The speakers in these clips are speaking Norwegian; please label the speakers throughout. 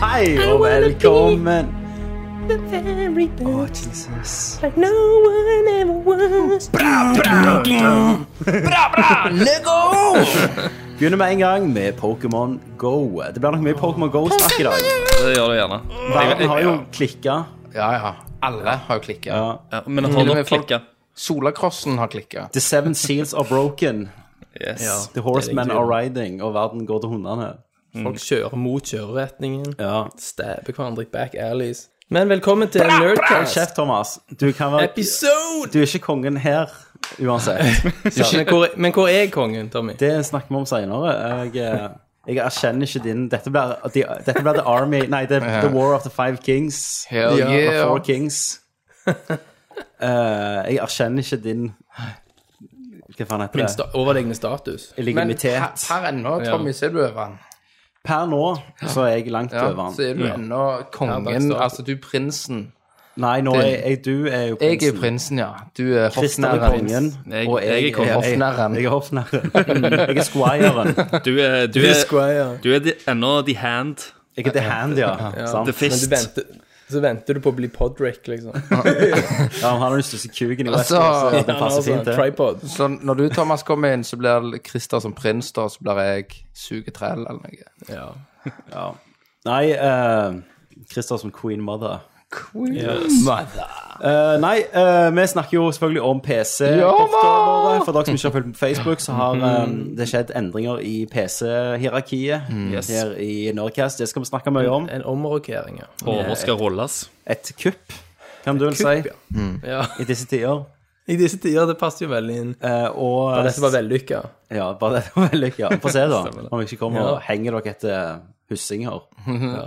Speaker 1: Hei
Speaker 2: I
Speaker 1: og
Speaker 2: wanna be-
Speaker 1: velkommen.
Speaker 2: The very
Speaker 1: Å,
Speaker 2: best
Speaker 1: Jesus.
Speaker 2: that no one ever was.
Speaker 1: Begynner med en gang med Pokémon Go. Det blir nok mye Pokémon Go-snakk i dag.
Speaker 3: Det gjør det gjerne.
Speaker 1: Verden har jo klikka.
Speaker 4: Ja, ja. Alle har jo klikket.
Speaker 1: Ja.
Speaker 3: Ja, men jeg har
Speaker 4: Mm.
Speaker 3: nok klikka.
Speaker 4: Solacrossen har klikket.
Speaker 1: The Seven Seals are broken.
Speaker 3: Yes.
Speaker 1: The Horsemen are riding. Og verden går til hundene.
Speaker 2: Mm. Folk kjører mot kjøreretningen.
Speaker 1: Ja.
Speaker 2: Stabber hverandre i back alleys. Men velkommen til
Speaker 1: Hold
Speaker 2: Nerdcast
Speaker 1: kjeft, Thomas. Du kan være
Speaker 2: episode!
Speaker 1: Du er ikke kongen her uansett.
Speaker 2: Men hvor, men hvor er kongen, Tommy?
Speaker 1: Det snakker vi om seinere. Jeg, eh, jeg erkjenner ikke din Dette blir, de, dette blir The Army Nei, the, the War of the Five Kings.
Speaker 4: Hell
Speaker 1: Ja, The
Speaker 4: yeah.
Speaker 1: Four Kings. Eh, jeg erkjenner ikke din Hva faen heter
Speaker 2: Min
Speaker 1: det?
Speaker 2: sta overlegne status.
Speaker 4: Men
Speaker 1: Legitimitet.
Speaker 4: her, her ennå, Tommy, ser du over han.
Speaker 1: Per nå så er jeg langt
Speaker 4: Ja,
Speaker 1: over
Speaker 4: så
Speaker 1: han.
Speaker 4: er du ennå kongen,
Speaker 2: Herbergsstaten.
Speaker 4: altså du er prinsen.
Speaker 1: Nei, nå er jeg, du er jo
Speaker 4: Jeg er
Speaker 1: prinsen.
Speaker 4: prinsen, ja. Du er
Speaker 1: Kristen er kongen,
Speaker 4: hoffnæren.
Speaker 3: Jeg-
Speaker 1: og
Speaker 3: jeg
Speaker 1: jeg,
Speaker 3: er kongen.
Speaker 4: Hoffnarren.
Speaker 1: Jeg er hoffnarren. Jeg er squiren.
Speaker 3: Du er, du
Speaker 2: The
Speaker 3: er,
Speaker 2: Squire.
Speaker 3: du er the, ennå the hand.
Speaker 1: Jeg er the hand, ja. Sant?
Speaker 3: The
Speaker 2: Men du
Speaker 3: fist.
Speaker 2: venter, så venter du på å bli podrick, liksom.
Speaker 1: Ja, han har den største kuken i
Speaker 4: Altså,
Speaker 1: Western, så det
Speaker 2: Han har
Speaker 1: passer
Speaker 2: sånn
Speaker 1: fint, det.
Speaker 2: tripod.
Speaker 4: Så når du, Thomas, kommer inn, så blir det Christer som prins, da, så blir jeg sugetrell eller noe.
Speaker 2: Ja.
Speaker 1: Nei, uh, Christer som queen mother.
Speaker 4: Mother.
Speaker 1: Eh, nei, eh, vi snakker jo selvfølgelig om PC.
Speaker 4: Ja,
Speaker 1: ofte
Speaker 4: man!
Speaker 1: våre. For dere som ikke har fulgt med på Facebook, så har
Speaker 2: Mm.
Speaker 1: eh, det skjedd endringer i PC-hierarkiet
Speaker 3: Yes.
Speaker 1: her i Nordcast. Det skal vi snakke mye om.
Speaker 2: En omrokering, ja.
Speaker 3: Hoder skal rulles.
Speaker 1: Et kupp, kan du vel si,
Speaker 2: Kupp, ja. ja.
Speaker 1: i disse tider.
Speaker 2: I disse tider, det passer jo veldig inn.
Speaker 1: Eh, og
Speaker 2: Ja, dette var vellykka.
Speaker 1: Ja, bare det var vellykka. Få se, da.
Speaker 2: Stemmer det.
Speaker 1: Om jeg ikke kommer og henger dere etter eh, hussinger.
Speaker 2: Ja.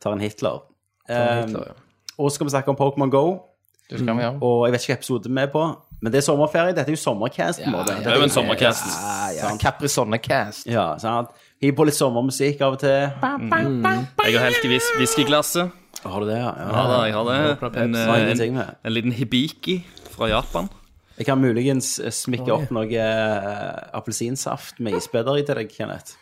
Speaker 1: Tar en Hitler.
Speaker 2: Hitler, ja.
Speaker 1: Eh, og så skal vi snakke om Pokémon Go.
Speaker 4: Det skal vi gjøre.
Speaker 1: Og jeg vet ikke hva episode vi er på, men det er sommerferie. Dette er jo sommercast. Ja,
Speaker 3: Det er jo en sommercast.
Speaker 4: Ja, Caprisonne-cast.
Speaker 1: ja, sant? Hiv på litt sommermusikk av og til.
Speaker 3: Jeg har helt i whis- whiskyglasset.
Speaker 1: Har du det, ja?
Speaker 3: Ja,
Speaker 1: ja.
Speaker 3: da, jeg har det. En,
Speaker 1: Hva er
Speaker 3: eh, en,
Speaker 1: ingenting med?
Speaker 3: en liten hibiki fra Japan.
Speaker 1: Jeg kan muligens eh, smikke opp noe eh, appelsinsaft med isbiter i til deg, Kenneth.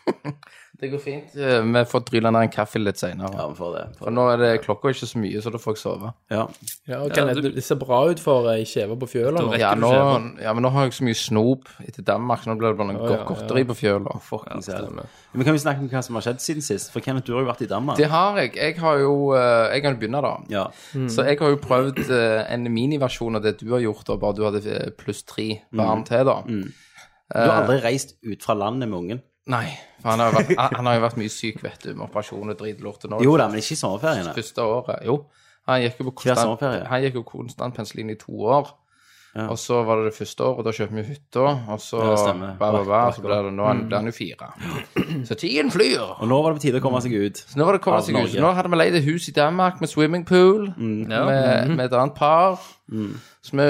Speaker 4: Det går fint. Eh, Vi får dryla ned en kaffe litt
Speaker 1: Ja,
Speaker 4: seinere.
Speaker 1: vi får det.
Speaker 4: For nå er det klokka er ikke så mye, så da får jeg sove.
Speaker 1: Ja.
Speaker 2: Ja, og Kenneth,
Speaker 3: Ja, du-
Speaker 2: det ser bra ut for ei kjeve på fjøla nå.
Speaker 3: rekker
Speaker 4: Ja,
Speaker 3: du
Speaker 4: nå,
Speaker 3: ikke.
Speaker 4: ja, men nå har jeg så mye snop etter Danmark, så nå blir det bare noe
Speaker 2: ja, ja.
Speaker 4: godteri på fjøla.
Speaker 1: Fucking selv. Men kan vi snakke om hva som har skjedd siden sist? For Kenneth, du har jo vært i Danmark.
Speaker 4: Det har jeg. Jeg har jo eh, Jeg kan begynne, da.
Speaker 1: Ja.
Speaker 4: Så jeg har jo prøvd eh, en miniversjon av det du har gjort, da, bare du hadde eh, pluss tre
Speaker 1: Mm.
Speaker 4: barn til, da.
Speaker 1: Du
Speaker 3: Eh,
Speaker 1: har aldri reist ut fra landet med ungen?
Speaker 4: Nei, for han har, jo vært, han- han har jo vært mye syk, vet du, med operasjoner og dritlort. og nå er det
Speaker 1: Jo da, men ikke i sommerferiene.
Speaker 4: første året. Jo, han gikk jo
Speaker 1: Hver
Speaker 4: på konstant,
Speaker 1: sommerferie.
Speaker 4: han gikk jo konstant penicillin i to år. Og så var det det første året, og da kjøpte vi hytta, og så
Speaker 1: Ja,
Speaker 4: ba,
Speaker 1: stemmer. Mm.
Speaker 4: ba, ba,
Speaker 1: Brakk,
Speaker 4: så ble det, nå er han- ble han jo fire. Så tiden flyr.
Speaker 1: Og nå var det på tide å
Speaker 3: Mm.
Speaker 1: komme seg ut.
Speaker 4: Så nå var det kommet
Speaker 1: Av
Speaker 4: seg ut.
Speaker 1: Norge. Mm.
Speaker 4: Nå hadde vi leid et hus i Danmark med swimmingpool,
Speaker 3: Ja.
Speaker 4: med, med et annet par. Så vi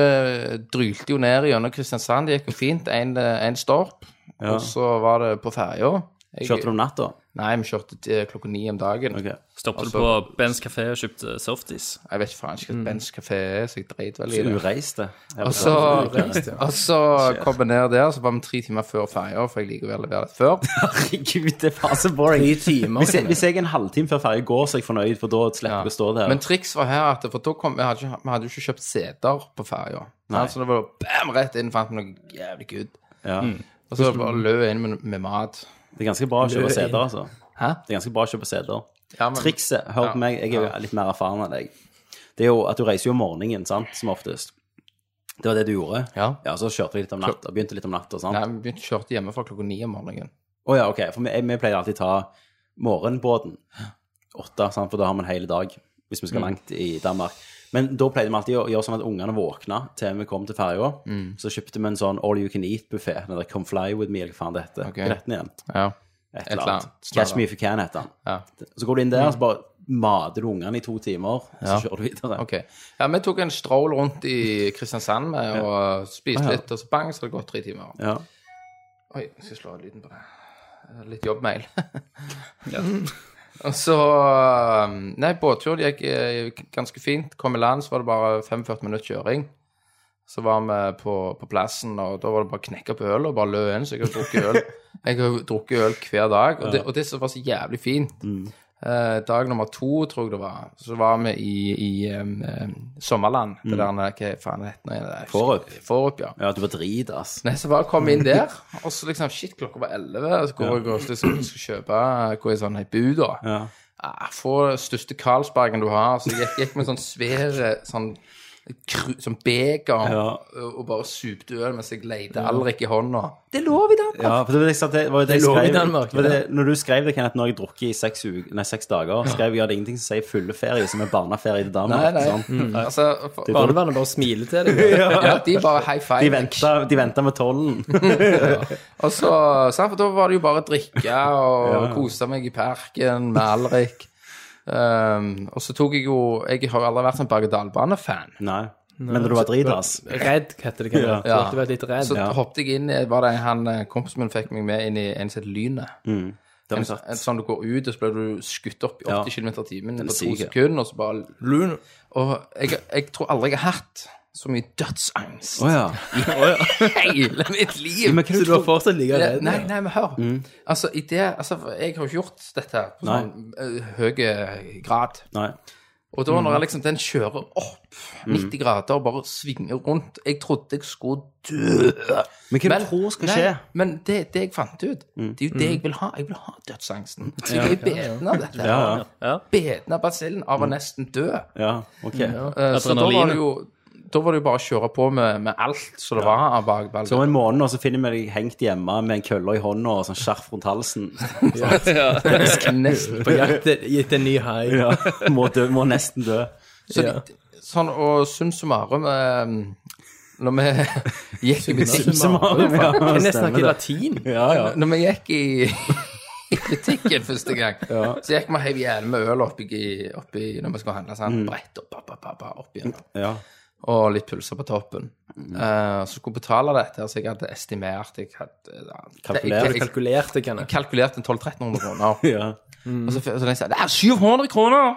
Speaker 4: drylte jo ned gjennom Kristiansand. Det gikk jo fint. En, eh, en stopp.
Speaker 1: Ja.
Speaker 4: Og så var det på ferja. Jeg-
Speaker 1: Kjørte du om natta?
Speaker 4: Nei, vi kjørte til klokka ni om dagen.
Speaker 1: Ok.
Speaker 3: Stoppet du
Speaker 4: Altså-
Speaker 3: på Bens kafé og kjøpte softis?
Speaker 4: Jeg vet ikke faen ikke hva Bens kafé er, så jeg dreit vel i
Speaker 1: Så
Speaker 4: det.
Speaker 1: ureiste. Jeg
Speaker 4: Og
Speaker 1: vet
Speaker 4: så,
Speaker 3: Altså-
Speaker 1: ikke.
Speaker 4: og så kom vi ned der, så var vi tre timer før ferja, for jeg liker å være levert litt før.
Speaker 1: Herregud, det er faen så boring.
Speaker 2: Tre timer.
Speaker 1: Hvis jeg, hvis jeg er en halvtime før ferja går, så er jeg fornøyd, for da slipper jeg å stå der.
Speaker 4: Men triks var her at for da kom, vi, hadde ikke, vi hadde jo ikke kjøpt seter på ferja.
Speaker 1: Nei.
Speaker 4: Så det var bam, rett inn, fant vi noe jævlig good.
Speaker 1: Ja.
Speaker 4: Og så bare løp jeg inn med, med mat.
Speaker 1: Det er ganske bra å kjøpe seter, altså.
Speaker 4: Hæ?
Speaker 1: Det er ganske bra å kjøpe seter.
Speaker 4: Ja, men-
Speaker 1: Trikset, hør
Speaker 4: Ja.
Speaker 1: på meg, jeg er jo litt mer erfaren enn deg, det er jo at du reiser jo om morgenen, sant, som oftest. Det var det du gjorde.
Speaker 4: Ja.
Speaker 1: Ja, så kjørte vi litt om natta, begynte litt om sånn. natta, sant.
Speaker 4: Nei, vi begynte kjørte hjemme fra klokka ni om morgenen.
Speaker 1: Å ja, ok. For vi, vi pleier alltid ta morgenbåten åtte, sant? for da har vi en hel dag hvis vi
Speaker 4: Mm.
Speaker 1: skal langt i Danmark. Men da pleide vi alltid å gjøre sånn at ungene våkna til vi kom til ferja.
Speaker 4: Mm.
Speaker 1: Så kjøpte vi en sånn all you can eat-buffé. Den der Come fly with me, eller hva faen det heter.
Speaker 4: Ok.
Speaker 1: Hva heter den igjen?
Speaker 4: Ja.
Speaker 1: Et
Speaker 4: eller
Speaker 1: eller annet.
Speaker 4: annet.
Speaker 1: Catch me if you can, heter den.
Speaker 4: Ja.
Speaker 1: Så går du inn der, så bare mater du ungene i to timer, så
Speaker 4: Ja.
Speaker 1: kjører du videre.
Speaker 4: Ok. Ja, vi tok en stroll rundt i Kristiansand med, og spiste
Speaker 1: Ah, ja.
Speaker 4: litt, og så bang, så hadde det gått tre timer.
Speaker 1: Ja.
Speaker 4: Oi, jeg skal slå av lyden på det. Eh, Litt jobbmail. Og så um, Nei, båtturen gikk eh, ganske fint. Kom i land, så var det bare 45 minutter kjøring. Så var vi på, på plassen, og da var det bare å knekke opp øl og bare lø inn. Så jeg har drukket øl Jeg har jo drukket øl hver dag. Og det, og det som var så jævlig fint, Eh, dag nummer to, tror jeg det var, så var vi i, i em, em, sommerland. Det der, nei, hva faen het det? Jeg husker-
Speaker 1: Forup.
Speaker 4: Forup, ja.
Speaker 1: Ja, du var drit, ass.
Speaker 4: Nei, så bare kom jeg inn der, og så liksom Shit, klokka var 11, og så går jeg og liksom, skal kjøpe Gå i sånn ei bu, da.
Speaker 1: Ja.
Speaker 4: Ah, få den største Carlsbergen du har. Så jeg gikk, gikk med sånn svære sånn kru, sånn beker
Speaker 1: Ja.
Speaker 4: og, og bare supte øl mens jeg leide Alrik i hånda. Det er lov i Danmark!
Speaker 1: Ja, for det var det jeg sa, det var jo det jeg
Speaker 2: Det lå i
Speaker 1: skrev.
Speaker 2: Danmark,
Speaker 1: det var det,
Speaker 2: ja.
Speaker 1: når du skrev det, Kenneth, når jeg drukket i seks, uker, nei, seks dager, skrev jeg at det er ingenting som sier fylleferie som er barneferie til Danmark.
Speaker 4: Nei, nei.
Speaker 1: Sånn.
Speaker 4: Altså,
Speaker 1: Det
Speaker 4: for,
Speaker 1: er dårlig.
Speaker 2: Barnevernet bare smiler til deg.
Speaker 4: ja, de bare high five.
Speaker 1: De venter, de venter med tollen.
Speaker 4: Og så, sant, for da var det jo bare å drikke og kose meg i parken med Alrik. Um, og så tok jeg jo Jeg har jo aldri vært sånn berg-og-dal-bane-fan.
Speaker 1: Nei. Men når du var drit, ass.
Speaker 2: Redd, heter det. Kan
Speaker 4: Ja.
Speaker 2: Du vært litt redd.
Speaker 4: Så hoppet jeg inn i- Var det han eh, kompisen min fikk meg med inn i en som het Lynet?
Speaker 1: Mm. Det
Speaker 4: En,
Speaker 1: var
Speaker 4: en
Speaker 1: satt.
Speaker 4: sånn du går ut, og så blir du skutt opp i 80
Speaker 1: Ja.
Speaker 4: km i timen på to
Speaker 1: syk, ja.
Speaker 4: sekunder, og så bare Lun. Og jeg, jeg tror aldri jeg har hatt så mye dødsangst
Speaker 1: Åja.
Speaker 4: i hele mitt liv.
Speaker 1: Men hva
Speaker 2: Så du var fortsatt like
Speaker 4: Ja,
Speaker 2: redd?
Speaker 4: Eh, nei, nei, men hør. Altså, i det, altså, jeg har jo gjort dette her på
Speaker 1: Mm. Nei.
Speaker 4: sånn eh, høy grad.
Speaker 1: Nei.
Speaker 4: Og
Speaker 1: Mm.
Speaker 4: da når jeg liksom den kjører opp 90 grader og bare svinger rundt Jeg trodde jeg skulle dø.
Speaker 1: Men hva du tror skal skje? Mm.
Speaker 4: Men det, det jeg fant ut, det er jo det jeg vil ha. Jeg vil ha dødsangsten. Så jeg er beten av dette.
Speaker 1: Ja,
Speaker 4: her.
Speaker 1: ja. Mm.
Speaker 3: Ja.
Speaker 4: Beten av basillen av å nesten dø.
Speaker 1: ja ok.
Speaker 4: Eh, Så da var
Speaker 3: Adrenalin.
Speaker 4: det jo da var det jo bare å kjøre på med, med alt som det var av bakball.
Speaker 1: Så om en måned nå så finner vi deg hengt hjemme med en køller i hånda og sånn skjerf rundt halsen.
Speaker 4: Nesten
Speaker 2: På jakt et- gitt en ny high.
Speaker 1: Ja. Må, dø, må nesten dø.
Speaker 4: Så litt, sånn, og sum summarum eh, Når vi gikk i butikken
Speaker 1: Simsemarium, ja.
Speaker 2: Kenneth
Speaker 1: stemmer
Speaker 2: snakker
Speaker 1: det.
Speaker 2: latin.
Speaker 1: Ja, ja.
Speaker 4: Når vi gikk i, i butikken første gang, så gikk vi heiv gjerne med øl oppi, oppi når vi skulle handle.
Speaker 1: Mm.
Speaker 4: Sånn, Brett og ba, ba, ba, ba, opp igjen.
Speaker 1: ja.
Speaker 4: Og litt pølser på toppen.
Speaker 1: Mm.
Speaker 4: Eh, så skulle jeg betale dette, så jeg hadde estimert Jeg hadde eh, ja,
Speaker 1: Kalkulert.
Speaker 4: jeg- jeg- jeg
Speaker 2: Kalkulerte, Kenneth.
Speaker 4: kalkulert en 1200-1300 kroner.
Speaker 1: ja. Mm.
Speaker 4: Og så, så den sa Det er 700 kroner!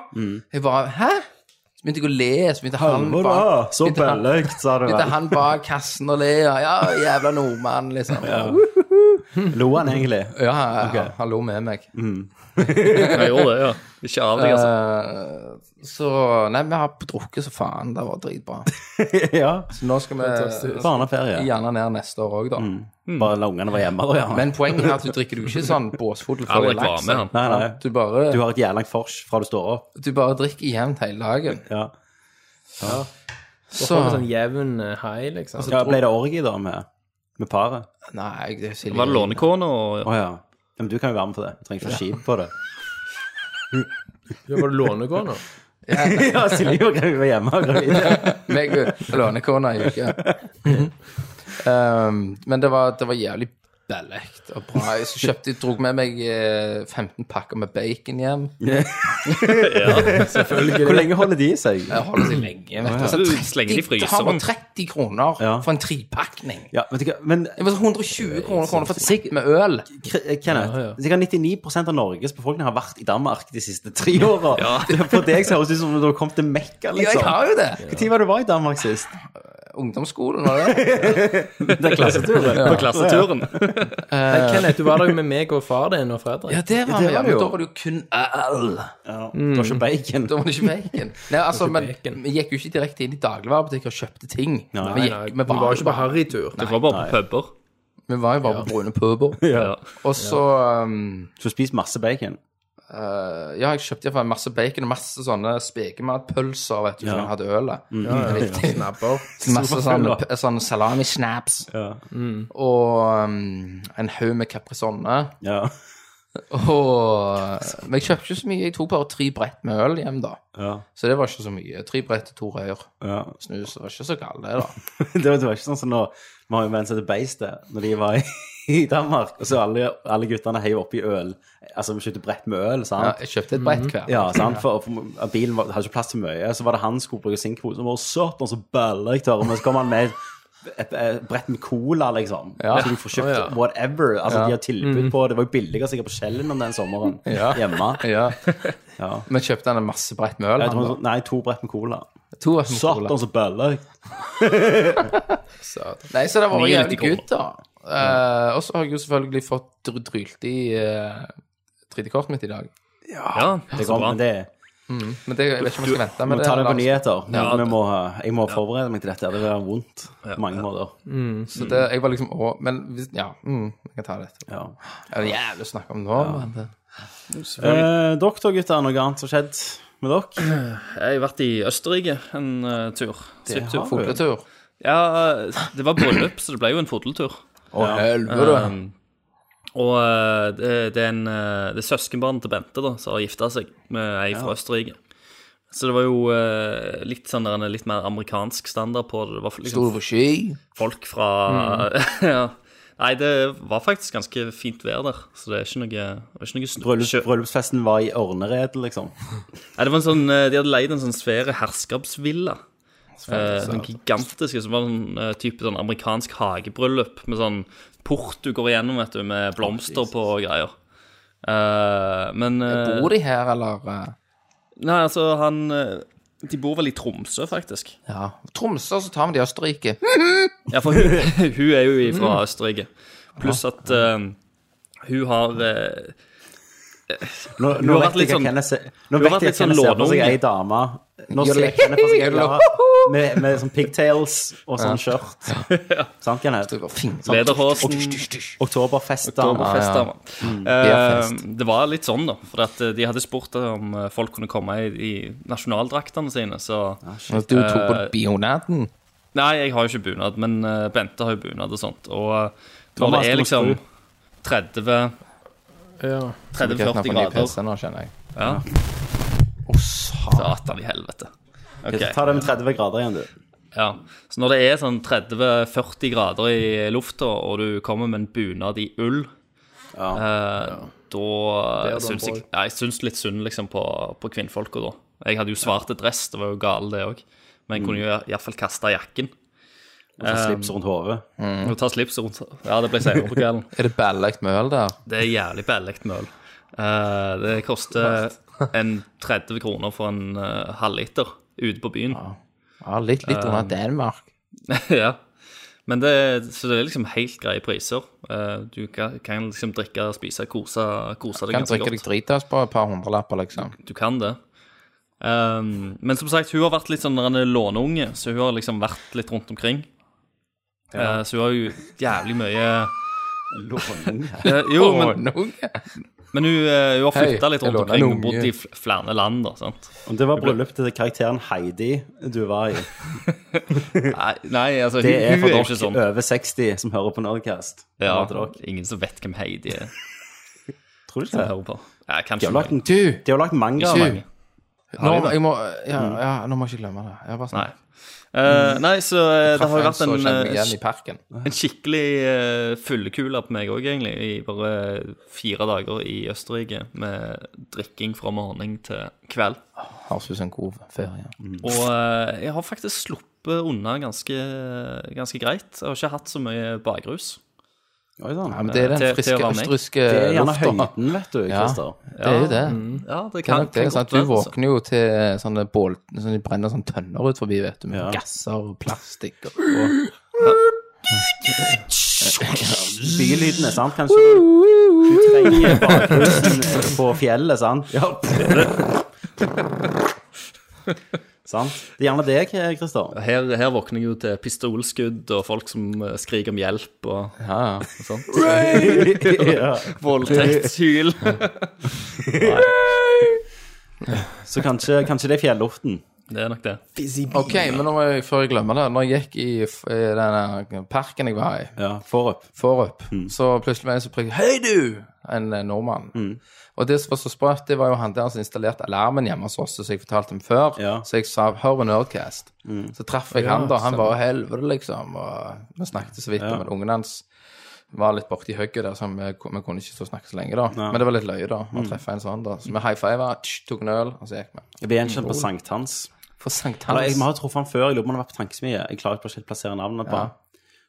Speaker 4: Jeg bare Hæ? Så begynte jeg å le. Så begynte han
Speaker 1: Hvor da?
Speaker 4: bak-
Speaker 1: Så
Speaker 4: begynte han-
Speaker 1: bølløkt, sa du
Speaker 4: Sitter
Speaker 1: vel.
Speaker 4: han bak kassen og ler. Ja, jævla nordmann, liksom. Ja,
Speaker 1: Lo han egentlig?
Speaker 4: ja, han lo med meg.
Speaker 3: Jeg gjorde det, ja. Ikke av deg, altså.
Speaker 4: Eh, så Nei, vi har drukket så faen. Det var dritbra.
Speaker 1: Ja.
Speaker 4: Så nå skal vi
Speaker 1: Barneferie.
Speaker 4: gjerne ned neste år òg, da.
Speaker 1: Bare la ungene være hjemme, da, gjerne.
Speaker 4: Men poenget er at du drikker jo ikke sånn båsfodel for
Speaker 3: Alrik var
Speaker 4: laks.
Speaker 3: med, han.
Speaker 1: Nei, nei.
Speaker 4: Du bare,
Speaker 1: Du har et jævla langt fors fra du står opp.
Speaker 4: du bare drikker jevnt hele dagen.
Speaker 1: Ja.
Speaker 2: Så
Speaker 4: Så
Speaker 2: en sånn jevn eh, high, liksom.
Speaker 1: ja ble det orgi da med, med paret?
Speaker 4: Nei, det er så
Speaker 3: Det var lånekona
Speaker 1: Å
Speaker 3: og
Speaker 1: ja. Ja, Men du kan jo være med på det. Du trenger ikke å skive på det.
Speaker 2: Du var lånegående.
Speaker 1: ja, Silje var gravid var hjemme. og Gravid.
Speaker 4: meg og lånekona i uke. Um, men det var, det var jævlig bellekt og bra. Så kjøpte jeg, dro med meg eh, 15 pakker med bacon hjem.
Speaker 1: Hvor lenge holder de seg?
Speaker 4: Det holder seg lenge. vet du.
Speaker 3: Så du slenger det i
Speaker 4: De tar
Speaker 3: fryseren.
Speaker 4: bare 30 kroner
Speaker 1: Ja.
Speaker 4: for en tripakning.
Speaker 1: Ja, vet du hva, men
Speaker 4: Det var så 120 kroner, kroner for trikk med øl.
Speaker 1: Kre- Kenneth, sikkert 99 av Norges befolkning har vært i Danmark de siste tre åra. For deg så høres det ut som om du har kommet til Mekka,
Speaker 4: Ja, jeg
Speaker 1: liksom.
Speaker 4: har jo det.
Speaker 1: Når var det du var i Danmark sist?
Speaker 4: Ungdomsskolen, var det det?
Speaker 1: Det er klasseturen.
Speaker 3: På klasseturen.
Speaker 2: Nei, Kenneth, du var der jo med meg og far din og Fredrik.
Speaker 4: Ja, det var
Speaker 1: det var
Speaker 4: vi. Ja,
Speaker 1: det
Speaker 4: men
Speaker 1: jo.
Speaker 4: da var det jo kun øl.
Speaker 1: Ja. Du har ikke bacon.
Speaker 4: Da var det ikke bacon. Nei, altså, men
Speaker 2: bacon.
Speaker 4: vi gikk jo ikke direkte inn i dagligvarebutikker og kjøpte ting.
Speaker 1: Nei,
Speaker 4: vi,
Speaker 2: Nei,
Speaker 4: gikk,
Speaker 2: vi var jo ikke på harrytur.
Speaker 3: Det var bare på puber.
Speaker 4: vi var jo bare på brune puber.
Speaker 3: Ja.
Speaker 4: Og så um,
Speaker 1: Så spis masse bacon.
Speaker 4: eh, Ja, jeg kjøpte iallfall masse bacon og masse sånne spekematpølser, vet du, som
Speaker 1: Ja.
Speaker 4: jeg hadde øl av.
Speaker 2: Ja, ja, ja. Snabber.
Speaker 4: Masse sånne,
Speaker 1: Superfylla.
Speaker 4: p- sånne salami-snaps
Speaker 1: Ja.
Speaker 4: og um, en haug med caprisonne.
Speaker 1: ja.
Speaker 4: Og Men jeg kjøpte ikke så mye. Jeg tok bare tre brett med øl hjem, da.
Speaker 1: ja.
Speaker 4: Så det var ikke så mye. Tre brett og to rør.
Speaker 1: ja.
Speaker 4: Snus. Det var ikke så galt, det, da.
Speaker 1: Det var, det var ikke sånn som når vi har jo venn som heter Beistet, når de var i, i Danmark, og så alle, alle guttene heiv oppi øl. Altså, vi kjøpte brett med øl,
Speaker 4: Ja,
Speaker 1: sant?
Speaker 4: jeg kjøpte et brett hver.
Speaker 1: Ja, sant? For, for at bilen var, hadde ikke plass til mye, så var det han som skulle bruke sin kvote, som var søtt, og så bøller jeg tørre, men så kom han med et, et, et brett med cola, liksom.
Speaker 4: Ja.
Speaker 1: Så du får kjøpt
Speaker 2: Å, ja.
Speaker 1: whatever. Altså,
Speaker 4: Ja.
Speaker 1: de har tilbud på, det var jo billigere sikkert på Kjellen om den sommeren,
Speaker 4: Ja.
Speaker 1: hjemme.
Speaker 4: Ja.
Speaker 1: Ja.
Speaker 4: Men kjøpte han en masse brett med øl?
Speaker 1: Jeg
Speaker 4: han,
Speaker 1: tror,
Speaker 4: da?
Speaker 1: nei, to brett med cola.
Speaker 4: To var som
Speaker 1: Søtt,
Speaker 4: cola.
Speaker 1: og så bøller jeg.
Speaker 4: Nei, så det var
Speaker 3: 99
Speaker 4: jævlig good, da. Eh, og så har jeg jo selvfølgelig fått dr- drylt i eh, 3D-kortet mitt i dag.
Speaker 3: Ja,
Speaker 1: Det
Speaker 3: så
Speaker 1: kom,
Speaker 3: bra.
Speaker 1: men det
Speaker 4: Men det, jeg vet ikke om jeg skal vente
Speaker 1: Vi må
Speaker 4: med det.
Speaker 1: ta det på
Speaker 4: Lars.
Speaker 1: nyheter. Men
Speaker 3: Ja,
Speaker 1: vi må, ha- jeg må forberede meg til dette. Det vil være vondt på mange måter.
Speaker 4: Så det, jeg var liksom å, Men hvis, ja, mm, jeg kan ta det etterpå.
Speaker 1: Ja.
Speaker 4: Det er jævlig å snakke om nå, men det
Speaker 1: Eh, dere, gutter, noe annet som skjedd med dere?
Speaker 3: Jeg har vært i Østerrike en eh, tur. Svipptur.
Speaker 1: har du.
Speaker 4: Fugletur.
Speaker 3: Ja, eh, det var bryllup, så det ble jo en fodeltur.
Speaker 4: Å, helvete.
Speaker 3: Og eh, det, det er, en, eh, det er søskenbarnet til Bente da, som har gifta seg med ei fra Østerrike. Så det var jo eh, litt, sånn, der en litt mer amerikansk standard på det. Det var liksom
Speaker 4: Sto du på ski?
Speaker 3: folk fra
Speaker 1: Mm.
Speaker 3: ja. Nei, det var faktisk ganske fint vær der, så det er ikke noe, det var ikke noe snø.
Speaker 1: Bryllups,
Speaker 3: sjø-
Speaker 1: bryllupsfesten var i Ornered, liksom.
Speaker 3: Nei, det var en sånn, eh, De hadde leid en sånn svær herskapsvilla. Eh, sånn gigantisk, som var en eh, type sånn amerikansk hagebryllup med sånn port du går igjennom vet du, med blomster på og greier. Eh, men eh,
Speaker 4: Bor de her, eller? eh?
Speaker 3: Nei, altså, han eh, De bor vel i Tromsø, faktisk.
Speaker 4: Ja. Tromsø, så tar vi det i Østerrike.
Speaker 3: Ja, for hun, hun er jo fra Østerrike. Pluss at eh, hun har eh,
Speaker 1: Nå,
Speaker 3: Du
Speaker 1: nå
Speaker 3: har
Speaker 1: vet
Speaker 3: vært litt
Speaker 1: jeg at
Speaker 3: sånn-
Speaker 1: Kenneth ser-
Speaker 3: du
Speaker 1: nå
Speaker 3: har
Speaker 1: vet
Speaker 3: vært litt
Speaker 1: jeg at
Speaker 3: sånn
Speaker 1: Kenneth ser på seg
Speaker 3: låneunge.
Speaker 1: ei dame Nå
Speaker 4: Gjør
Speaker 1: ser
Speaker 4: det.
Speaker 1: Kenneth på seg ei
Speaker 4: Gjør det.
Speaker 1: dame med, med sånn pigtails og sånn skjørt. Sant, Kenneth?
Speaker 4: Det var fint.
Speaker 3: Sånn Lederhosen.
Speaker 1: Oktoberfestdame.
Speaker 3: Fest,
Speaker 4: Eh, Beerfest.
Speaker 3: Eh, det var litt sånn, da. For at eh, de hadde spurt om eh, folk kunne komme i, i nasjonaldraktene sine, så
Speaker 4: At Du tok på bionaden.
Speaker 3: Nei, jeg har jo ikke bunad, men eh, Bente har jo bunad og sånt. Og eh, når det
Speaker 1: Thomas,
Speaker 3: er
Speaker 1: du må
Speaker 3: liksom
Speaker 1: skru.
Speaker 3: 30-40
Speaker 2: Ja.
Speaker 3: grader
Speaker 4: Nå, kjenner jeg.
Speaker 3: Ja,
Speaker 4: Å, satan.
Speaker 3: Satan i helvete. Ok,
Speaker 1: Ta det med 30 grader igjen, du.
Speaker 3: ja. Så når det er sånn 30-40 grader i lufta, og du kommer med en bunad i ull
Speaker 1: Ja.
Speaker 3: Eh, Da eh,
Speaker 2: er da
Speaker 3: syns
Speaker 2: en
Speaker 3: jeg, ja, jeg syns litt synd liksom, på, på kvinnfolka, da. Jeg hadde jo svarte dress, det var jo gale, det òg. Men jeg kunne jo iallfall kaste jakken
Speaker 1: Og så slips rundt hodet.
Speaker 3: og ta slipset rundt. Ja, det ble senere på kvelden.
Speaker 4: Er det ballagt møl der?
Speaker 3: Det er jævlig billig møl. Eh, det koster en 30 kroner for en eh, halvliter ute på byen.
Speaker 4: Ja, litt, litt under Danmark.
Speaker 3: ja. Men det, så det er liksom helt greie priser. Eh, du kan, kan liksom drikke, spise, kose, kose deg
Speaker 4: Kan
Speaker 3: ganske
Speaker 4: drikke
Speaker 3: godt.
Speaker 4: deg dritas på et par hundrelapper, liksom.
Speaker 3: du kan det. Ehm, men som sagt, hun har vært litt sånn der en låneunge, så hun har liksom vært litt rundt omkring. Eh, så hun har jo jævlig mye Eh, Jo, men,
Speaker 4: Noe.
Speaker 3: men hun, eh, hun har
Speaker 4: Hei,
Speaker 3: flytta litt
Speaker 4: jeg
Speaker 3: rundt
Speaker 4: låner
Speaker 3: omkring.
Speaker 4: en
Speaker 3: Hun
Speaker 4: unge.
Speaker 3: bodde i fl- flere land, da. sant?
Speaker 1: Om det var bryllupet til karakteren Heidi du var i
Speaker 3: Nei, nei altså,
Speaker 1: Det er
Speaker 3: hun, hun
Speaker 1: for
Speaker 3: er jo ikke
Speaker 1: dere
Speaker 3: sånn.
Speaker 1: over 60 som hører på Nerdcast.
Speaker 3: Ja,
Speaker 1: Til dere.
Speaker 3: ingen som vet hvem Heidi er.
Speaker 1: Tror du ikke
Speaker 3: som
Speaker 1: det?
Speaker 3: hører på. Ja,
Speaker 1: De
Speaker 3: kanskje
Speaker 1: har lagt,
Speaker 3: mange.
Speaker 1: en,
Speaker 4: Du,
Speaker 1: de har lagt manga av
Speaker 4: Ikke
Speaker 1: meg.
Speaker 4: nå, jeg må, ja, Mm. ja, nå må jeg ikke glemme det. Jeg sånn- bare
Speaker 3: Nei.
Speaker 4: Mm.
Speaker 3: Eh, nei, så eh, det har jo vært
Speaker 4: så
Speaker 3: en,
Speaker 4: kjenner jeg meg
Speaker 3: eh,
Speaker 4: igjen i parken.
Speaker 3: en skikkelig uh, fyllekule på meg òg, egentlig. I bare fire dager i Østerrike med drikking fra morgen til kveld.
Speaker 4: Høres ut som en god ferie.
Speaker 3: Og eh, jeg har faktisk sluppet unna ganske, ganske greit. Jeg har ikke hatt så mye bakrus.
Speaker 1: Oi sann.
Speaker 4: Ja, men det er
Speaker 3: Til-
Speaker 4: den
Speaker 3: til å
Speaker 4: friske
Speaker 3: være meg.
Speaker 4: østerrikske
Speaker 1: Det er gjerne
Speaker 4: lufta.
Speaker 1: høyden, vet du,
Speaker 4: Ja,
Speaker 1: Christer.
Speaker 4: det er jo det.
Speaker 3: Ja, mm. det
Speaker 4: Det er
Speaker 3: kan,
Speaker 4: nok det.
Speaker 3: kan godt
Speaker 4: sant? Du
Speaker 3: være. altså.
Speaker 4: våkner jo til sånne bål sånn De brenner sånn tønner ut forbi, vet du, med
Speaker 1: Ja.
Speaker 4: gasser og plastikk og, og
Speaker 1: Bylydene, sant? Kanskje du, du trenger bakgrunnen på fjellet, sant? Ja. sant? Det er gjerne det, Christer.
Speaker 3: Her, her våkner jeg jo til pistolskudd og folk som eh, skriker om hjelp og,
Speaker 4: Ja, ja.
Speaker 3: og sånt.
Speaker 1: ja.
Speaker 3: Voldtektshyl.
Speaker 1: Så kanskje, kanskje det er fjelluften.
Speaker 3: Det er nok det.
Speaker 4: OK, men nå må jeg, før jeg glemmer det Når jeg gikk i, f- i denne parken jeg var i,
Speaker 1: Ja, Forup.
Speaker 4: Forup,
Speaker 1: Mm.
Speaker 4: så plutselig var det en som prøvde Hei, du! En eh, nordmann.
Speaker 1: Mm.
Speaker 4: Og det som var så sprøtt, det var jo han der som installerte alarmen hjemme hos oss, som jeg fortalte om før.
Speaker 1: Ja. Mm.
Speaker 4: Så jeg sa 'hør på Nerdcast'. Så traff jeg han, da. Han var jo helvete, liksom. Og vi snakket så vidt om at ungen hans var litt borti hugget der, så vi, vi kunne ikke stå og snakke så lenge, da. Men det var litt løye, da,
Speaker 1: Mm.
Speaker 4: å treffe en sånn, da. Så vi high fiva, tok en øl, og så gikk vi.
Speaker 1: Jeg ble gjenkjent på Sankthans.
Speaker 4: For
Speaker 1: Eller, jeg
Speaker 4: sankthans.
Speaker 1: har truffet han før, jeg lurer på om han har vært på tankesmie. Jeg klarer ikke å plassere navnet på han.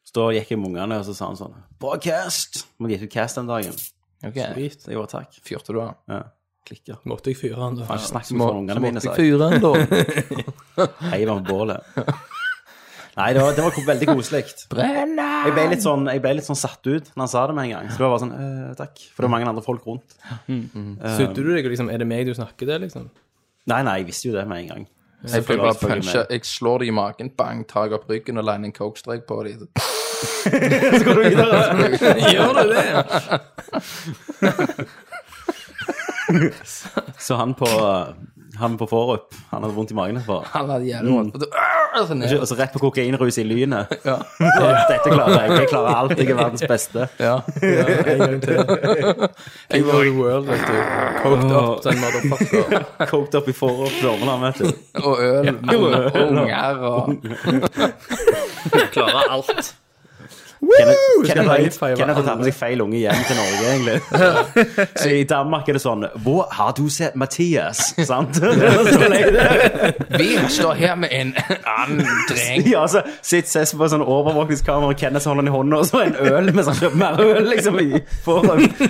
Speaker 1: Så da gikk jeg med ungene, og så sa han sånn Bra cast! Må gi ut cast den dagen.
Speaker 4: Ok,
Speaker 1: Drit. Jeg gjorde takk.
Speaker 4: Fyrte du av?
Speaker 1: Ja. Klikker.
Speaker 2: Måtte jeg fyre han, da?
Speaker 1: Snakker med ungene mine,
Speaker 4: jeg
Speaker 1: sa jeg.
Speaker 4: fyre en, da.
Speaker 1: Heiv han på bålet. Nei, det var, det var veldig koselig.
Speaker 4: Brenna!
Speaker 1: Jeg ble, litt sånn, jeg ble litt sånn satt ut når han sa det med en gang. Så det var bare sånn «Øh, Takk. For det var mange andre folk rundt.
Speaker 2: Sudde du deg, og liksom? Er det meg du snakker til, liksom?
Speaker 1: Nei, nei, jeg visste jo det med en gang.
Speaker 4: Jeg prøver bare å
Speaker 1: Selvfølgelig.
Speaker 4: punche. Jeg slår dem i magen, bang, tar jeg opp ryggen og liner en coke-strek på dem.
Speaker 2: Gjør du det?
Speaker 1: Så han på, han på Forup, han hadde vondt i magen etterpå.
Speaker 4: Han hadde jævlig vondt. Og så- Arr! Og så ned.
Speaker 1: Og så rett på kokainrus i lynet. Dette klarer jeg. Jeg klarer alt. Jeg er verdens beste.
Speaker 4: Ja.
Speaker 2: En gang til. King of the world, vet du. Coked up, den motherfucker.
Speaker 1: Coked opp i Forup dormene, vet du.
Speaker 4: Og øl og unger og
Speaker 3: Klarer alt.
Speaker 1: Kenneth- Kenneth
Speaker 2: Skal jeg
Speaker 1: har-
Speaker 2: feire
Speaker 1: Kenneth har tatt
Speaker 2: alle?
Speaker 1: med seg feil unge hjem til Norge, egentlig. Så I Danmark er det sånn Hvor har du sett Mathias? Sant? Så legger det-
Speaker 4: Vi står her med en annen dreng.
Speaker 1: Ja, så sitter Sess på sånn overvåkningskamera, og Kenneth holder den i hånda, og så en øl mens han kjøper mer øl, liksom, i Forup.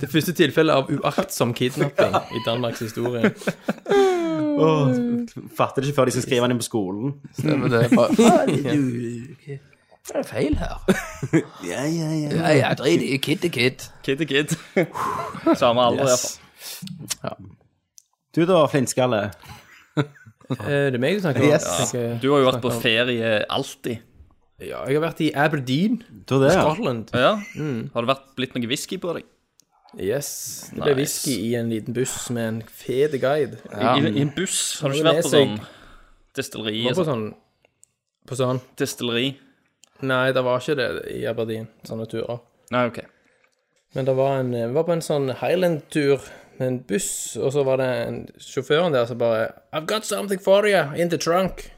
Speaker 2: Det første tilfellet av uaktsom kidnapping i Danmarks historie.
Speaker 1: Åh, Fatter det ikke før de skal skrive han inn på skolen.
Speaker 4: Stemmer det. Bare, «Faen, du, Hva er det feil her?
Speaker 1: Ja, ja, ja.
Speaker 4: Ja, ja, drit i kid to kid.
Speaker 3: Kid er kid. Samme alder, i hvert fall.
Speaker 1: Yes. Du da, flintskalle.
Speaker 2: Er Eh, det meg du snakker om?
Speaker 1: Yes.
Speaker 2: Tenker-
Speaker 3: Du har jo vært på ferie alltid.
Speaker 2: Ja, jeg har vært i Aberdeen,
Speaker 1: Du det, ja.
Speaker 2: Scotland.
Speaker 3: Ja. Mm. Har det vært blitt noe whisky på deg?
Speaker 2: Yes. Det ble
Speaker 3: Nice.
Speaker 2: whisky i en liten buss med en fet guide.
Speaker 3: I, i, I en buss? Har du
Speaker 2: Nå
Speaker 3: ikke vært på
Speaker 2: leser jeg.
Speaker 3: sånn destilleri?
Speaker 2: Det var på
Speaker 3: Sånn.
Speaker 2: sånn På sånn
Speaker 3: Destilleri?
Speaker 2: Nei, det var ikke det i Aberdeen, sånne turer.
Speaker 3: Nei, OK.
Speaker 2: Men det var en Vi var på en sånn Highland-tur med en buss, og så var det en sjåføren der som bare I've got something for you in the trunk.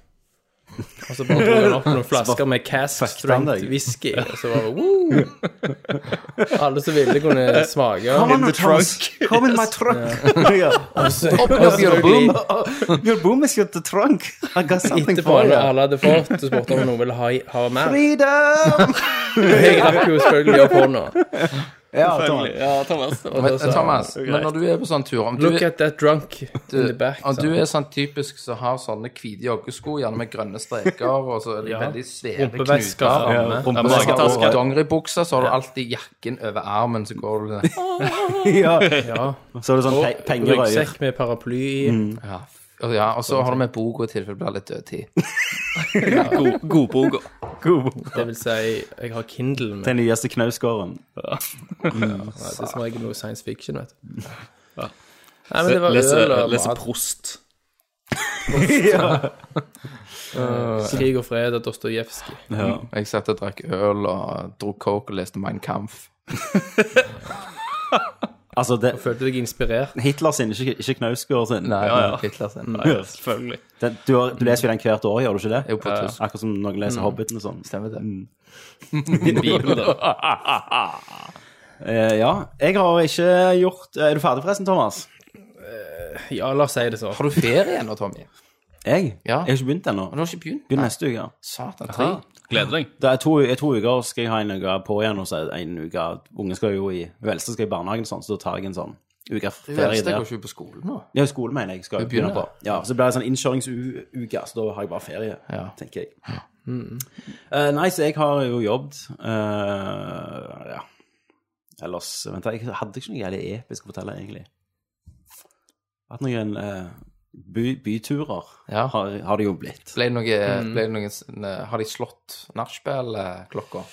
Speaker 2: Og så bare dro han opp noen flasker med cask
Speaker 1: fuckte han
Speaker 2: strength
Speaker 1: deg.
Speaker 2: whisky, og så var det woo! Alle som ville, kunne smake.
Speaker 1: Come on, Thomas. Come in my trunk. Ja.
Speaker 4: Open up your boom.
Speaker 1: Your boom is your trunk. I got something
Speaker 2: Etterpå,
Speaker 1: for
Speaker 2: når
Speaker 1: you.
Speaker 2: alle hadde fått, så spurte han om noen ville ha, ha mer.
Speaker 1: Freedom!
Speaker 2: Jeg rakk jo selvfølgelig opp hånda.
Speaker 1: Ja, Thomas.
Speaker 3: Ja, Thomas.
Speaker 2: Og da sa han,
Speaker 4: Thomas, men når du er på sånn tur om du,
Speaker 2: Look at that drunk in the back.
Speaker 4: om
Speaker 2: sa
Speaker 4: du
Speaker 2: han.
Speaker 4: er sånn typisk som har sånne hvite joggesko, gjerne med grønne streker, og så er de
Speaker 2: Ja.
Speaker 4: veldig svære
Speaker 2: Rumpevesker
Speaker 4: knuter.
Speaker 2: framme.
Speaker 4: Og så har du
Speaker 3: Magetaske.
Speaker 4: Dongeribuksa, så har du alltid jakken over armen, så går du
Speaker 1: Ja.
Speaker 2: Ja.
Speaker 1: Så er det sånn pe pengerøyer.
Speaker 2: Ryggsekk med paraply i.
Speaker 4: Ja. Og, Altså, ja, og så har du med boka i tilfelle det blir litt dødtid.
Speaker 3: God, godboka.
Speaker 2: Det vil si, jeg har Kindle med.
Speaker 1: Den nyeste knausgården.
Speaker 2: Nei, det er som regel noe science fiction, vet du. Nei, men det var
Speaker 3: Lese,
Speaker 2: øl og
Speaker 3: lese
Speaker 2: mat,
Speaker 3: eh, Prost.
Speaker 2: krig og fred og Dostojevskij.
Speaker 1: Ja.
Speaker 4: Jeg satt og drakk øl og dro coke og leste Mein Kampf.
Speaker 1: Altså, det,
Speaker 2: Følte deg inspirert?
Speaker 1: Hitler sin, ikke, ikke Knausgård sin.
Speaker 4: Nei,
Speaker 3: Ja, ja.
Speaker 4: Hitler sin.
Speaker 3: Ja, selvfølgelig.
Speaker 1: Den, du, har, du leser jo den hvert år, gjør du ikke det?
Speaker 4: Jo, på
Speaker 1: Ja, ja.
Speaker 4: tysk.
Speaker 1: Akkurat som noen leser Hobbiten og sånn. Mm.
Speaker 4: Stemmer det.
Speaker 3: Bibel, da.
Speaker 1: Eh, ja. Jeg har ikke gjort Er du ferdig, forresten, Thomas?
Speaker 2: Ja, la oss si det sånn.
Speaker 4: Har du ferie nå, Tommy?
Speaker 1: Jeg? Jeg
Speaker 4: Ja.
Speaker 1: har ikke begynt ennå.
Speaker 4: Du har ikke begynt?
Speaker 1: Begynner neste uke.
Speaker 4: Satan, tre.
Speaker 3: Gleder deg.
Speaker 1: Det er to, i to uker skal jeg ha en uke på igjen, og så er det en uke Ungen skal jo i Hun eldste skal i barnehagen, og sånn, så da tar jeg en sånn uke
Speaker 4: Du
Speaker 1: ferie
Speaker 4: eldste
Speaker 1: der.
Speaker 4: går ikke på skolen nå.
Speaker 1: Ja, skole, mener jeg. skal jeg
Speaker 4: Du
Speaker 1: begynne
Speaker 4: begynner.
Speaker 1: på. Ja, Så det blir en sånn innkjøringsuke, så da har jeg bare ferie,
Speaker 4: Ja. Mm.
Speaker 1: tenker jeg. Eh, nei, så jeg har jo jobbet eh, Ja. Ellers Vent, da, jeg hadde ikke noe jævlig episk å fortelle, egentlig. Hatt noen eh, by, byturer,
Speaker 4: Ja.
Speaker 1: har, har det jo blitt.
Speaker 4: Ble det noe, ble det noe sånn, eh, Har de slått eh, nachspiel-klokka?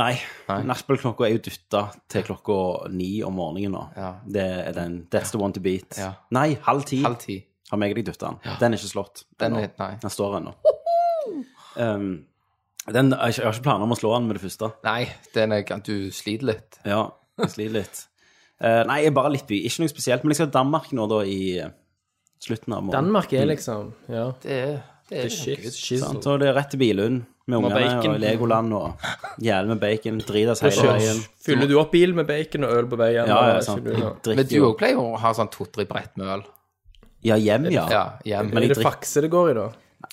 Speaker 1: Nei.
Speaker 4: Nei.
Speaker 1: Nachspiel-klokka er jo dytta til klokka ni om morgenen nå.
Speaker 4: Ja.
Speaker 1: Det er den That's the one to beat.
Speaker 4: Ja.
Speaker 1: Nei, halv ti
Speaker 4: Halv ti.
Speaker 1: har meg og deg dytta den. Den er ikke slått.
Speaker 4: Den
Speaker 1: ennå.
Speaker 4: er- nei.
Speaker 1: den står ennå. Um, den, jeg har ikke- jeg har ikke planer om å slå den med det første.
Speaker 4: Nei, den er, du sliter litt.
Speaker 1: Ja, jeg sliter litt. Eh, nei, jeg er bare litt by. Ikke noe spesielt. Men jeg skal til Danmark nå, da, i eh, slutten av måneden.
Speaker 2: Danmark er liksom Ja.
Speaker 4: Det er, det er
Speaker 2: Shit, shit.
Speaker 1: Sant? Så det er rett til Bilund med ungene
Speaker 3: bacon.
Speaker 1: og Legoland og jævlig med bacon. Dritas hele veien.
Speaker 2: Fyller du opp bil med bacon og øl på
Speaker 1: Ja,
Speaker 2: veien?
Speaker 1: ja,
Speaker 2: og-
Speaker 1: sant.
Speaker 2: Skal
Speaker 1: Jeg
Speaker 2: du-
Speaker 4: Men
Speaker 1: drikker
Speaker 4: du
Speaker 1: jo
Speaker 4: òg pleier å ha sånn to-tre brett med øl.
Speaker 1: Ja, hjem, ja.
Speaker 4: Ja, hjem.
Speaker 1: Men
Speaker 2: Er
Speaker 1: jeg
Speaker 2: det
Speaker 1: drikker
Speaker 2: fakse det går i, da?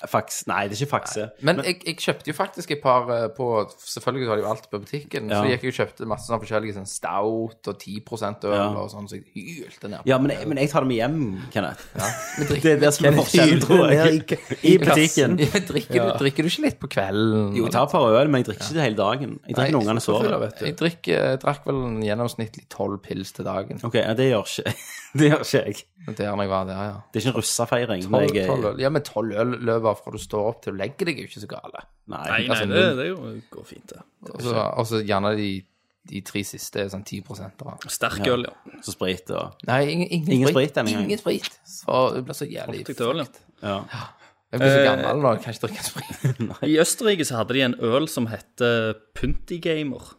Speaker 1: Faks, nei, det er ikke fakse.
Speaker 4: Men jeg, jeg kjøpte jo faktisk et par eh, på Selvfølgelig var det jo alt på butikken.
Speaker 1: Ja.
Speaker 4: Så gikk jeg og kjøpte masse sånn forskjellige sånn stout og 10 øl og sånn, så jeg hylte ned.
Speaker 1: Ja, men, jeg- men jeg tar det med hjem, Kenneth.
Speaker 4: Men
Speaker 1: Det er det som er forskjellen, tror jeg. I butikken.
Speaker 4: Ja, drikker, Du, drikker du ikke litt på kvelden?
Speaker 1: Jo, jeg tar et par øl, men jeg drikker ikke det hele dagen. Jeg drikker når ungene sover.
Speaker 4: Jeg, drikker, jeg drakk vel en gjennomsnittlig tolv pils til dagen.
Speaker 1: Ok, ja, det gjør ikke Det gjør ikke jeg.
Speaker 4: Der når jeg var der, ja.
Speaker 1: Det er ikke en russafeiring. men
Speaker 4: Tolv
Speaker 1: jeg er-
Speaker 4: tolv øl. Ja, men tolv øl løper fra du står opp til du legger deg, er jo ikke så gale.
Speaker 1: Nei.
Speaker 3: Nei, nei, det, det er jo, går fint, det.
Speaker 4: Og så- Og så Altså, gjerne de, de tre siste er sånn 10
Speaker 3: Sterk øl, ja.
Speaker 1: Så sprit og
Speaker 4: Nei, ingen, ingen,
Speaker 1: Ingen
Speaker 4: sprit.
Speaker 1: sprit denne gangen.
Speaker 4: Ingen sprit. Så du blir så jævlig
Speaker 3: Optikk til øl, ja.
Speaker 1: Ja.
Speaker 4: Jeg blir så gammel nå, jeg kan ikke drikke sprit.
Speaker 3: I Østerrike så hadde de en øl som heter Puntigamer.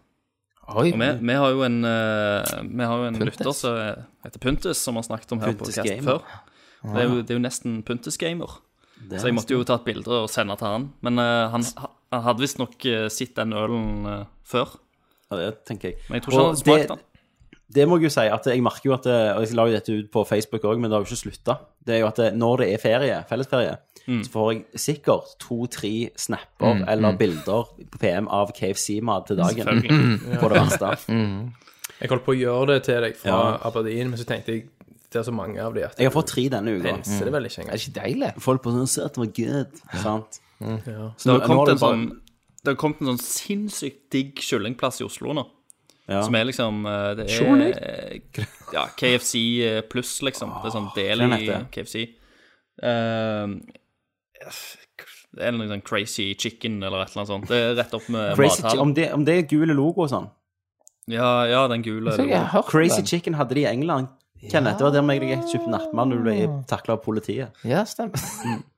Speaker 4: Oi,
Speaker 3: Og vi, vi har jo en, eh, vi har jo en
Speaker 4: Puntis.
Speaker 3: lytter som heter Puntis, som har snakket om her på
Speaker 1: Puntis
Speaker 3: casten
Speaker 1: Gamer.
Speaker 3: før. Det er, jo, det er jo nesten Puntis Gamer.
Speaker 1: Det
Speaker 3: Så jeg måtte jo ta et bilde og sende til han. Men eh, han, han hadde visstnok uh, sett den ølen eh, før.
Speaker 1: Ja, det tenker jeg.
Speaker 3: Men jeg tror ikke han
Speaker 1: Og
Speaker 3: hadde smakt
Speaker 1: det,
Speaker 3: den.
Speaker 1: det må jeg jo si, at jeg merker jo at det, Og jeg la jo dette ut på Facebook òg, men det har jo ikke slutta. Det er jo at det, når det er ferie, fellesferie,
Speaker 3: Mm.
Speaker 1: så får jeg sikkert to-tre snapper eller bilder på PM av KFC-mat til dagen. Mm.
Speaker 3: Selvfølgelig. Mm.
Speaker 1: På det verste.
Speaker 2: Jeg holdt på å gjøre det til deg fra Aberdeen, men så tenkte jeg det er så mange av de at
Speaker 1: Jeg har fått tre denne uka.
Speaker 2: Enser det vel ikke
Speaker 4: er
Speaker 2: engang.
Speaker 4: det ikke deilig?
Speaker 1: Folk på sånn søt var good. Sant? Så
Speaker 2: Ja.
Speaker 3: Mm. Det
Speaker 1: nå-
Speaker 3: har
Speaker 1: nå har
Speaker 3: kommet en
Speaker 1: du bare-
Speaker 3: sånn Det har kommet en sånn sinnssykt digg kyllingplass i Oslo nå.
Speaker 1: Ja.
Speaker 3: Som er liksom eh, Det
Speaker 1: Kylling?
Speaker 3: er ja, KFC eh, pluss, liksom. Det er sånn del
Speaker 1: hva
Speaker 3: i
Speaker 1: heter Ah, det?
Speaker 3: KFC. Ehm, det er noe sånn Crazy Chicken eller et eller annet sånt. Det er rett opp med
Speaker 1: Crazy, Chi-
Speaker 3: mathallen.
Speaker 1: om, det, om det er gul logo og sånn
Speaker 3: Ja, ja, den gule.
Speaker 4: Så jeg har hørt
Speaker 1: Crazy
Speaker 4: den.
Speaker 1: Chicken hadde de i England. Kenneth, Det var der meg jeg kjøpte nattmann når du ble takla av politiet.
Speaker 4: Ja, stemmer.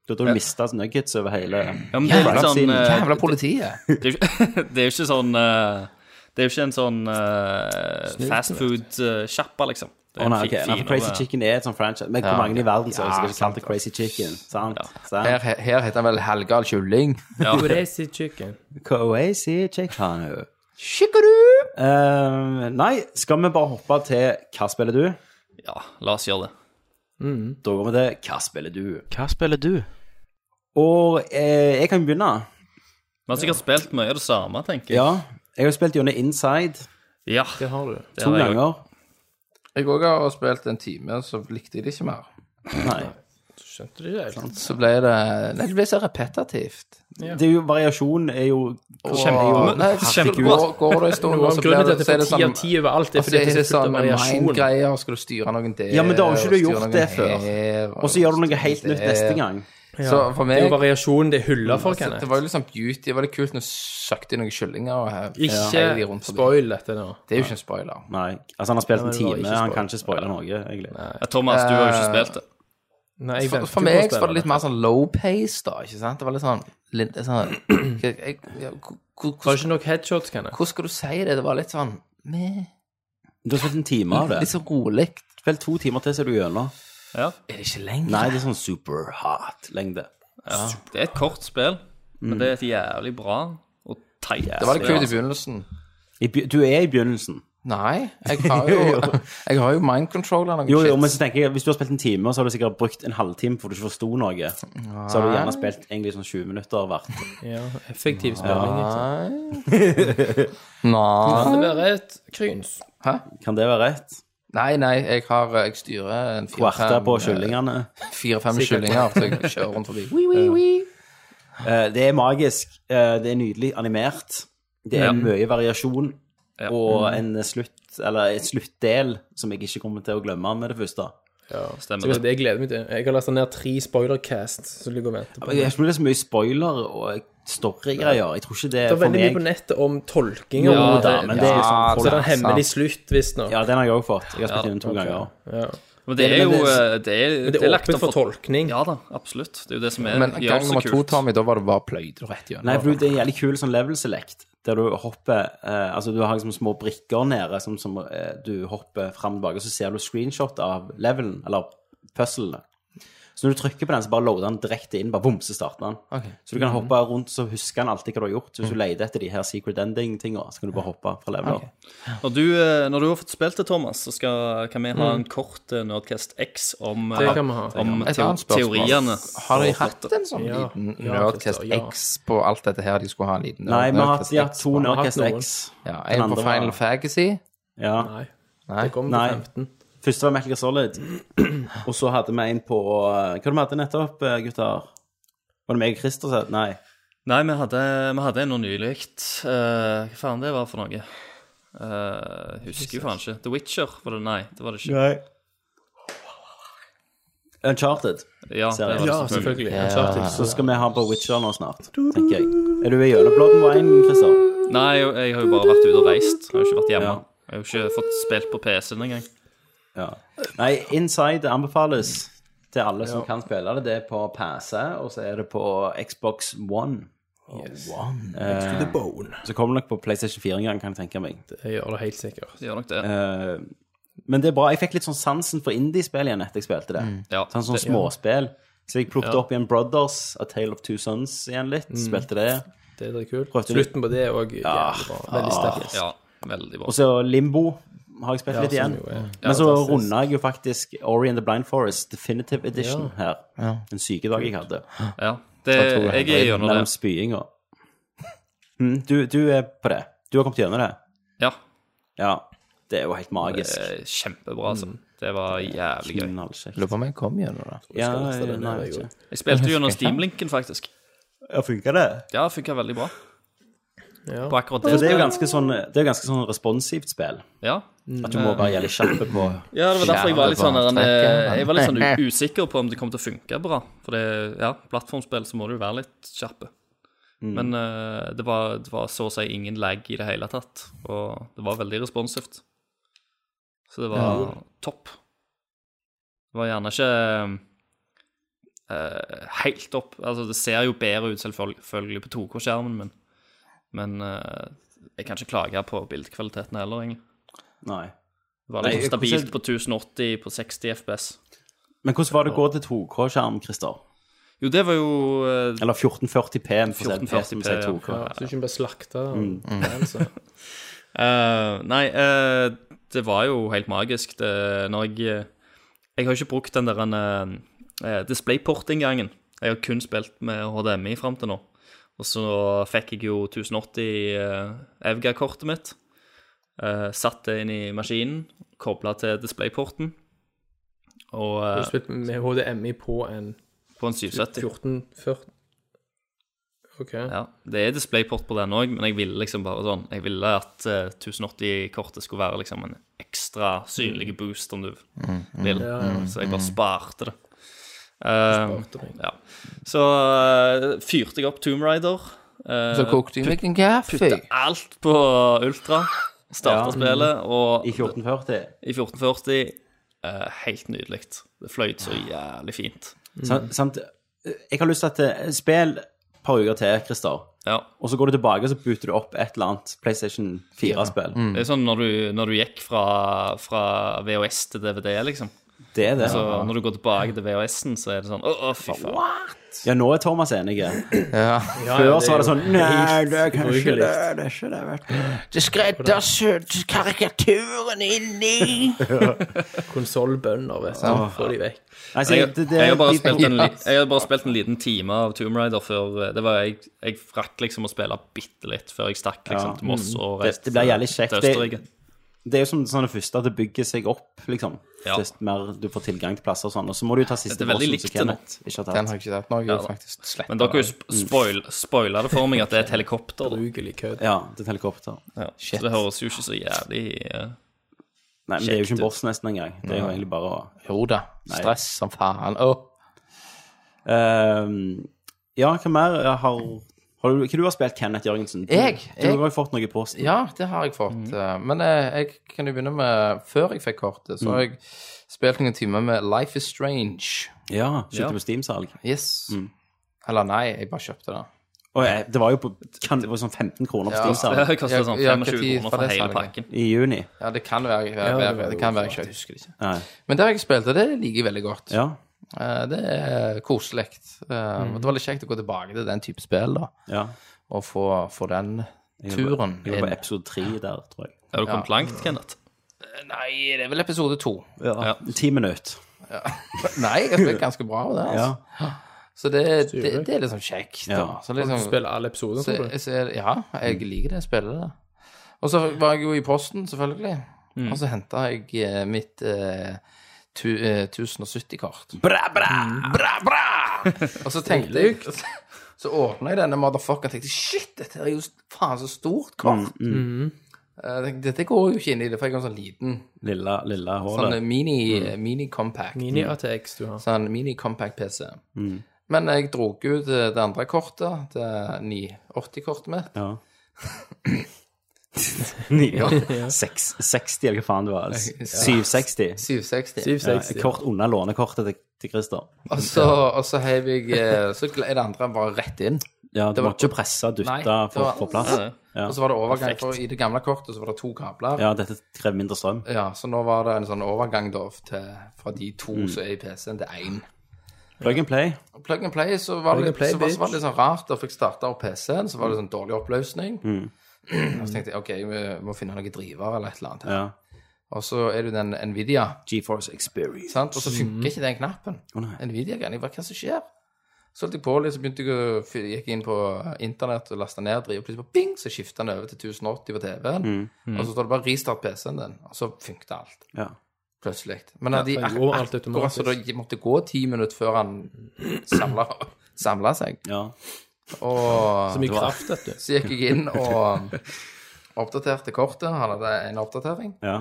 Speaker 1: Da hadde du mista nuggets over hele
Speaker 3: Ja, men det er litt
Speaker 1: Frank
Speaker 3: sånn
Speaker 1: sin-
Speaker 3: eh,
Speaker 4: Jævla politiet.
Speaker 3: Det er jo ikke- det er jo ikke sånn eh, Det er jo ikke en sånn uh, fast food-sjappa, liksom. Det er
Speaker 1: Å
Speaker 3: en
Speaker 1: nei,
Speaker 3: fi-
Speaker 1: ok. Nei, for
Speaker 3: finere-
Speaker 1: Crazy Chicken er et sånt franchise. Men hvor mange i verden som skal vi kalle det Crazy Chicken? Sant?
Speaker 4: Her,
Speaker 1: Sant?
Speaker 4: her- her heter han vel Halgal Kylling.
Speaker 3: Ja.
Speaker 2: Crazy chicken.
Speaker 1: Crazy Chicken. jo.
Speaker 4: Shikaru!
Speaker 1: Eh, nei, skal vi bare hoppe til Hva spiller du?
Speaker 3: ja, la oss gjøre det.
Speaker 1: Da går vi til Hva spiller du? Hva spiller du? Og eh, jeg kan begynne.
Speaker 3: Vi har sikkert spilt mye av det samme, tenker jeg.
Speaker 1: Ja. Jeg har spilt gjennom Inside
Speaker 3: Ja,
Speaker 2: Det har du.
Speaker 1: to
Speaker 3: har jeg
Speaker 1: ganger.
Speaker 4: Jeg òg har spilt en time, så likte jeg det ikke mer.
Speaker 1: Nei.
Speaker 2: Skjønte du det helt?
Speaker 4: Så ble det Nei, det ble så repetitivt.
Speaker 1: Det er jo variasjon er jo
Speaker 4: Kjempegod. Nei,
Speaker 3: Kjempegod.
Speaker 4: Går, går det en stund,
Speaker 2: Noe
Speaker 4: og
Speaker 2: av
Speaker 4: så blir
Speaker 2: grunnen til at
Speaker 4: det, så er
Speaker 2: jeg får ti
Speaker 4: det sånn
Speaker 2: av ti over alt, er
Speaker 4: og så
Speaker 2: fordi
Speaker 4: er
Speaker 2: at
Speaker 4: det
Speaker 2: det er
Speaker 4: sånn
Speaker 2: av variasjon.
Speaker 4: mind-greier, skal du styre noen der
Speaker 1: Ja, men da har ikke
Speaker 4: og
Speaker 1: du
Speaker 4: styre
Speaker 1: gjort
Speaker 4: noen
Speaker 1: det før.
Speaker 4: her, og
Speaker 1: Og så gjør du noe
Speaker 4: styre
Speaker 1: helt nytt
Speaker 4: der.
Speaker 1: neste gang.
Speaker 4: Så for
Speaker 2: Det er
Speaker 4: meg
Speaker 2: jo variasjon det hyller for,
Speaker 4: så, Det
Speaker 2: Kenneth.
Speaker 4: var jo liksom beauty. Det var litt kult når du søkte i noen kyllinger og her. heiv de
Speaker 2: Ikke
Speaker 4: rundt forbi.
Speaker 2: spoil dette nå.
Speaker 4: Det er jo ikke en spoiler.
Speaker 1: Nei. Altså, han har spilt en
Speaker 2: det var
Speaker 1: time,
Speaker 2: ikke
Speaker 1: han kan ikke spoile noe, egentlig.
Speaker 3: Ja, Thomas, du har jo ikke spilt det.
Speaker 2: Nei, jeg
Speaker 4: For,
Speaker 2: venter
Speaker 4: for
Speaker 2: på å
Speaker 4: meg så
Speaker 2: spille
Speaker 4: var det litt mer sånn low pace, da. ikke sant? Det var litt sånn, litt, sånn jeg, jeg, ja, hvor-
Speaker 2: Var
Speaker 4: hvor-
Speaker 2: det
Speaker 4: Hvordan
Speaker 2: ikke nok headshots, Kenneth?
Speaker 4: hvordan skal du si det? Det var litt sånn meh,
Speaker 1: Du har spilt en time av det.
Speaker 4: Litt sånn rolig.
Speaker 1: Spill to timer til, så er du gjennom.
Speaker 3: Ja.
Speaker 4: Er det ikke lenge?
Speaker 1: Nei, det er sånn super hot lengde.
Speaker 3: Ja. Det er et kort spill, men det er et jævlig bra og teit.
Speaker 4: Det var litt
Speaker 3: spill,
Speaker 4: kult i
Speaker 3: altså.
Speaker 4: begynnelsen.
Speaker 1: I be- Du er i begynnelsen.
Speaker 4: Nei, jeg har jo, jeg har jo mind controller noen
Speaker 1: Jo, jo, men
Speaker 4: shit.
Speaker 1: så tenker jeg, Hvis du har spilt en time, så har du sikkert brukt en halvtime for du ikke forsto noe. Så har du gjerne spilt egentlig sånn 20 minutter hvert.
Speaker 2: Ja, effektiv spilling. ikke sant?
Speaker 4: Nei.
Speaker 2: Det var et kryns.
Speaker 1: Kan det være rett?
Speaker 4: nei, nei, jeg har eh, Jeg styrer en
Speaker 1: Kvarte på
Speaker 4: fire-fem
Speaker 1: kyllingene.
Speaker 4: fire, kyllinger, så jeg kjører rundt forbi. Wii, wii,
Speaker 5: Uh,
Speaker 4: wii.
Speaker 1: Eh, Det er magisk. eh, Det er nydelig animert. Det er
Speaker 3: Ja.
Speaker 1: mye variasjon.
Speaker 3: Ja.
Speaker 1: Og en slutt, eller en sluttdel som jeg ikke kommer til å glemme med det første.
Speaker 2: Så
Speaker 3: Stemmer
Speaker 2: jeg,
Speaker 3: det.
Speaker 2: jeg gleder meg til. Jeg har lasta ned tre spoilercast som ligger og venter på.
Speaker 1: Men Jeg tror det er så mye spoiler og storygreier. Jeg tror ikke det
Speaker 2: Det
Speaker 1: er
Speaker 2: er
Speaker 1: for
Speaker 2: veldig mye
Speaker 1: meg.
Speaker 2: på nettet om tolking og
Speaker 3: Ja,
Speaker 2: ja,
Speaker 1: Ja, men det er jo sånn
Speaker 2: Så det
Speaker 1: folk...
Speaker 2: er en hemmelig slutt, visstnok.
Speaker 1: Ja, den har jeg òg fått. Jeg har spilt den to ganger.
Speaker 3: Men det er
Speaker 1: Men
Speaker 3: jo
Speaker 1: det-
Speaker 3: eh, Det er,
Speaker 2: Men det er
Speaker 3: lagt
Speaker 2: åpent
Speaker 3: opp
Speaker 2: for tolkning.
Speaker 3: Ja da, absolutt. Det er jo det som er,
Speaker 4: Men
Speaker 3: gjør
Speaker 4: gang
Speaker 3: det
Speaker 4: nummer
Speaker 3: så
Speaker 4: to,
Speaker 3: kult.
Speaker 4: Tommy, da var det bare pløyd rett gjennom.
Speaker 1: Nei, for det er en jævlig kul sånn level select, der du hopper eh, Altså, du har liksom små brikker nede som, som eh, du hopper fram og tilbake, og så ser du screenshot av levelen, eller puzzlene. Så når du trykker på den, så bare loader den direkte inn. bare boom, så starter den.
Speaker 4: Ok.
Speaker 1: Så du
Speaker 2: Mhm.
Speaker 1: kan hoppe rundt, så husker han alltid hva du har gjort. Så hvis du leter etter de her secret ending-tinga, så kan du bare hoppe fra leveler.
Speaker 3: Når du, eh, når du har fått spilt det, Thomas, så skal, kan vi ha en kort eh, Nerdcast X om, eh,
Speaker 2: Det kan vi ha.
Speaker 3: om
Speaker 4: Et
Speaker 3: teo
Speaker 4: annet spørsmål.
Speaker 3: teoriene.
Speaker 4: Har de hatt en sånn
Speaker 2: Ja.
Speaker 4: liten
Speaker 2: Ja,
Speaker 4: Nerdcast
Speaker 2: Christer, ja.
Speaker 4: X på alt dette her? De skulle ha en liten
Speaker 1: Nei, vi har hatt
Speaker 4: Nerdcast
Speaker 1: ja,
Speaker 4: X
Speaker 1: to
Speaker 4: på-
Speaker 1: Nerdcast
Speaker 2: hatt noen.
Speaker 1: X.
Speaker 4: Ja,
Speaker 1: Den
Speaker 4: en
Speaker 1: andre
Speaker 4: på Final
Speaker 1: var-
Speaker 4: Fantasy.
Speaker 1: Ja.
Speaker 2: Nei.
Speaker 4: Nei.
Speaker 2: Det kommer
Speaker 1: Nei.
Speaker 2: på 15.
Speaker 1: Første var Metal Gear Solid. Og så hadde vi en på eh, Hva var det vi hadde nettopp, eh, gutter? Var det meg og Christer som hadde- Nei.
Speaker 3: Nei, vi hadde, vi hadde en noe nylig. Eh, hva faen det var for noe? Eh, husker jo faen ikke. The Witcher? var det Nei, det var det ikke.
Speaker 1: Uncharted.
Speaker 3: Ja, det var det
Speaker 2: Ja,
Speaker 3: selvfølgelig.
Speaker 2: selvfølgelig. Uncharted.
Speaker 1: Så skal vi ha på Witcher nå snart, tenker jeg. Er du i gjennombloden veien, Christer?
Speaker 3: Nei, jeg, jeg har jo bare vært ute og reist. Jeg har jo ikke vært hjemme.
Speaker 1: Ja.
Speaker 3: Jeg har jo ikke fått spilt på PC-en engang.
Speaker 1: Ja. Nei, Inside anbefales til alle som kan spille det. Det er på PC, og så er det på Xbox One. Eh,
Speaker 2: The Bone.
Speaker 1: Så kommer det nok på PlayStation 4 en gang, kan jeg tenke meg.
Speaker 2: Jeg gjør det helt sikkert.
Speaker 3: Det gjør nok det.
Speaker 1: Eh, men det er bra. Jeg fikk litt sånn sansen for indiespill igjen etter jeg spilte det.
Speaker 2: Mm.
Speaker 3: Ja.
Speaker 1: Sånn sånn småspill. Så jeg plukket opp igjen Brothers, A Tale of Two Sons igjen litt.
Speaker 3: Mm.
Speaker 1: Spilte det.
Speaker 2: Det er litt kult.
Speaker 1: Prøvde
Speaker 2: Slutten på det er òg jævlig bra. Veldig sterk.
Speaker 3: ja, veldig bra.
Speaker 1: Og så Limbo har jeg spilt
Speaker 2: Ja,
Speaker 1: litt igjen.
Speaker 2: som jo er
Speaker 1: Men så
Speaker 2: fantastisk.
Speaker 1: runda jeg jo faktisk Ori and the Blind Forest Definitive Edition her. En sykedag jeg hadde.
Speaker 3: Ja, det, jeg er gjennom det.
Speaker 1: Mellom spyinga. Mm, du, du er på det. Du har kommet gjennom det.
Speaker 3: Ja,
Speaker 1: Ja. Det er jo helt
Speaker 3: det
Speaker 1: magisk.
Speaker 3: er kjempebra, altså. Det var jævlig gøy.
Speaker 1: Knallkjekt.
Speaker 4: Lurer på om jeg kom gjennom det.
Speaker 1: Ja,
Speaker 2: skal laste det ned,
Speaker 1: nei,
Speaker 2: jeg
Speaker 1: ikke.
Speaker 3: Jeg spilte gjennom Steam-linken, faktisk.
Speaker 1: Ja, funka det?
Speaker 3: Ja, funka veldig bra.
Speaker 2: Ja.
Speaker 3: På akkurat
Speaker 1: For det er jo
Speaker 3: spillet.
Speaker 1: ganske sånn, det er jo ganske sånn responsivt spill.
Speaker 3: Ja.
Speaker 1: At du må være jævlig kjapp på
Speaker 3: Ja, det var derfor jeg var litt sånn
Speaker 4: Kjære barn,
Speaker 3: eh,
Speaker 4: trekker.
Speaker 3: Jeg var litt sånn u- usikker på om det kom til å funke bra. For det, ja, plattformspill så må du være litt kjappe. Men eh, det, var, det var så å si ingen lag i det hele tatt. Og det var veldig responsivt. Så det var topp. Det var gjerne ikke eh, helt opp Altså, det ser jo bedre ut selvfølgelig selvfølgelig på 2K-skjermen min, men eh, jeg kan ikke klage på bildekvaliteten heller, egentlig.
Speaker 1: Nei.
Speaker 3: Det var
Speaker 1: Nei,
Speaker 3: liksom
Speaker 1: jeg-
Speaker 3: stabilt på 1080 på 60 FPS.
Speaker 1: Men hvordan var det å gå til 2K-skjerm, Christer?
Speaker 3: Jo, det var jo eh,
Speaker 1: Eller 1440P, for å si-
Speaker 3: 1440p,
Speaker 1: som sier
Speaker 3: ja.
Speaker 1: 2K.
Speaker 2: Ja, så du ikke blir slakta. Altså.
Speaker 3: eh, Nei, eh, det var jo helt magisk det, når jeg eh, Jeg har ikke brukt den der uh, displayport-inngangen. Jeg har kun spilt med HDMI fram til nå. Og så fikk jeg jo 1080 uh, Evga-kortet mitt. eh, satt det inn i maskinen, kobla til displayporten. Og
Speaker 2: Du
Speaker 3: eh,
Speaker 2: spilte med HDMI på en
Speaker 3: på en 770.
Speaker 2: 1440 OK.
Speaker 3: Ja, det er displayport på den òg, men jeg ville liksom bare sånn Jeg ville at 1080-kortet skulle være liksom en ekstra synlig boost, om du vil.
Speaker 2: Mm.
Speaker 3: Mm,
Speaker 2: Ja, ja.
Speaker 3: Så jeg bare sparte det. Eh,
Speaker 2: Sparte meg.
Speaker 3: ja. Så eh, fyrte jeg opp Tomb Raider. eh,
Speaker 4: Så kokte jeg meg en kaffe.
Speaker 3: putta alt på ultra. Starta spillet, og
Speaker 1: I 1440.
Speaker 3: i 1440 eh, Helt nydelig. Det fløyt så jævlig fint.
Speaker 1: Sant- Sant? Jeg har lyst til at eh, Spill et par uker til, Christer.
Speaker 3: Ja.
Speaker 1: Og så går du tilbake og så booter du opp et eller annet PlayStation 4-spill.
Speaker 3: Det er sånn når du, når du gikk fra, fra VHS til DVD, liksom.
Speaker 1: Det er det.
Speaker 3: Så når du går tilbake til VHS-en, så er det sånn Å, å, fy faen.
Speaker 1: Ja, nå er Thomas enig.
Speaker 4: Ja.
Speaker 1: Før så var det sånn Nei, det er kanskje
Speaker 2: ubrukelig.
Speaker 1: det. Det er ikke det, vet du.
Speaker 4: Det skreddersydd karikaturen inni.
Speaker 2: Konsollbønder, vet du. Få de vekk.
Speaker 1: Nei, så
Speaker 3: Jeg,
Speaker 1: det, det,
Speaker 3: jeg, har bare
Speaker 1: de-
Speaker 3: spilt en, li- jeg har bare spilt en liten time av Tomb Raider før eh, det var, jeg, jeg rakk liksom å spille bitte litt før jeg stakk liksom, til Moss og
Speaker 1: Det-
Speaker 3: reiste
Speaker 1: det blir
Speaker 3: til-
Speaker 1: jævlig kjekt.
Speaker 3: til
Speaker 1: Det-
Speaker 3: Østerrike.
Speaker 1: det er jo som sånn det første, at det bygger seg opp, liksom.
Speaker 3: Ja.
Speaker 1: Desto mer du får tilgang til plasser og sånn. Og så må du ta siste
Speaker 3: Dette er veldig
Speaker 1: bossen,
Speaker 3: likt det
Speaker 1: som
Speaker 3: nå.
Speaker 1: Kenneth ikke har
Speaker 4: Den har
Speaker 1: tatt.
Speaker 4: jeg ikke tatt noe, jeg har faktisk slett.
Speaker 3: Men dere har jo sp- spoil, spoila det for meg at det er et helikopter. da.
Speaker 2: Brukelig kødd.
Speaker 1: Ja, det er et helikopter.
Speaker 3: Ja. Så det høres jo ikke så jævlig eh,
Speaker 1: Nei, men det er jo ikke
Speaker 3: Kjekt.
Speaker 1: en boss nesten engang. Det er jo egentlig bare å
Speaker 4: Jo da. Stress som faen. Åh.
Speaker 1: Ehm, Ja, hva mer har, har du, Hva du har spilt, Kenneth Jørgensen? Du,
Speaker 4: Jeg?
Speaker 1: Du
Speaker 4: Jeg?
Speaker 1: har jo fått noe i posten.
Speaker 4: Ja, det har jeg fått.
Speaker 1: Mm.
Speaker 4: eh, Men eh, jeg kan jo begynne med Før jeg fikk kortet,
Speaker 1: Mm.
Speaker 4: så har jeg spilt noen timer med Life is Strange.
Speaker 1: Ja, Kjøpte
Speaker 3: Ja.
Speaker 1: på Steam-salg.
Speaker 4: Yes.
Speaker 1: Mm.
Speaker 4: Eller nei, jeg bare kjøpte det.
Speaker 1: Og jeg, det var jo på kan, det var sånn 15 kroner på
Speaker 3: Det
Speaker 1: Steam-salg
Speaker 3: koster sånn
Speaker 4: Ja, ja, hva
Speaker 3: 25 kroner
Speaker 4: tid var
Speaker 3: for
Speaker 4: det
Speaker 3: hele
Speaker 4: salget?
Speaker 3: pakken.
Speaker 1: i juni.
Speaker 4: Ja, det kan være, være,
Speaker 2: det var
Speaker 4: det kan være ikke, jeg husker det ikke.
Speaker 1: Nei.
Speaker 4: Men det har jeg spilt, og det liker jeg veldig godt.
Speaker 1: Ja. Mm.
Speaker 4: Eh, Det er koselig. Eh, og Det var litt kjekt å gå tilbake til den type spill, da.
Speaker 1: Ja.
Speaker 4: Og få, få den turen
Speaker 1: Jeg var på
Speaker 4: inn.
Speaker 1: episode tre der, tror jeg.
Speaker 3: Har du kommet langt, Kenneth?
Speaker 4: Eh, Nei, det er vel episode to.
Speaker 1: Ja. Ti minutter.
Speaker 4: Nei, jeg har spilt ganske bra med det.
Speaker 1: Ja.
Speaker 4: Altså. Så det, det, det er liksom kjekt.
Speaker 1: Ja.
Speaker 4: Da. Så liksom,
Speaker 2: Spiller alle episoder,
Speaker 4: så,
Speaker 2: tror du?
Speaker 4: så er det- ja, jeg liker det spillet. Da. Og så var jeg jo i posten, selvfølgelig. Og så henta jeg eh, mitt eh, tu, eh, 1070-kart.
Speaker 1: Bra, bra!
Speaker 4: Bra, bra! Og så tenkte jeg Så, så åpna jeg denne motherfuckeren og tenkte shit, dette er jo s- faen så
Speaker 1: mm,
Speaker 4: stort kort. Eh, tenkte, Dette går jo ikke inn i det, for jeg har en sånn liten
Speaker 1: Lille, lille
Speaker 4: sånn
Speaker 1: hålet.
Speaker 4: mini, mini Mm. compact.
Speaker 2: Mini-ATX du har.
Speaker 4: Sånn mini compact PC. Men jeg dro ut eh, det andre kortet, det 980-kortet mitt.
Speaker 1: Ja. Ni- ja. Seks- 60, eller hva faen det var. 760.
Speaker 4: 760.
Speaker 2: 760.
Speaker 1: Ja, kort unna lånekortet til, til Christer.
Speaker 4: Og så, og så heiv jeg eh, Så er det andre bare rett inn.
Speaker 1: Ja, du
Speaker 4: var-
Speaker 1: måtte ikke presse og
Speaker 4: Nei, det
Speaker 1: dytte
Speaker 4: var-
Speaker 1: for å få plass. Ja.
Speaker 4: Og så var det overgang for, i det gamle kortet, så var det to kabler.
Speaker 1: Ja, dette krever mindre strøm.
Speaker 4: Ja, så nå var det en sånn overgang da til, fra de to
Speaker 1: Mm.
Speaker 4: som er i PC-en, til én.
Speaker 1: Plug and play.
Speaker 4: Og Plug and play, så var,
Speaker 2: Plug
Speaker 4: det,
Speaker 2: and play,
Speaker 4: så var,
Speaker 2: bitch.
Speaker 4: så var det litt sånn rart. Da fikk starta opp PC-en, så var
Speaker 1: Mm.
Speaker 4: det sånn dårlig oppløsning. Og så tenkte jeg OK, vi må finne noen driver eller et eller annet. her.
Speaker 1: Ja.
Speaker 4: Og så er det jo den Nvidia,
Speaker 1: GeForce Experience.
Speaker 4: sant? og så
Speaker 2: Mm.
Speaker 4: funker ikke den knappen.
Speaker 1: nei.
Speaker 4: Nvidia-greia. Hva er det som skjer? Så holdt jeg på litt, så begynte jeg å fy- gikk inn på internett og lasta ned driver, og plutselig bare bing, så skifta den over til 1080 på TV-en.
Speaker 2: Mm.
Speaker 4: Og så står det bare 'restart PC-en din', og så funket alt.
Speaker 1: Ja.
Speaker 4: Plutselig. Men de
Speaker 2: for
Speaker 4: ak
Speaker 2: det går alt
Speaker 4: akkurat så det måtte gå ti minutter før han samla- samla seg.
Speaker 1: ja.
Speaker 4: Og
Speaker 2: Så mye kraft, vet du.
Speaker 4: så gikk jeg inn og um, oppdaterte kortet. Han hadde en oppdatering.
Speaker 1: Ja.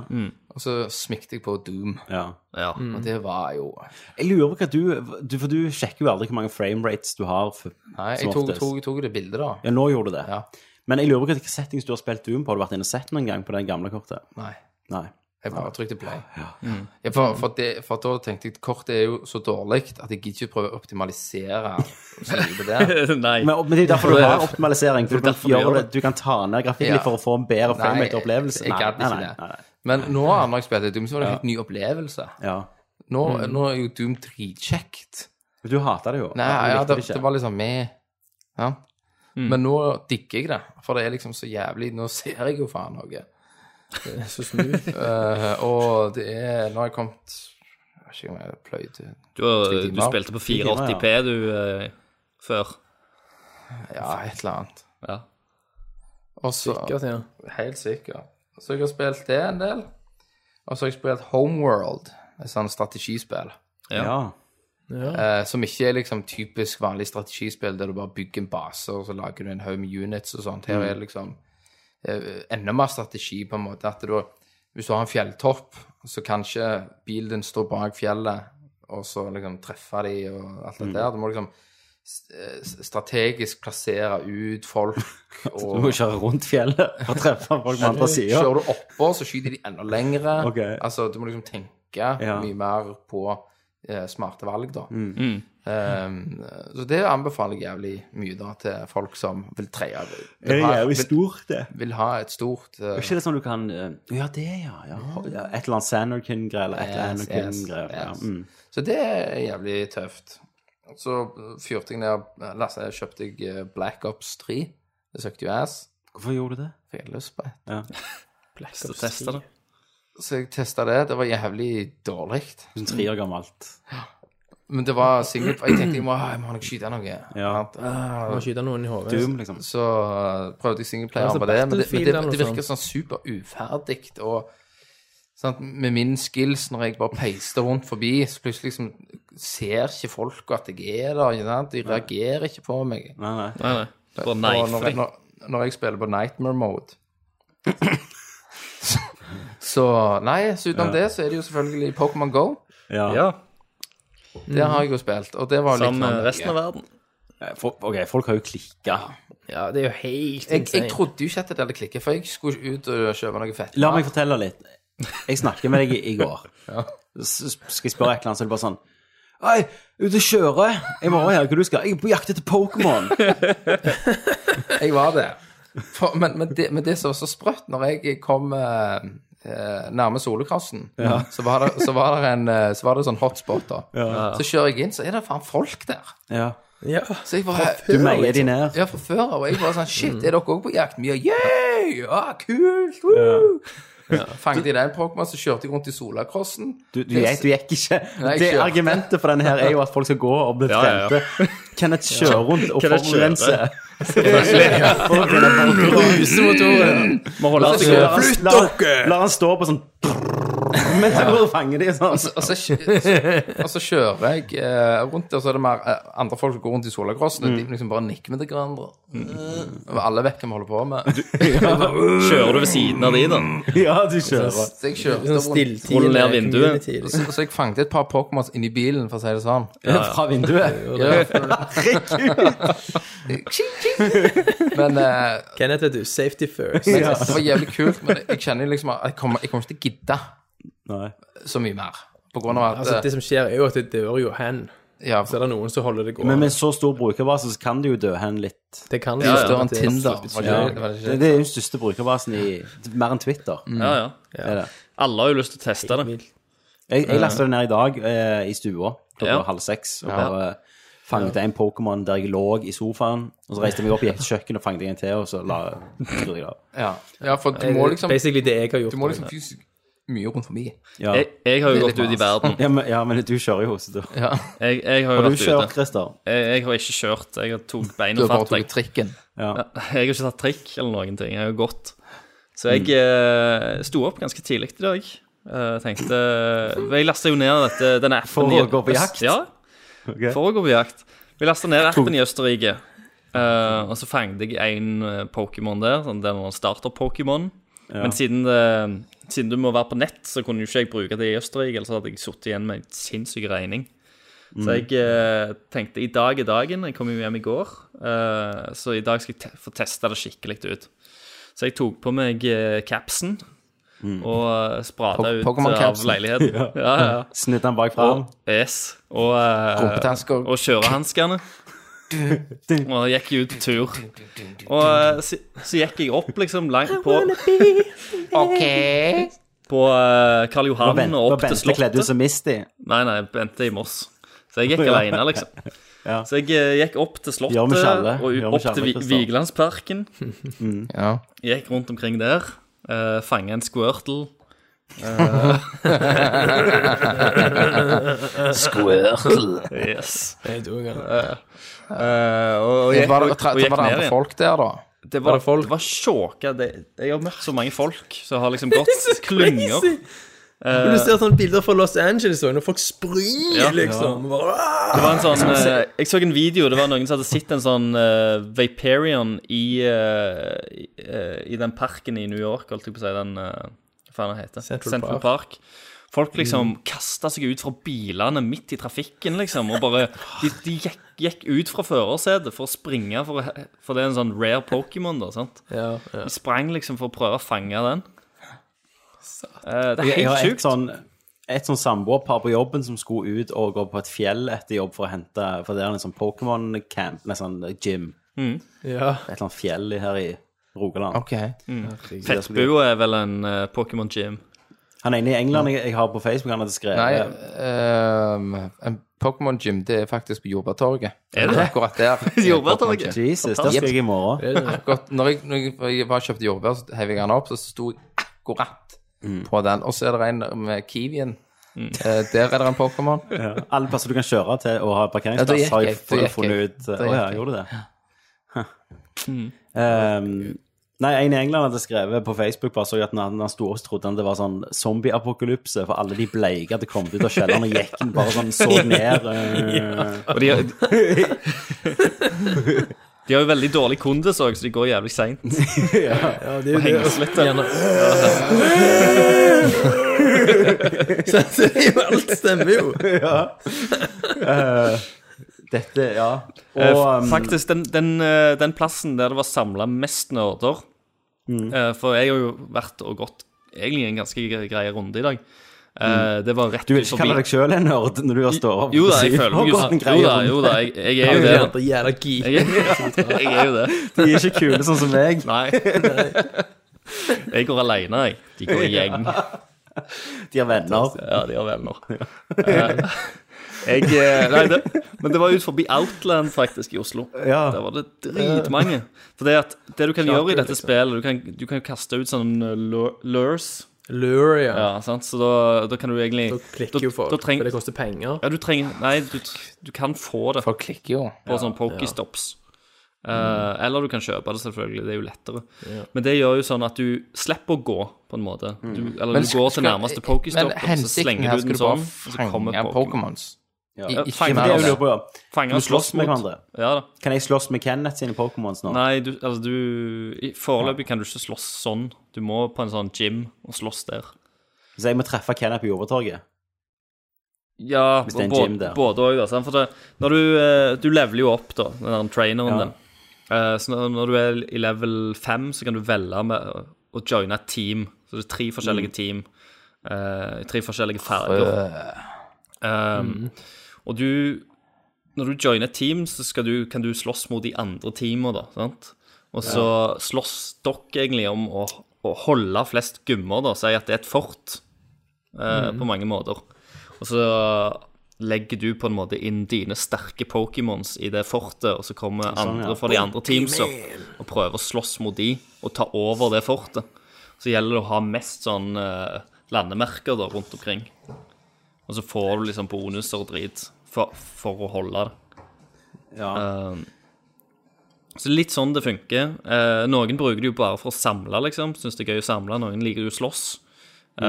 Speaker 4: Og så smikte jeg på Doom.
Speaker 1: ja.
Speaker 3: Ja.
Speaker 2: Mm.
Speaker 4: Og det var jo
Speaker 1: Jeg lurer på hva du, du For du sjekker jo aldri hvor mange framerates du har. For,
Speaker 4: Nei,
Speaker 1: som
Speaker 4: jeg tok,
Speaker 1: oftest.
Speaker 4: tok, tok det bildet, da.
Speaker 1: Ja, nå gjorde du det.
Speaker 4: Ja.
Speaker 1: Men jeg lurer på hvilke settings du har spilt Doom på. Har du vært inne og sett noen gang på det gamle kortet?
Speaker 4: Nei.
Speaker 1: Nei.
Speaker 4: Jeg bare trykte play. Ja, for, for, det, for da tenkte jeg kortet er jo så dårlig at jeg gidder ikke prøve å optimalisere så mye på det.
Speaker 3: Nei.
Speaker 1: Men, men det er jo derfor du har optimalisering. For du,
Speaker 3: derfor
Speaker 1: kan
Speaker 3: du
Speaker 1: gjøre
Speaker 3: gjør
Speaker 1: det. du kan ta ned grafikken
Speaker 4: Ja.
Speaker 1: litt for å få en bedre
Speaker 4: Nei,
Speaker 1: framerate-opplevelse.
Speaker 4: jeg gadd ikke det. Men nå, når jeg spilte Doom, så var det en helt ny opplevelse.
Speaker 1: Ja.
Speaker 4: Nå, nå er jo Doom dritkjekt.
Speaker 1: Men Du hata det jo.
Speaker 4: Nei,
Speaker 1: Du
Speaker 4: ja,
Speaker 1: likte
Speaker 4: det, Mm. det var liksom med. Ja. Men nå digger jeg det, for det er liksom så jævlig Nå ser jeg jo faen noe.
Speaker 2: Så smooth.
Speaker 4: Eh, og det er Nå har jeg kommet Jeg vet ikke om jeg pløyd
Speaker 3: Du, har-
Speaker 4: Tre timer.
Speaker 3: du spilte på 480p du eh, før.
Speaker 4: Ja, et eller annet.
Speaker 3: Ja.
Speaker 4: Og så
Speaker 2: Sikkert, ja.
Speaker 4: Helt sikkert. Så jeg har spilt det en del. Og så har jeg spilt Homeworld, et sånt strategispill.
Speaker 1: Ja.
Speaker 3: Ja.
Speaker 1: Mm.
Speaker 4: eh, som ikke er liksom typisk vanlig strategispill der du bare bygger en base og så lager du en haug med units og sånt.
Speaker 1: Mm.
Speaker 4: Her er det liksom eh, enda mer strategi på en måte at du, hvis du har en fjelltopp, så kan ikke bilen din stå bak fjellet og så liksom treffe de og alt
Speaker 1: Mm.
Speaker 4: det der. Du må liksom s- eh, s- strategisk plassere ut folk
Speaker 1: Du må
Speaker 4: og
Speaker 1: kjøre rundt fjellet og treffe folk på andre sida.
Speaker 4: Kjører du oppå, så skyter de enda lengre.
Speaker 1: Ok.
Speaker 4: Altså, du må liksom tenke
Speaker 1: Ja. Mm.
Speaker 4: mye mer på eh, smarte valg, da. Um, så det anbefaler jeg jævlig mye da til folk som vil treie vil, ha- vil,
Speaker 1: stort, det.
Speaker 4: vil ha et stort eh,
Speaker 1: Er ikke det sånn du kan eh, Ja, det, ja. ja. ja et eller annet Sanderkin-greier eller et eller
Speaker 4: Yes,
Speaker 1: annet Anarkin-greier. Ja.
Speaker 4: yes.
Speaker 1: Mm.
Speaker 4: Så det er jævlig tøft. Så fyrte jeg ned eh, Lasse, jeg kjøpte jeg eh, Black Ops 3. Det søkte jo ass.
Speaker 1: Hvorfor gjorde du det?
Speaker 4: Fikk jeg lyst på et.
Speaker 3: Så testa det.
Speaker 4: Så jeg testa det. Det var jævlig dårlig.
Speaker 1: Som tre år gammelt.
Speaker 4: Men det var sikkert Jeg tenkte jeg må, ah, jeg må nok skyte noe.
Speaker 1: Ja.
Speaker 4: Ah,
Speaker 2: Må skyte noen i hodet.
Speaker 1: Doom, liksom.
Speaker 4: Så eh, prøvde jeg singleplayer
Speaker 2: Altså,
Speaker 4: på det, men det, men
Speaker 2: Battlefield
Speaker 4: det,
Speaker 2: eller noe
Speaker 4: det virker
Speaker 2: sånt.
Speaker 4: sånn super uferdig. Og sant, med min skills, når jeg bare peister rundt forbi, så plutselig liksom ser ikke folk at jeg er der. Ikke sant? De reagerer ikke på meg.
Speaker 1: Nei, nei.
Speaker 3: Nei, nei. Du bare
Speaker 4: Og når,
Speaker 3: neifer
Speaker 4: jeg-
Speaker 3: deg.
Speaker 4: når, når jeg spiller på nightmare mode så, så Nei, så utenom det så er det jo selvfølgelig Pokémon Go.
Speaker 1: Ja.
Speaker 3: Ja.
Speaker 2: Mm.
Speaker 4: Det har jeg jo spilt, og det var jo litt
Speaker 3: Sammen med
Speaker 4: sånn-
Speaker 3: resten av verden.
Speaker 1: Eh, fol- OK, folk har jo klikka.
Speaker 2: Ja, det er jo helt
Speaker 4: jeg, jeg
Speaker 2: insane.
Speaker 4: trodde jo ikke at det hadde klikket, for jeg skulle ut og kjøpe noe fett.
Speaker 1: La meg fortelle litt. Jeg snakket med deg i, i går. S- Skal jeg spørre et eller annet, så er det bare sånn Hei, ute og kjører. Jeg må her, hva du skal? Jeg er på jakt etter Pokémon.
Speaker 4: Jeg var det. For, men, men det. Men det som var så sprøtt, når jeg kom eh, eh, nærme solokrossen, så, var det, så, var det en, eh, så var det sånn hotspot, da. Så kjører jeg inn, så er det faen folk der.
Speaker 1: Ja.
Speaker 2: Ja.
Speaker 4: Så jeg bare
Speaker 1: Du meier de ned.
Speaker 4: Ja, fra før av. Og jeg bare sånn
Speaker 1: Mm.
Speaker 4: Shit, er dere òg på jakt? Mye yeah! Ah, kult! Woo! Fanget jeg den Pokémon, så kjørte jeg rundt i Solakrossen.
Speaker 1: Du, du, gikk, du gikk ikke.
Speaker 4: Nei, jeg
Speaker 1: det
Speaker 4: kjørte.
Speaker 1: argumentet for den her er jo at folk skal gå og bli
Speaker 3: Ja, ja, ja.
Speaker 1: trente. Kenneth kjører rundt og
Speaker 3: Kenneth kjører.
Speaker 1: forurense.
Speaker 4: Eh,
Speaker 1: For å finne folk å ta.
Speaker 4: Rusemotoren!
Speaker 3: Må holde
Speaker 1: La-
Speaker 3: oss i gang.
Speaker 1: la- La han stå på sånn mens han går og fanger de sånn.
Speaker 4: Og så, altså, kjø- og så kjører jeg eh, rundt der, så er det mer eh, andre folk som går rundt i Solakrossen. og De liksom bare nikker med til hverandre. Eh, Og alle vet hva vi holder på med.
Speaker 3: Kjører du ved siden av de, da?
Speaker 1: Ja, du kjører.
Speaker 4: Så jeg kjørte
Speaker 2: Sånn
Speaker 4: rundt.
Speaker 3: Rull
Speaker 2: stilltiende
Speaker 3: ned vinduet.
Speaker 2: community.
Speaker 4: Så, så jeg fanget et par Pokémons inni bilen, for å si det sånn.
Speaker 1: Fra vinduet.
Speaker 4: Ja, men eh,
Speaker 2: Kenneth, vet du. Safety first.
Speaker 4: Men det var jævlig kult, men jeg kjenner jo liksom at jeg kommer, jeg kommer ikke til å gidde
Speaker 1: Nei.
Speaker 4: så mye mer. På grunn av at eh,
Speaker 2: Altså, det som skjer, er jo at det dør jo hen.
Speaker 4: ja,
Speaker 2: Så er det noen som holder det gående.
Speaker 1: Men med så stor brukerbase så kan det jo dø hen litt.
Speaker 2: det kan liksom
Speaker 3: ja.
Speaker 4: større enn
Speaker 2: det-
Speaker 4: Tinder. var
Speaker 1: Ja.
Speaker 4: ikke det- var det
Speaker 1: Det,
Speaker 4: ikke det?
Speaker 1: det er jo den største brukerbasen i Mer enn Twitter.
Speaker 3: Ja, Mm. ja.
Speaker 1: Er det.
Speaker 3: Alle har jo lyst til å teste det.
Speaker 1: Jeg, jeg lasta det ned i dag eh, i stua klokka
Speaker 3: Ja.
Speaker 1: halv seks. Og bare fanget en Pokémon der jeg lå i sofaen. Og så reiste jeg meg opp, gikk til kjøkkenet og fanget en til, og så la skrudde jeg det av.
Speaker 4: Ja. ja, for du må liksom,
Speaker 2: Basically det jeg har gjort.
Speaker 4: du må liksom fysisk mye rundt forbi.
Speaker 1: Ja.
Speaker 3: Jeg, jeg har jo
Speaker 4: Det er
Speaker 3: gått ut
Speaker 4: litt
Speaker 3: i verden.
Speaker 1: Ja, men, ja, men du kjører jo, så du
Speaker 4: Ja.
Speaker 3: Jeg, jeg har jo
Speaker 1: Har du
Speaker 3: vært ute.
Speaker 1: kjørt, Christer?
Speaker 3: Jeg, jeg har ikke kjørt. Jeg har tok
Speaker 4: Du
Speaker 3: beina
Speaker 4: har bare
Speaker 3: fatt.
Speaker 4: tatt
Speaker 3: Jeg,
Speaker 4: trikken.
Speaker 1: Ja.
Speaker 3: Ja, jeg har ikke tatt trikk eller noen ting. Jeg har jo gått. Så jeg eh, sto opp ganske tidlig i dag. Eh, tenkte eh, Jeg lasta jo ned dette, denne appen
Speaker 1: For å
Speaker 3: i-
Speaker 1: gå på jakt?
Speaker 3: Ja,
Speaker 1: Ok.
Speaker 3: for å gå på jakt. Vi lasta ned appen i Østerrike. eh, og så fanget jeg en eh, Pokémon der. Sånn, det er noen starter-Pokémon. Men siden, det, siden du må være på nett, så kunne jo ikke jeg bruke det i Østerrike. Ellers hadde jeg sittet igjen med en sinnssyk regning. Så jeg eh, tenkte i dag er dagen. Jeg kom jo hjem i går. eh, så i dag skal jeg te få testa det skikkelig ut. Så jeg tok på meg eh, capsen og eh, sprada
Speaker 4: Po-
Speaker 3: ut
Speaker 4: Pokémon
Speaker 3: eh, av
Speaker 4: capsen.
Speaker 3: leiligheten. ja. Ja, ja.
Speaker 1: Snudde han bakfra?
Speaker 3: Og, yes. Og, eh,
Speaker 4: Rumpetasker.
Speaker 3: og kjørehanskene. Og gikk ut på tur. Og eh, så, så gikk jeg opp liksom langt på
Speaker 4: OK.
Speaker 3: På eh, Karl
Speaker 1: Og
Speaker 3: Johan
Speaker 1: Bente,
Speaker 3: og
Speaker 1: og
Speaker 3: opp til
Speaker 1: Bente kledd ut
Speaker 3: Slottet.
Speaker 1: som Misty.
Speaker 3: Nei, nei, Bente i Moss. Så jeg gikk
Speaker 1: Ja.
Speaker 3: alene, liksom.
Speaker 1: Ja.
Speaker 3: Så jeg eh, gikk opp til Slottet
Speaker 1: Gjør vi ikke alle.
Speaker 3: og ut-
Speaker 1: Gjør vi
Speaker 3: opp
Speaker 1: ikke alle,
Speaker 3: til Vi-
Speaker 1: Kristian.
Speaker 3: Vigelandsparken.
Speaker 4: Ja.
Speaker 3: Gikk rundt omkring der. Uh, Fange en squirtle. Eh,
Speaker 4: Squirtle.
Speaker 3: Yes.
Speaker 2: Jeg tror jeg kan.
Speaker 3: Eh, og, og
Speaker 4: Var det,
Speaker 3: gikk,
Speaker 4: var
Speaker 3: og, og
Speaker 4: det,
Speaker 3: gikk
Speaker 4: var det
Speaker 3: ned
Speaker 4: andre
Speaker 3: igjen.
Speaker 4: folk der, da?
Speaker 3: Det var, det var sjåka. Det, jeg har møtt så mange folk som har liksom gått klynger.
Speaker 2: crazy. Men du ser sånne bilder fra Los Angeles også, når folk springer,
Speaker 3: Ja.
Speaker 2: liksom. Bare,
Speaker 3: Det var en sånn, eh, jeg så en video. Det var noen som hadde sett en sånn eh, Vaperion i, eh, i, eh, i den parken i New York, holdt jeg på å si. Den, eh, hva faen den heter
Speaker 2: Central
Speaker 3: Park. Folk liksom
Speaker 1: Mm.
Speaker 3: kasta seg ut fra bilene midt i trafikken, liksom. Og bare De, de gikk, gikk ut fra førersetet for å springe, for, å- for det er en sånn rare Pokémon, da. sant?
Speaker 2: ja, ja.
Speaker 3: De sprang liksom for å prøve å fange den. Eh, det er
Speaker 1: Jeg
Speaker 3: helt
Speaker 1: har et
Speaker 3: sjukt.
Speaker 1: sånn et sånn samboerpar på jobben som skulle ut og gå på et fjell etter jobb for å hente For det er en sånn Pokémon-camp, nei, sånn gym.
Speaker 2: ja.
Speaker 1: Et eller annet fjell i- her i Rogaland.
Speaker 4: OK.
Speaker 3: Fettbua er vel en eh, Pokémon Gym.
Speaker 1: Han ene i England jeg, jeg har på Facebook, han hadde skrevet
Speaker 4: Nei, ehm, en Pokémon Gym, det er faktisk på Jordbærtorget.
Speaker 3: Er det det?
Speaker 4: Akkurat der.
Speaker 3: Jordbærtorget?
Speaker 4: Pokémon Gym.
Speaker 1: Jesus, der skal jeg i morgen.
Speaker 4: Akkurat, når, jeg, når jeg var og kjøpte jordbær, så heiv jeg den opp, så sto jeg akkurat
Speaker 3: Mm.
Speaker 4: på den. Og så er det en med kiwien. Eh, der er det en Pokémon.
Speaker 1: Ja. Alle plasser du kan kjøre til og ha
Speaker 4: Ja, da
Speaker 1: parkeringsplass,
Speaker 4: gikk
Speaker 1: har jeg
Speaker 4: jeg, da gikk jeg.
Speaker 1: funnet ut eh, Å
Speaker 4: Da gikk
Speaker 1: ja,
Speaker 4: jeg. Mm.
Speaker 1: gjorde du det? Huh. Ehm, nei, en i England hadde skrevet på Facebook bare så jeg at når han- han sto og trodde han det var sånn zombieapokalypse, for alle de bleike hadde kommet ut av kjelleren og gikk den bare sånn så ned. eh,
Speaker 3: Og de, de har jo veldig dårlig kondis òg, så de går jævlig seint.
Speaker 2: ja, det er jo det.
Speaker 3: Henges litt. der.
Speaker 2: Så det er jo alt stemmer jo.
Speaker 1: Eh, Dette, ja.
Speaker 3: Eh,
Speaker 1: Og um,
Speaker 3: Faktisk, den, den, eh, den plassen der det var samla mest nerder
Speaker 2: Mm.
Speaker 3: eh, For jeg har jo vært og gått egentlig en ganske gre- grei runde i dag.
Speaker 2: Mm.
Speaker 3: Eh, Det var rett
Speaker 1: du vil
Speaker 3: ut
Speaker 1: ikke
Speaker 3: forbi-
Speaker 1: kalle deg sjøl en nerd når du har stått opp?
Speaker 3: Jo da, jeg
Speaker 1: og
Speaker 3: føler meg jo
Speaker 1: gått
Speaker 3: sånn.
Speaker 1: en
Speaker 3: Jo
Speaker 1: greie
Speaker 3: da,
Speaker 1: rundt.
Speaker 3: jo da, jeg, jeg er jo det.
Speaker 2: Det er andre jævla geek.
Speaker 3: Jeg, jeg er jo det.
Speaker 1: De er ikke kule sånn som meg.
Speaker 3: Nei. Jeg går alene, jeg. De går i gjeng.
Speaker 1: De har venner.
Speaker 3: Ja, de har venner. Eh, Jeg eh, Nei, det, men det var ut forbi Outland, faktisk, i Oslo.
Speaker 1: Ja.
Speaker 3: Der var det dritmange. For det at det du kan gjøre i dette
Speaker 2: liksom.
Speaker 3: spillet, du kan, du kan jo kaste ut sånne lure- lures.
Speaker 2: Lure, ja.
Speaker 3: Ja, sant? Så da, da kan du egentlig
Speaker 2: Da klikker jo folk,
Speaker 3: da treng-
Speaker 2: for det koster penger.
Speaker 3: Ja, du trenger Nei, du, du kan få det
Speaker 4: Folk klikker jo.
Speaker 3: på sånn pokestops. Eh, eller du kan kjøpe det, selvfølgelig. Det er jo lettere. Men det gjør jo sånn at du slipper å gå, på en måte. Du, eller
Speaker 4: Men
Speaker 3: du
Speaker 4: skal-
Speaker 3: går til
Speaker 4: skal-
Speaker 3: nærmeste pokestop, og
Speaker 4: Men
Speaker 3: så
Speaker 4: hensikten
Speaker 3: slenger du
Speaker 4: her
Speaker 3: den
Speaker 4: skulle
Speaker 3: sånn,
Speaker 4: bare
Speaker 3: og så kommer
Speaker 4: fange
Speaker 3: Pokémon.
Speaker 4: Pokémons.
Speaker 1: Ja.
Speaker 4: I-
Speaker 1: Ja,
Speaker 4: Ikke
Speaker 3: fange
Speaker 1: Det er jo det
Speaker 4: mer.
Speaker 1: jeg lurer på, ja.
Speaker 3: Fanger
Speaker 1: Kan
Speaker 3: og
Speaker 1: du slåss
Speaker 3: slåss
Speaker 1: med
Speaker 3: mot.
Speaker 1: hverandre?
Speaker 3: Ja da.
Speaker 1: Kan jeg slåss med Kenneth sine Pokémons nå?
Speaker 3: Nei, du, altså du i- Foreløpig kan du ikke slåss sånn. Du må på en sånn gym og slåss der.
Speaker 1: Så jeg må treffe Kenneth på Jordtorget?
Speaker 3: Ja,
Speaker 1: Hvis det er en
Speaker 3: både-
Speaker 1: gym der.
Speaker 3: Både òg, da. sant? For det, når du, eh, du leveler jo opp, da, den der traineren
Speaker 1: Ja.
Speaker 3: din. Eh, Så når, når du er i level 5, så kan du velge med å- å joine et team. Så det er tre
Speaker 1: Mm.
Speaker 3: forskjellige team. eh, i tre forskjellige farger.
Speaker 1: Mm.
Speaker 3: Um, Og du Når du joiner et team, så skal du, kan du slåss mot de andre teamene, da. Sant? Og så slåss dere egentlig om å, å holde flest gummer, da. Si at det er et fort, eh,
Speaker 1: Mm.
Speaker 3: på mange måter. Og så legger du på en måte inn dine sterke Pokémons i det fortet, og så kommer andre fra de andre teamsa og prøver å slåss mot de og ta over det fortet. Så gjelder det å ha mest sånn eh, landemerker da, rundt omkring. Og så får du liksom bonuser og drit for, for å holde det. Ehm,
Speaker 1: Ja.
Speaker 3: Så litt sånn det funker. Eh, noen bruker det jo bare for å samle, liksom. Syns det er gøy å samle. Noen liker jo å slåss. Eh,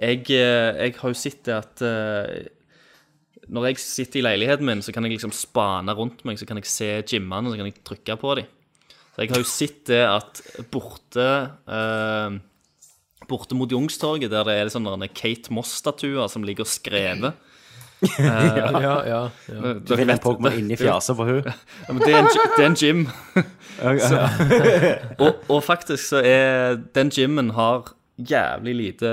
Speaker 3: Jeg, eh, jeg har jo sett det at eh, når jeg sitter i leiligheten min, så kan jeg liksom spane rundt meg, så kan jeg se gymmene, så kan jeg trykke på dem. Så jeg har jo sett det at borte eh, Borte mot Jungstorget, der det er sånne Kate Moss-statuer som ligger skrevet
Speaker 2: Ja, ja. ja.
Speaker 1: Du finner en Pokémon inni fjaset på hun.
Speaker 3: Ja, men det er en, gy- det er en gym. og, og faktisk så er den gymmen har jævlig lite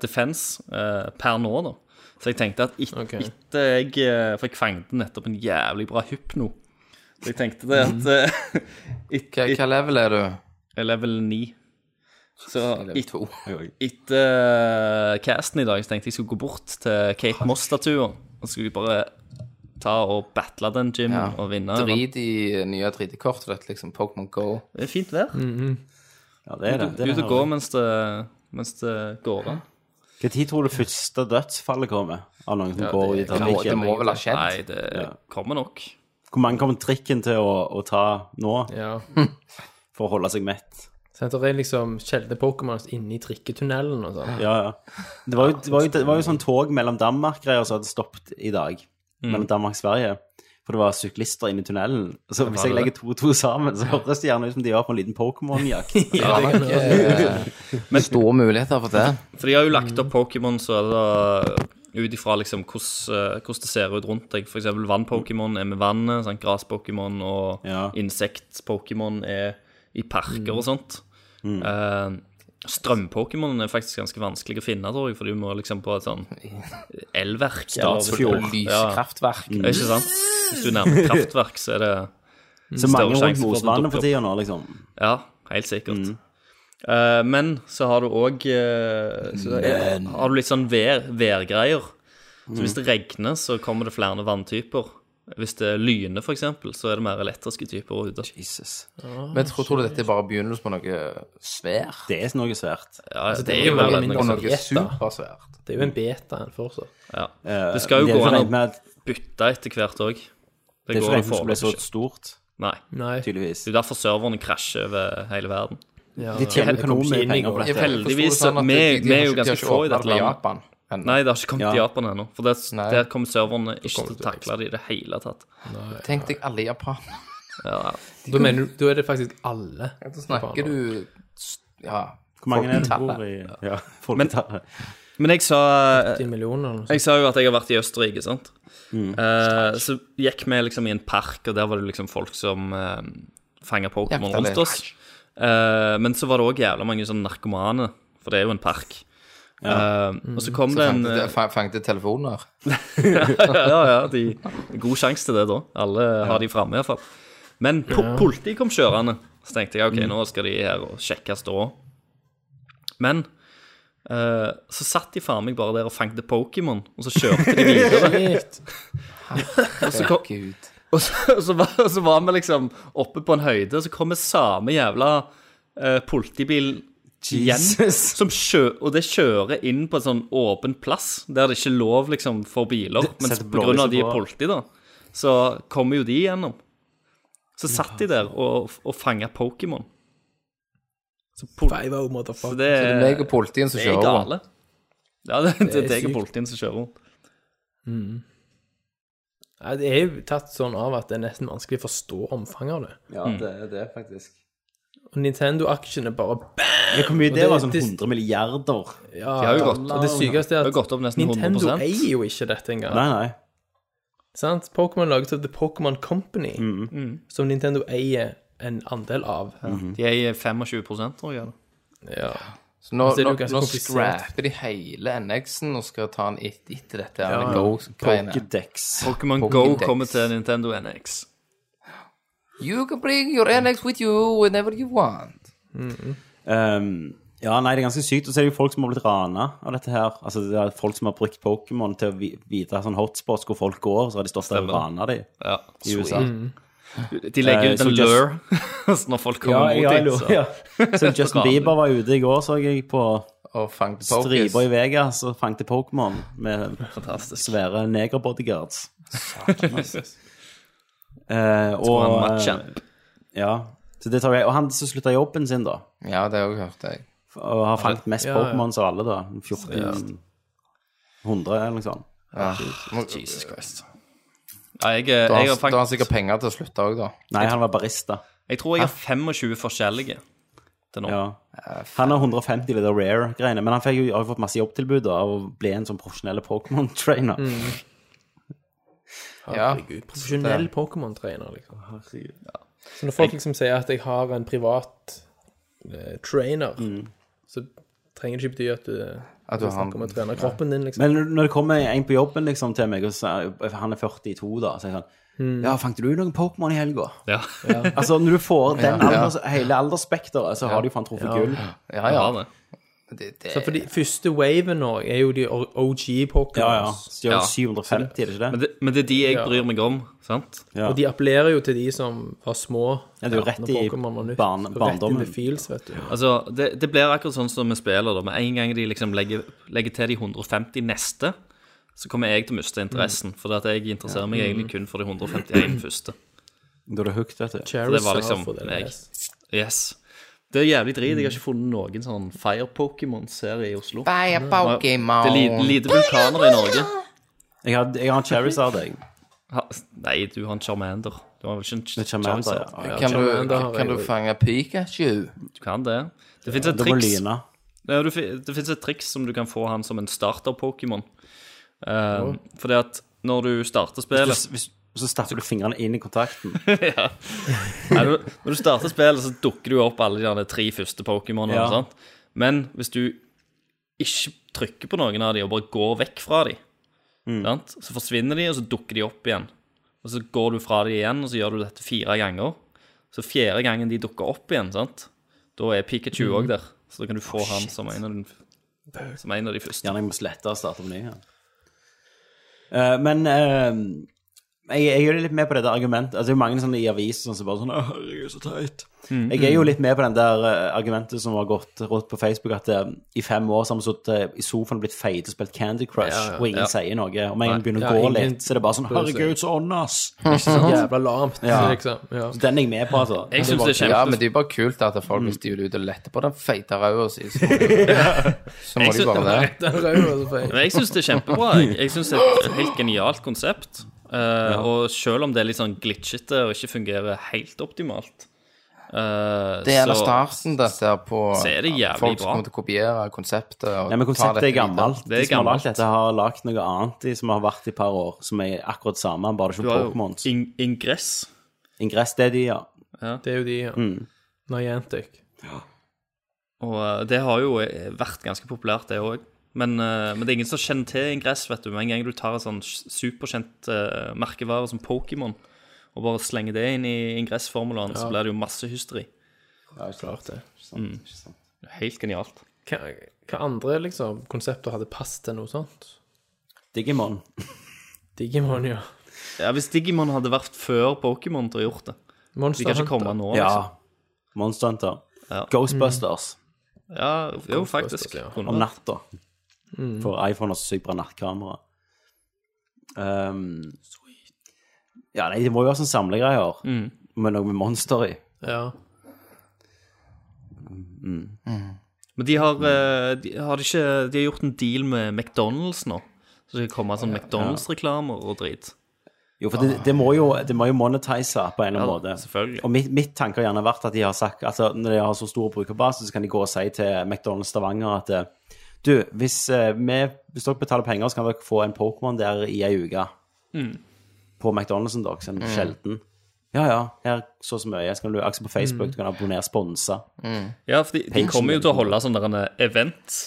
Speaker 3: defense eh, per nå, da. Så jeg tenkte at et,
Speaker 2: Ok.
Speaker 3: etter jeg eh, For jeg fanget nettopp en jævlig bra hypno. Så jeg tenkte det
Speaker 4: Mm.
Speaker 3: at eh,
Speaker 4: Hva, hva level er du?
Speaker 3: jeg er level 9. Så
Speaker 4: Level
Speaker 3: et-
Speaker 4: to.
Speaker 3: etter eh, casten i dag så tenkte jeg skulle gå bort til Kate Moss-statuen. Og skulle bare ta og battle den gymmen
Speaker 4: Ja.
Speaker 3: og vinne.
Speaker 4: Drit i nye 3D-kortet ditt, liksom. Pokémon Go.
Speaker 3: Det er fint vær.
Speaker 1: Ja, det er det. det, er
Speaker 3: Ut
Speaker 1: det
Speaker 3: og gå mens det, mens det går an.
Speaker 1: Hva tid tror du første dødsfallet kommer? Av noen som går i
Speaker 4: Det må, det
Speaker 1: trafikken?
Speaker 4: må vel ha skjedd?
Speaker 3: Nei, det kommer nok.
Speaker 1: Hvor mange kommer trikken til å, å ta nå
Speaker 2: ja.
Speaker 1: for å holde seg mett?
Speaker 2: Sånn, det er liksom sjeldne Pokémon inni trikketunnelen og sånn.
Speaker 1: Ja, ja. Det var jo, det var jo, det var jo sånn tog mellom Danmark-greier som hadde stoppet i dag.
Speaker 3: Mm.
Speaker 1: Mellom Danmark og Sverige. For det var syklister inne i tunnelen. Så hvis jeg
Speaker 3: det.
Speaker 1: legger to og to sammen, så høres det gjerne ut som de var på en liten Pokémon-jakt.
Speaker 4: Det var nok eh, store muligheter for det.
Speaker 3: For de har jo lagt opp Pokémon så er det ut ifra liksom hvordan eh, hvordan det ser ut rundt deg. F.eks. vann-Pokémon er med vannet, sånn gras-Pokémon og
Speaker 1: Ja. Mm.
Speaker 3: insekt-Pokémon er i parker og sånt. Eh, Strøm-Pokémon er faktisk ganske vanskelig å finne, tror jeg, for du må liksom på et sånn elverk. eller-
Speaker 1: Statsfjord.
Speaker 3: Ja,
Speaker 4: Lyskraftverk.
Speaker 3: ikke sant? Hvis du nærmer deg kraftverk, så er det
Speaker 1: Så mange
Speaker 3: Større
Speaker 1: rundt
Speaker 3: sjanse for at det
Speaker 1: Mosvannet
Speaker 3: dukker
Speaker 1: for
Speaker 3: opp.
Speaker 1: tida nå, liksom.
Speaker 3: Ja, helt sikkert. Eh, men så har du òg Har du litt sånn vær, værgreier. Så hvis det regner, så kommer det flere vanntyper. Hvis det lyner, f.eks., så er det mer elektriske typer ute.
Speaker 1: Jesus.
Speaker 4: Men tror, tror du dette er bare begynnelsen på noe svært?
Speaker 1: Det er noe svært.
Speaker 3: Ja,
Speaker 4: Altså,
Speaker 3: det,
Speaker 2: det
Speaker 3: er jo mer
Speaker 2: må jo være
Speaker 4: Og
Speaker 3: enn
Speaker 2: mindre-
Speaker 3: noe.
Speaker 4: noe supersvært?
Speaker 2: Det er jo en beta en fortsatt.
Speaker 3: Ja.
Speaker 1: Eh,
Speaker 3: Det skal jo
Speaker 1: er
Speaker 3: gå
Speaker 1: ikke
Speaker 3: an
Speaker 1: regnet
Speaker 3: å
Speaker 1: med at-
Speaker 3: bytte etter hvert òg.
Speaker 1: Det er
Speaker 3: går an
Speaker 1: ikke
Speaker 3: å
Speaker 1: regnet med at det
Speaker 3: få
Speaker 1: ble
Speaker 3: det til
Speaker 1: så
Speaker 3: å skje.
Speaker 1: stort,
Speaker 3: Nei.
Speaker 2: Nei.
Speaker 1: tydeligvis.
Speaker 3: Det er jo derfor serverne krasjer over hele verden.
Speaker 2: Ja,
Speaker 1: De tjener
Speaker 2: det kom
Speaker 1: økonomisk
Speaker 2: ikke inn i
Speaker 1: penger på
Speaker 2: går.
Speaker 1: dette.
Speaker 3: Heldigvis,
Speaker 4: Jeg forstod det sånn at
Speaker 3: vi-
Speaker 4: de- de
Speaker 3: vi er
Speaker 4: har
Speaker 3: jo
Speaker 4: ikke- de har
Speaker 3: ganske
Speaker 4: ikke
Speaker 3: få i
Speaker 4: åpnet
Speaker 3: dette
Speaker 4: det på
Speaker 3: landet.
Speaker 4: Japan ennå.
Speaker 3: Nei, det har ikke kommet
Speaker 1: Ja.
Speaker 3: til Japan ennå. For der,
Speaker 4: Nei.
Speaker 3: der kommer serverne ikke
Speaker 2: kommer
Speaker 3: til å
Speaker 2: det til å
Speaker 3: takle det i det hele tatt.
Speaker 4: Tenk deg alle japanere.
Speaker 2: Da, mener, du- da er det faktisk alle.
Speaker 4: Så snakker du s- Ja.
Speaker 1: Hvor mange er det som
Speaker 4: folketallet.
Speaker 1: bor i ja, folketallet?
Speaker 3: Men jeg sa
Speaker 2: 10 millioner eller noe sånt.
Speaker 3: Jeg sa jo at jeg har vært i Østerrike, sant. Eh, så gikk vi liksom i en park, og der var det liksom folk som uh, fanga Pokémon
Speaker 4: Jakta
Speaker 3: rundt
Speaker 4: det.
Speaker 3: oss. Eh, men så var det òg jævla mange sånne narkomane, for det er jo en park. Eh, og så kom
Speaker 4: Så
Speaker 3: det en
Speaker 4: fangte det- fa- fangte telefoner.
Speaker 3: ja, ja, de, God sjanse til det, da. Alle har de framme, iallfall. Men po politiet kom kjørende. Så tenkte jeg ok, nå skal de her og sjekke ståa. Men eh, så satt de faen meg bare der og fangte Pokémon, og så kjørte de videre. og, så kom,
Speaker 4: Gud.
Speaker 3: og, så, og, så var, og så var vi liksom oppe på en høyde, og så kommer samme jævla eh, politibil igjen.
Speaker 1: Jesus.
Speaker 3: Som kjø, og det kjører inn på en sånn åpen plass, der det ikke er lov liksom, for biler. Men
Speaker 1: setter
Speaker 3: på grunn av
Speaker 1: blålyset
Speaker 3: de er
Speaker 1: på.
Speaker 3: politi, da, så kommer jo de igjennom. Så satt de der og, og fanga Pokémon. Så, pol
Speaker 2: Five-o,
Speaker 3: så
Speaker 2: motherfucker.
Speaker 3: det
Speaker 4: Det er meg og politien som
Speaker 3: det er
Speaker 4: kjører over.
Speaker 3: gale. Ja, det, det, er
Speaker 2: er
Speaker 3: deg og
Speaker 2: sykt.
Speaker 3: politien som kjører rundt.
Speaker 2: Nei, det er jo tatt sånn av at det er nesten vanskelig å forstå omfanget av det.
Speaker 1: Ja,
Speaker 3: Mm.
Speaker 1: det er det, faktisk.
Speaker 2: Og Nintendo-aksjene bare bam!
Speaker 1: Men hvor mye det
Speaker 2: det-
Speaker 1: var? Sånn
Speaker 2: det-
Speaker 1: 100 milliarder?
Speaker 2: Ja,
Speaker 3: De har jo gått-
Speaker 2: Og det sykeste
Speaker 3: Det
Speaker 2: er
Speaker 3: har
Speaker 2: at
Speaker 3: gått opp nesten
Speaker 2: Nintendo
Speaker 3: 100
Speaker 2: eier jo ikke dette engang.
Speaker 1: Nei, nei.
Speaker 2: Sant? Pokémon laget av The Pokémon Company,
Speaker 1: Mm.
Speaker 3: Mm.
Speaker 2: som Nintendo eier en andel av.
Speaker 3: De eier 25 tror jeg. eller?
Speaker 2: Ja.
Speaker 4: Så nå,
Speaker 2: Så er det
Speaker 4: nå,
Speaker 2: jo ganske
Speaker 4: nå
Speaker 2: komplisert.
Speaker 4: scrapper de hele NX-en og skal ta den et- etter dette her Go-greiene.
Speaker 1: Pokédex.
Speaker 3: Pokémon Go
Speaker 4: Pokédex.
Speaker 3: kommer til Nintendo NX.
Speaker 4: You can bring your NX with you whenever you want.
Speaker 1: Ehm, ja, nei, det er ganske sykt. Og så er det jo folk som har blitt rana av dette her. Altså, det er folk som har brukt Pokémon til å vi- vite sånn hotspots hvor folk går, så har de stått der og rana dem
Speaker 3: Ja.
Speaker 1: i USA.
Speaker 3: De legger
Speaker 1: Eh,
Speaker 3: ut
Speaker 1: så
Speaker 3: en
Speaker 1: just-
Speaker 3: lure så når folk
Speaker 1: Ja,
Speaker 3: kommer
Speaker 1: ja, jeg
Speaker 3: mot
Speaker 1: lurer,
Speaker 3: dem.
Speaker 1: ja. Så Justin
Speaker 3: Raner.
Speaker 1: Bieber var ute i går, så jeg, på
Speaker 4: Og fang the pokers.
Speaker 1: striper i Vegas og fangte Pokémon med
Speaker 3: Fantastisk.
Speaker 1: svære negerbodyguards. Eh,
Speaker 3: Og en
Speaker 1: og,
Speaker 3: matchamp.
Speaker 1: ja, så det tar jeg. og han som slutta jobben sin, da,
Speaker 4: Ja, det har jeg hørt, jeg.
Speaker 1: og har fangt mest
Speaker 2: Ja, ja.
Speaker 1: Pokémons av alle, da. 1400 eller noe sånt.
Speaker 4: Ja. Må-
Speaker 3: Jesus Christ. Ja, jeg, jeg,
Speaker 4: Da har
Speaker 3: har
Speaker 4: da har han
Speaker 3: faktisk,
Speaker 4: sikkert penger til å slutte òg, da.
Speaker 1: Nei, han var barista.
Speaker 3: jeg tror jeg har 25 forskjellige til nå.
Speaker 1: Ja.
Speaker 4: Eh,
Speaker 1: Han har 150 ved det rare-greiene, men han fikk jo, har jo fått masse jobbtilbud da, av å bli en sånn profesjonell Pokémon-trainer.
Speaker 4: Mm. Ja.
Speaker 2: Profesjonell Pokémon-trener, liksom. Så når folk liksom sier at jeg har en privat eh, trainer,
Speaker 1: Mm.
Speaker 2: så trenger det ikke bety at du,
Speaker 4: At du
Speaker 2: du
Speaker 4: har en-
Speaker 2: snakker om å trene kroppen din, liksom.
Speaker 1: Men når- når det kommer en på jobben liksom, til meg, og så, er- han er 42 da, så er jeg sånn
Speaker 4: Mm.
Speaker 1: Ja, fangte du noen Pokémon i helga?
Speaker 3: Ja,
Speaker 1: Altså, når du får den
Speaker 4: Ja.
Speaker 1: alders, hele aldersspekteret, så har du jo faen truffet gull.
Speaker 4: Ja,
Speaker 3: jeg har
Speaker 4: ja.
Speaker 3: det.
Speaker 4: Det, det,
Speaker 2: Så fordi første waven nå er jo de OG Pokémons.
Speaker 1: Ja, ja. Så de har
Speaker 3: Ja.
Speaker 1: 750, er det ikke
Speaker 3: Men,
Speaker 1: det?
Speaker 3: det. men det er de jeg
Speaker 2: Ja.
Speaker 3: bryr meg om, sant?
Speaker 1: Ja.
Speaker 2: Og de appellerer jo til de som var små.
Speaker 1: Ja, det er jo rett
Speaker 2: når
Speaker 1: i
Speaker 2: Pokémon var nytt.
Speaker 1: barn-
Speaker 2: Så
Speaker 1: barndommen.
Speaker 2: Rett in the fields, vet du.
Speaker 3: Altså, det, det blir akkurat sånn som med spiller, da. Med en gang de liksom legger, legger til de 150 neste, så kommer jeg til å miste interessen.
Speaker 4: Mm.
Speaker 3: For at jeg interesserer meg egentlig kun for de 151 første.
Speaker 1: Da er du hooked, vet du.
Speaker 2: Charizard
Speaker 3: det var liksom
Speaker 2: for det
Speaker 3: meg.
Speaker 2: mest.
Speaker 3: Yes. Det er jævlig drit. Jeg har ikke funnet noen sånn Fire Pokémon-serie i Oslo. Det
Speaker 4: Bye, Pokémon.
Speaker 3: er lite, lite vulkaner i Norge.
Speaker 1: Jeg har, jeg har en Charizard, jeg.
Speaker 3: Ha, nei, du har en Charmander. Du har vel ikke en Ch-
Speaker 1: Med Charmander.
Speaker 3: Charizard?
Speaker 1: Ja.
Speaker 4: Kan du,
Speaker 2: Charmander har
Speaker 4: kan
Speaker 2: jeg
Speaker 4: du
Speaker 2: jo-
Speaker 4: fange Pikachu?
Speaker 3: Du kan det. Det fins et
Speaker 1: Det var
Speaker 3: triks
Speaker 1: Lyna.
Speaker 3: ja, du, fi- Det finnes et triks som du kan få han som en starter-Pokémon. Uh, fordi at når du starter spillet
Speaker 1: Hvis- hvis- Så stapper du fingrene inn i kontakten.
Speaker 3: Nei, når, du- når du starter spillet, så dukker det jo opp alle de der tre første Pokémonene.
Speaker 1: Ja.
Speaker 3: og sånt. Men hvis du ikke trykker på noen av de og bare går vekk fra de, sant? så forsvinner de, og så dukker de opp igjen. Og så går du fra de igjen, og så gjør du dette fire ganger. Så fjerde gangen de dukker opp igjen, sant? da er Pikachu òg der. Så da kan du få han som en, av den, som en av de første.
Speaker 1: Gjerne jeg må slette og starte på ny. Ja. Eh, men eh, jeg, jeg er jo litt med på det der argumentet. Altså, det er jo mange sånne i aviser sånn som bare sånn «Å, herregud, så teit.
Speaker 3: Mm,
Speaker 1: Jeg er jo litt med på den der eh, argumentet som har gått rått på Facebook, at eh, i fem år så har vi sittet eh, i sofaen og blitt feite og spilt Candy Crush, og ingen sier noe. Og med en gang begynner å
Speaker 2: Ja,
Speaker 1: gå
Speaker 2: ingen
Speaker 1: litt, så er det bare sånn
Speaker 2: bryr seg.
Speaker 1: Herregud, så ånd, ass.
Speaker 2: Jævla lamt,
Speaker 1: Ja.
Speaker 2: liksom. Ja.
Speaker 1: Så den er jeg med på, altså.
Speaker 3: Jeg syns det er
Speaker 4: Ja, men
Speaker 3: kjempe...
Speaker 4: det er jo bare kult at folk hvis de vil ut og lette på den feite ræva si, så må de- så må
Speaker 3: Jeg
Speaker 4: de
Speaker 3: synes-
Speaker 4: bare det.
Speaker 2: Den røde var så feil.
Speaker 3: Men jeg syns det er kjempebra. Jeg, jeg syns det er et helt genialt konsept. Eh, Og selv om det er litt sånn glitchete og ikke fungerer helt optimalt, eh,
Speaker 4: Det er en av
Speaker 3: så-
Speaker 4: starten dette her på
Speaker 3: Så er det jævlig
Speaker 4: folk som
Speaker 3: bra.
Speaker 4: kommer til å kopiere konseptet. Og
Speaker 1: Nei, men
Speaker 4: ta
Speaker 1: konseptet
Speaker 4: dette
Speaker 1: er gammelt.
Speaker 3: Det er
Speaker 1: De som har
Speaker 3: gammelt.
Speaker 1: lagd dette, har lagd noe annet de som har vært i et par år, som er akkurat samme, bare
Speaker 3: Du
Speaker 1: ikke
Speaker 3: har jo
Speaker 1: Pokémons.
Speaker 3: in ingress.
Speaker 1: Ingress, det er de, ja.
Speaker 2: Det er jo de, ja.
Speaker 3: Mm.
Speaker 2: Niantic.
Speaker 3: Og eh, det har jo eh, vært ganske populært, det òg. Men, eh, men det er ingen som kjenner til ingress. vet du Med en gang du tar en sånn s- superkjent eh, merkevare som Pokémon, og bare slenger det inn i ingressformulaen, så blir det jo masse hysteri.
Speaker 1: Ja, ikke sant.
Speaker 2: Klart det.
Speaker 1: Ikke sant. Ikke sant.
Speaker 3: Helt genialt.
Speaker 2: Hva, hva andre liksom, konsepter hadde passet til noe sånt?
Speaker 1: Digimon.
Speaker 2: Digimon, ja.
Speaker 3: Ja, Hvis Digimon hadde vært før Pokémon til å gjort det De
Speaker 2: Monster
Speaker 3: kan ikke komme nå,
Speaker 1: Ja.
Speaker 3: liksom.
Speaker 1: Monster Hunter.
Speaker 3: Ja.
Speaker 1: Ghostbusters.
Speaker 3: Ja, jo, faktisk.
Speaker 2: ja.
Speaker 3: Kunne
Speaker 1: om
Speaker 3: det.
Speaker 1: natta. For iPhone har så sykt bra nattkamera. Um, ja, nei, det må jo være sånne samlegreier med noe med monster i.
Speaker 2: Ja.
Speaker 3: Men de har, eh, de, har de ikke, de har gjort en deal med McDonald's nå. Så det skal komme sånn McDonald's-reklamer og drit.
Speaker 1: Jo, for det, det, må jo, det må jo monetise på en eller annen
Speaker 3: Ja,
Speaker 1: måte.
Speaker 3: selvfølgelig.
Speaker 1: Og mitt, mitt tanke har gjerne vært at de har sagt, altså når de har så stor brukerbase, så kan de gå og si til McDonald's Stavanger at eh, du, hvis, eh, vi, hvis dere betaler penger, så kan dere få en Pokémon der i ei uke.
Speaker 3: Mm.
Speaker 1: På McDonald'sen deres, en sjelden. Ja, ja, her så og så mye. Så kan du akse på Facebook, du kan abonnere, sponse.
Speaker 3: Ja, for de, de
Speaker 1: Pension
Speaker 3: kommer jo
Speaker 1: er
Speaker 3: til å holde sånne der eh, event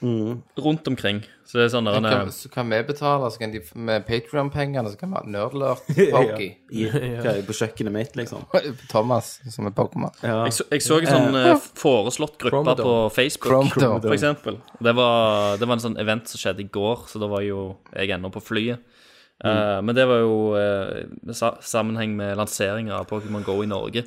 Speaker 3: rundt omkring. Så det er sånn der
Speaker 4: Kan, så kan vi betale, så kan de med Patrion-pengene, så kan vi ha nerdlert-poki.
Speaker 1: I, hva er det, på kjøkkenet mitt, liksom.
Speaker 4: Thomas, som er Pokémon.
Speaker 3: Jeg så, jeg så en sånn eh, foreslått gruppe
Speaker 2: Chromedome.
Speaker 3: på Facebook,
Speaker 4: Chromedome.
Speaker 3: for eksempel. Det var, det var en sånn event som skjedde i går, så da var jo jeg ennå på flyet. Eh, men det var jo eh, sa sammenheng med lanseringa av Pokémon Go i Norge.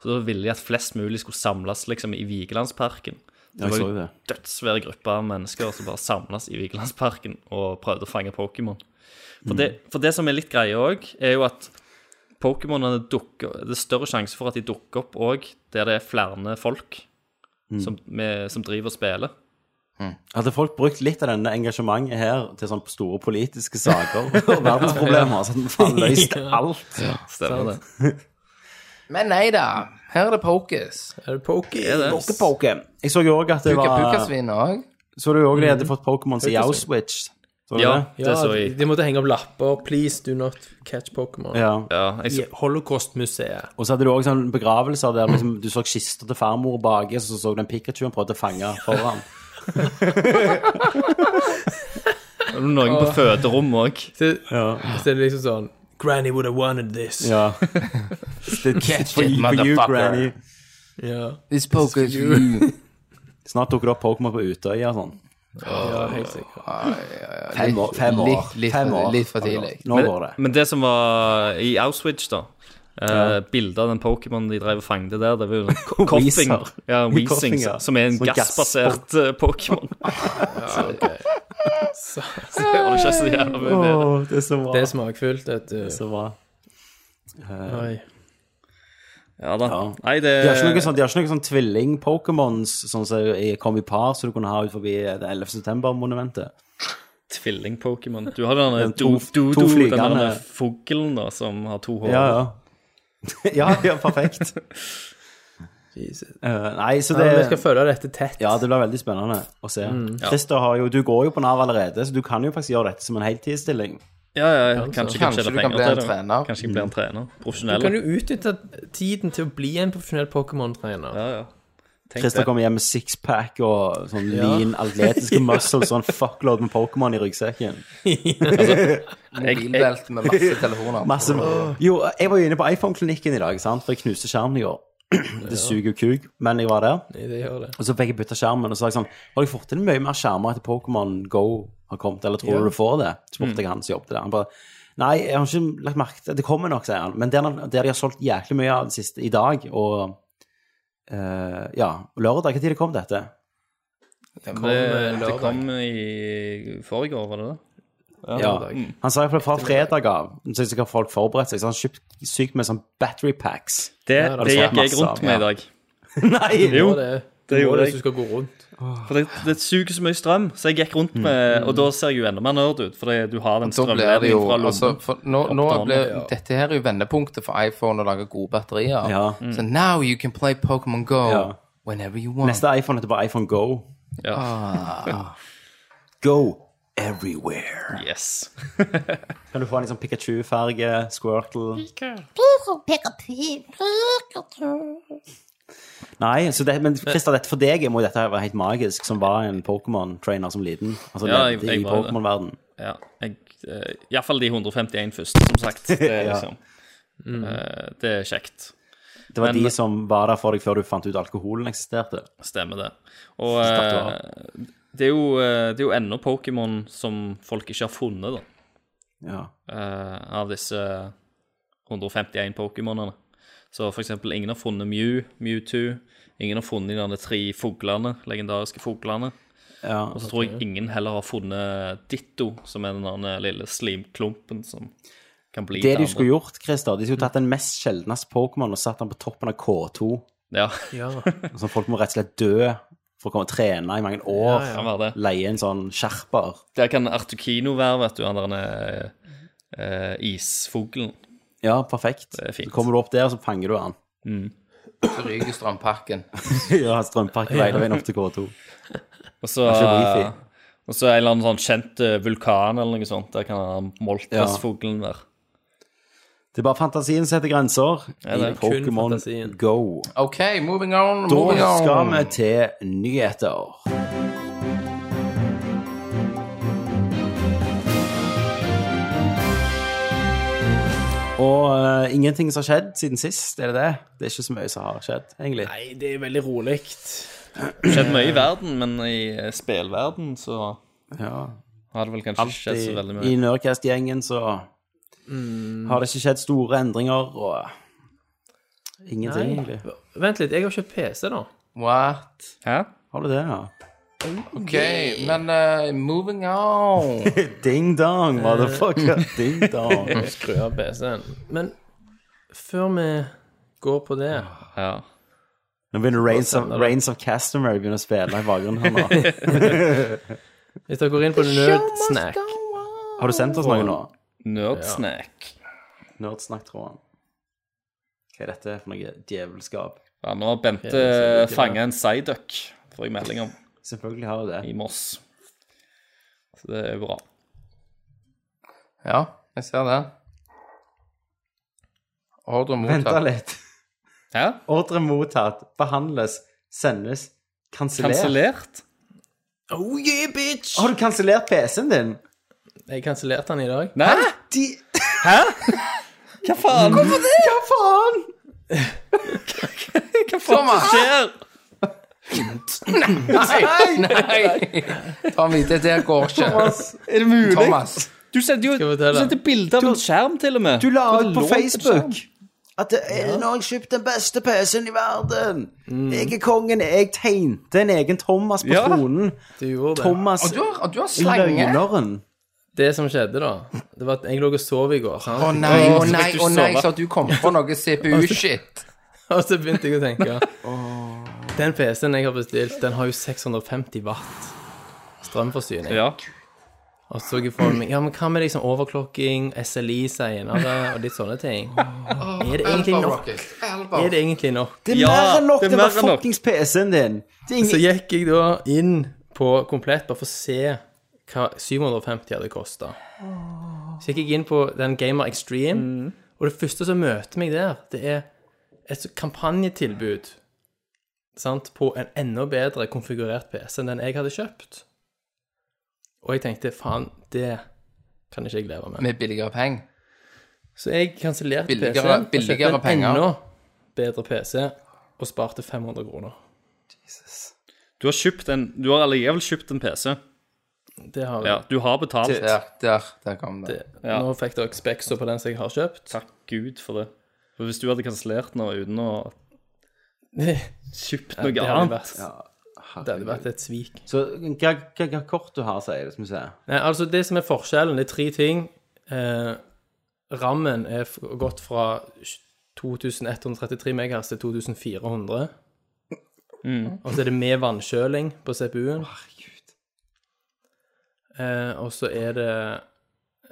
Speaker 3: Så da ville de at flest mulig skulle samles liksom i Vigelandsparken. Så
Speaker 1: Ja, jeg
Speaker 3: det
Speaker 1: så
Speaker 3: var
Speaker 1: jo
Speaker 3: jo
Speaker 1: det.
Speaker 3: dødssvær gruppe av mennesker som bare samles i Vigelandsparken og prøvde å fange Pokémon. For, det,
Speaker 1: Mm.
Speaker 3: for det som er litt greie òg, er jo at Pokémonene dukker Det er større sjanse for at de dukker opp òg der det er flere folk
Speaker 1: Mm.
Speaker 3: som, med, som driver og spiller.
Speaker 1: Hadde folk brukt litt av denne engasjementet her til sånne store politiske saker og verdensproblemer, så hadde vi faen løst alt.
Speaker 3: Stemmer det.
Speaker 4: Men nei da, her er det pokis.
Speaker 2: Er det Pokey?
Speaker 3: Er det?
Speaker 1: Poke-poke. Jeg så jo òg at det var
Speaker 4: Pukasvin òg.
Speaker 1: Så du òg de
Speaker 4: Mm.
Speaker 1: hadde fått Pokémons i Auschwitz? Så du
Speaker 3: Ja,
Speaker 1: det?
Speaker 3: det
Speaker 2: Ja,
Speaker 3: så
Speaker 2: de,
Speaker 3: jeg.
Speaker 2: de måtte henge opp lapper. 'Please do not catch Pokémon'.
Speaker 1: Ja.
Speaker 3: Ja, jeg
Speaker 2: I
Speaker 3: så,
Speaker 2: Holocaustmuseet.
Speaker 1: Og så hadde du òg sånn begravelser der liksom, du så kista til farmor baki, så så du en Pikachu han prøvde å fange foran.
Speaker 3: det var noen på føderommet òg.
Speaker 2: Så, så er det liksom sånn Granny would have wanted this.
Speaker 1: Ja. Stitt,
Speaker 4: Catch
Speaker 1: for, for
Speaker 4: it,
Speaker 1: you,
Speaker 4: motherfucker.
Speaker 1: granny.
Speaker 2: Ja,
Speaker 4: This Pokasvin.
Speaker 1: Snart dukker det opp Pokémon på Utøya og sånn.
Speaker 2: ja helt sikkert.
Speaker 1: Fem år. Fem år.
Speaker 4: Litt, litt,
Speaker 1: Fem år.
Speaker 4: litt for tidlig.
Speaker 1: Nå går det.
Speaker 3: Men det som var i Auschwitz, da eh, Bildet av den Pokémonen de drev og fanget der, det var jo sånn
Speaker 1: Wheezer.
Speaker 3: Coffing. Ja, Weezing,
Speaker 1: Coffing, ja.
Speaker 3: som er en
Speaker 1: Sånn
Speaker 3: gassbasert eh, Pokémon.
Speaker 2: Så,
Speaker 3: Det var ikke så jævla mye bedre.
Speaker 1: Åh, det er så bra.
Speaker 2: det er smakfullt, vet du.
Speaker 1: så bra.
Speaker 2: Oi.
Speaker 3: Ja da.
Speaker 1: Ja.
Speaker 3: Nei, det
Speaker 1: De har ikke noe sånn, de har ikke noe sånn tvilling-Pokémons sånn som i- kom i par, som du kunne ha ut forbi det 11. september-monumentet.
Speaker 3: Tvilling-Pokémon. Du har den der
Speaker 1: sånn- to-
Speaker 3: do, do,
Speaker 1: to
Speaker 3: do, den
Speaker 1: flygende-
Speaker 3: der med fuglen da, som har to hår.
Speaker 1: Ja, ja. ja, ja, perfekt.
Speaker 2: Jesus.
Speaker 1: Eh, nei, så
Speaker 2: Ja, vi skal Mm.
Speaker 1: det
Speaker 2: følge dette tett.
Speaker 1: Ja, det blir veldig spennende å se. Christer har jo Du går jo på Nav allerede, så du kan jo faktisk gjøre dette som en heltidsstilling.
Speaker 3: ja, ja, ja. Kanskje,
Speaker 4: Kanskje
Speaker 3: kanskje
Speaker 4: du kan bli en trener.
Speaker 3: Kanskje jeg blir en trener.
Speaker 2: Du kan
Speaker 3: Profesjonell.
Speaker 2: jo utnytte tiden til å bli en profesjonell Pokémon-trener.
Speaker 3: Ja, ja. Tenk
Speaker 1: Christer
Speaker 3: det.
Speaker 1: kommer hjem med sixpack og sånn lean atletiske muscles og en fuckload med Pokémon i ryggsekken.
Speaker 4: Mobilbelt med masse telefoner.
Speaker 1: Masse Jo, jeg var jo inne på iPhone-klinikken i dag, sant? for jeg knuste skjermen i går. Det suger jo kuk, men jeg var der.
Speaker 2: Nei, det gjør det.
Speaker 1: Og så fikk jeg bytta skjermen, og så sa jeg sånn Har du fått inn mye mer skjermer etter Pokémon Go har kommet, eller tror du du får det? spurte jeg han som jobbet der. Han bare Nei, jeg har ikke lagt merke til Det kommer nok, sier han. Men der, der de har solgt jæklig mye av det siste i dag, og eh, Ja, lørdag. Når kom dette?
Speaker 3: Det,
Speaker 2: Kom, eh,
Speaker 3: det
Speaker 2: lørdag.
Speaker 3: kom i forrige år, var det det?
Speaker 1: Ja.
Speaker 2: lørdag.
Speaker 1: Han sa iallfall fra fredag av, så sikkert folk forberedt seg, så han kjøpte sykt med sånn battery packs.
Speaker 3: Det,
Speaker 2: Ja,
Speaker 3: det
Speaker 1: var
Speaker 2: det
Speaker 3: gikk jeg
Speaker 1: masse av,
Speaker 3: rundt med
Speaker 1: ja.
Speaker 3: i dag.
Speaker 1: Nei!
Speaker 2: Jo,
Speaker 3: Jo,
Speaker 2: det,
Speaker 3: det gjorde
Speaker 2: det gjorde
Speaker 3: jeg.
Speaker 2: jeg. Du skal gå rundt.
Speaker 3: for det, det suger så mye strøm, så jeg gikk rundt med Og da ser jeg jo enda mer nerd ut, fordi du har den
Speaker 4: Da Mm. blir det jo
Speaker 3: strømledningen fra lommen.
Speaker 4: altså, for nå, nå
Speaker 3: Oppdragen,
Speaker 4: blir, Dette her er jo vendepunktet for iPhone å lage gode batterier.
Speaker 1: Ja.
Speaker 4: Så now you can play Pokémon Go
Speaker 1: Mm. Ja.
Speaker 4: whenever you want.
Speaker 1: Neste iPhone heter bare iPhone Go.
Speaker 3: Ja.
Speaker 1: Go everywhere.
Speaker 3: Yes.
Speaker 1: Kan du få en sånn Pikachu-farge, Squirtle
Speaker 5: People pick a pig. Pikachu.
Speaker 1: Nei, så det,
Speaker 3: Eh.
Speaker 1: men Christer, dette for deg må jo dette her være helt magisk, som var en Pokémon-trainer som liten. Altså
Speaker 3: Ja, jeg-
Speaker 1: levde
Speaker 3: jeg
Speaker 1: i
Speaker 3: var det.
Speaker 1: Pokémon-verden.
Speaker 3: Ja, jeg, eh, i
Speaker 4: Mm.
Speaker 3: hvert fall de 151 først, som sagt. Det er liksom eh, Det er kjekt.
Speaker 1: Det var
Speaker 3: Men-
Speaker 1: de som var der for deg før du fant ut alkoholen eksisterte.
Speaker 3: Stemmer det. Og
Speaker 1: Statuer.
Speaker 3: eh, det er jo, eh, det er jo ennå Pokémon som folk ikke har funnet, da.
Speaker 1: Ja.
Speaker 3: eh, av disse 151 Pokémonene. Så for eksempel, ingen har funnet Mew, Mewtwo. Ingen har funnet de der tre fuglene, legendariske fuglene.
Speaker 1: ja.
Speaker 3: Og så tror jeg ingen heller har funnet Ditto, som er den der lille slimklumpen som kan bli
Speaker 1: Det de skulle gjort, Christer, de skulle tatt den mest sjeldneste Pokémon og satt den på toppen av K2.
Speaker 3: Ja,
Speaker 2: Ja.
Speaker 1: Så folk må rett og slett dø for å komme og trene i mange år.
Speaker 2: Ja,
Speaker 3: kan være det.
Speaker 1: Leie en sånn skjerper.
Speaker 3: Der kan Artukino være, vet du. Han der eh, eh, isfuglen.
Speaker 1: Ja, perfekt.
Speaker 3: Det er fint.
Speaker 1: Så kommer du opp der, så fanger du han.
Speaker 4: Så ryker strømpakken.
Speaker 1: ja, strømpakke hele veien opp til K2.
Speaker 3: Og så,
Speaker 1: Kanskje wifi.
Speaker 3: og så en eller annen sånn kjent eh, vulkan eller noe sånt. Der kan han Moltres-fuglen være.
Speaker 1: Det er bare fantasien setter grenser i
Speaker 3: det er
Speaker 2: kun
Speaker 1: Pokémon
Speaker 2: fantasien.
Speaker 1: Go.
Speaker 4: OK, moving on, moving
Speaker 1: Da
Speaker 4: on.
Speaker 1: skal vi til nyheter. Og eh, ingenting som har skjedd siden sist, er det det? Det er ikke så mye som har skjedd, egentlig.
Speaker 2: Nei, det er veldig rolig.
Speaker 3: skjedd mye i verden, men i eh, spelverden så
Speaker 1: Ja.
Speaker 3: har det vel kanskje ikke skjedd så veldig
Speaker 1: I, i
Speaker 3: mye. Mm.
Speaker 1: Nerdcast-gjengen så har det ikke skjedd store endringer og ingenting, egentlig.
Speaker 2: Vent litt, jeg har kjøpt PC, da.
Speaker 4: What?
Speaker 3: Hæ?
Speaker 1: Har du det, ja?
Speaker 4: OK, men eh, moving on.
Speaker 1: Ding dong, motherfucker. Ding dong.
Speaker 2: Skru av PC-en. Men før vi går på det
Speaker 3: Ja.
Speaker 1: Nå begynner Rains of, Reigns of Castamere begynner å spille i bakgrunnen her nå.
Speaker 2: Hvis dere går inn på Nerdsnack
Speaker 1: Har du sendt oss noe nå?
Speaker 3: Nerdsnack.
Speaker 1: Nerdsnakk, tror han. Hva er dette for noe djevelskap?
Speaker 3: Ja, nå har Bente
Speaker 2: det ser
Speaker 3: fanga en Psyduck, får jeg melding om,
Speaker 1: Selvfølgelig har du det.
Speaker 3: i Moss. Så det er bra.
Speaker 4: Ja, jeg ser det. Ordre
Speaker 1: Vent
Speaker 4: mottatt.
Speaker 1: litt.
Speaker 3: Hæ?
Speaker 1: Ordre mottatt. Behandles. Sendes. Kansellert.
Speaker 3: Kansellert?
Speaker 2: Oh yeah, bitch!
Speaker 1: Har du kansellert PC-en din?
Speaker 2: Jeg kansellerte den i dag.
Speaker 3: Nei?
Speaker 1: De...
Speaker 3: Hva faen?
Speaker 1: Hva faen?
Speaker 3: Hva faen som skjer?
Speaker 4: Nei, nei! Tommy, det der går ikke.
Speaker 3: Er det mulig?
Speaker 4: Thomas.
Speaker 3: Du sendte jo
Speaker 2: jeg fortelle?
Speaker 3: du sendte bilde av en skjerm, til og med.
Speaker 1: Du la ut
Speaker 3: Det
Speaker 1: på
Speaker 3: lå
Speaker 1: Facebook
Speaker 3: skjerm.
Speaker 1: at det er, nå har jeg kjøpt den beste PC-en i verden. Jeg er kongen. Jeg tegnte en egen Thomas på
Speaker 3: Ja.
Speaker 1: tronen.
Speaker 2: Du gjorde det.
Speaker 1: Thomas
Speaker 4: Og du har, og du har slange.
Speaker 1: Løgneren.
Speaker 2: Det som skjedde, da, det var at jeg lå og sov i går. Sant?
Speaker 4: Å nei, å nei, å nei, så du kom på noe CPU-shit.
Speaker 2: Og så begynte jeg å tenke Den PC-en jeg har bestilt, den har jo 650 watt strømforsyning.
Speaker 3: Ja.
Speaker 2: Og så så jeg for meg Ja, men hva med liksom overklokking, SLI senere, og litt sånne ting? Er det egentlig nok? Er det egentlig nok?
Speaker 1: Det er
Speaker 3: Ja,
Speaker 1: mer enn nok.
Speaker 3: det er
Speaker 1: Det var
Speaker 3: mer enn nok.
Speaker 1: fuckings PC-en din. Det er
Speaker 2: Så
Speaker 1: ingen...
Speaker 2: gikk jeg da inn på komplett bare for å se hva 750 hadde kosta. Så gikk jeg inn på den Gamer
Speaker 4: Mm.
Speaker 2: Extreme, og det første som møter meg der, det er et kampanjetilbud sant, på en enda bedre konfigurert PC enn den jeg hadde kjøpt. Og jeg tenkte faen, det kan ikke jeg leve med.
Speaker 4: Med billigere penger.
Speaker 2: Så jeg kansellerte
Speaker 4: Billigere-
Speaker 2: PC-en og
Speaker 4: billigere
Speaker 2: kjøpte en
Speaker 4: penger.
Speaker 2: enda bedre PC og sparte 500 kroner.
Speaker 3: Du har kjøpt en Du har allikevel kjøpt en PC.
Speaker 2: Det har jeg.
Speaker 3: Ja, du har betalt.
Speaker 4: Der, der, der kom det.
Speaker 3: Ja.
Speaker 2: Nå fikk dere Spexo på den som jeg har kjøpt.
Speaker 3: Takk Gud for det. For hvis du hadde kansellert nå uten å
Speaker 2: Det
Speaker 3: kjøpt noe
Speaker 2: hadde
Speaker 3: annet
Speaker 2: vært, det hadde vært et svik.
Speaker 1: Så hva, hva, hva kort du har, sier det, skal vi se.
Speaker 2: Nei, altså Det som er forskjellen, det er tre ting. Eh, rammen er f- gått fra 2133 MHz til 2400. Og så er det med vannkjøling på CPU-en. Eh, og så er det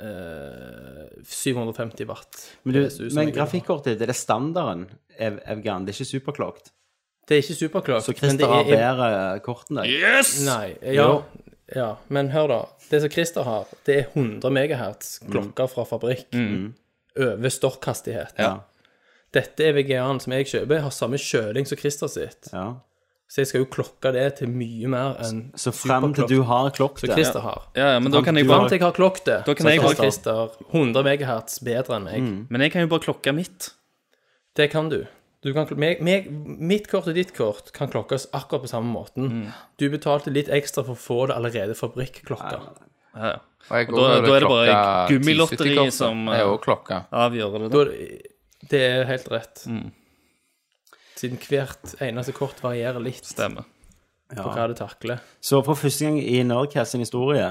Speaker 2: eh, 750 watt.
Speaker 1: Men, du,
Speaker 2: PSU som
Speaker 1: men
Speaker 2: jeg vil ha.
Speaker 1: grafikkortet, det er det standarden, Ev- Evgan. Det er ikke superklokt.
Speaker 2: Det er ikke superklart.
Speaker 1: Så
Speaker 2: men
Speaker 1: Christer
Speaker 2: det
Speaker 1: har
Speaker 2: er- E
Speaker 1: bedre kort enn deg.
Speaker 3: Yes!
Speaker 2: Nei, ja, ja, men hør da. Det som Christer har, det er 100 megahertz
Speaker 3: Mm.
Speaker 2: klokker fra fabrikk. Over stokkhastighet.
Speaker 1: Ja.
Speaker 2: Dette er VGA-en som jeg kjøper, jeg har samme kjøling som Christer sitt.
Speaker 1: Ja.
Speaker 2: Så jeg skal jo klokke det til mye mer enn
Speaker 1: Så frem til du har klokket
Speaker 2: som Christer har.
Speaker 3: Ja, ja, men da kan jeg
Speaker 2: Frem
Speaker 3: bare
Speaker 2: til jeg har klokket det,
Speaker 3: Da kan jeg Mm.
Speaker 2: så har
Speaker 3: bare-
Speaker 2: Christer 100 megahertz bedre enn meg.
Speaker 3: Men jeg kan jo bare klokka mitt.
Speaker 2: Det kan du. Du kan, meg, meg, mitt kort og ditt kort kan klokkes akkurat på samme måten.
Speaker 3: Mm.
Speaker 2: Du betalte litt ekstra for å få det allerede fabrikklokka.
Speaker 3: Ja, ja.
Speaker 4: Og jeg
Speaker 3: Og da-
Speaker 4: går
Speaker 3: da er det
Speaker 4: klokka
Speaker 3: bare
Speaker 4: 10.70
Speaker 3: gummilotteri
Speaker 4: klokka.
Speaker 3: som,
Speaker 4: Det er jo klokka.
Speaker 3: Avgjør det.
Speaker 2: Da, er det- det er helt rett. Siden hvert eneste kort varierer litt
Speaker 3: Stemmer.
Speaker 2: på hva du takler.
Speaker 1: Så for første gang i Nerdcast sin historie,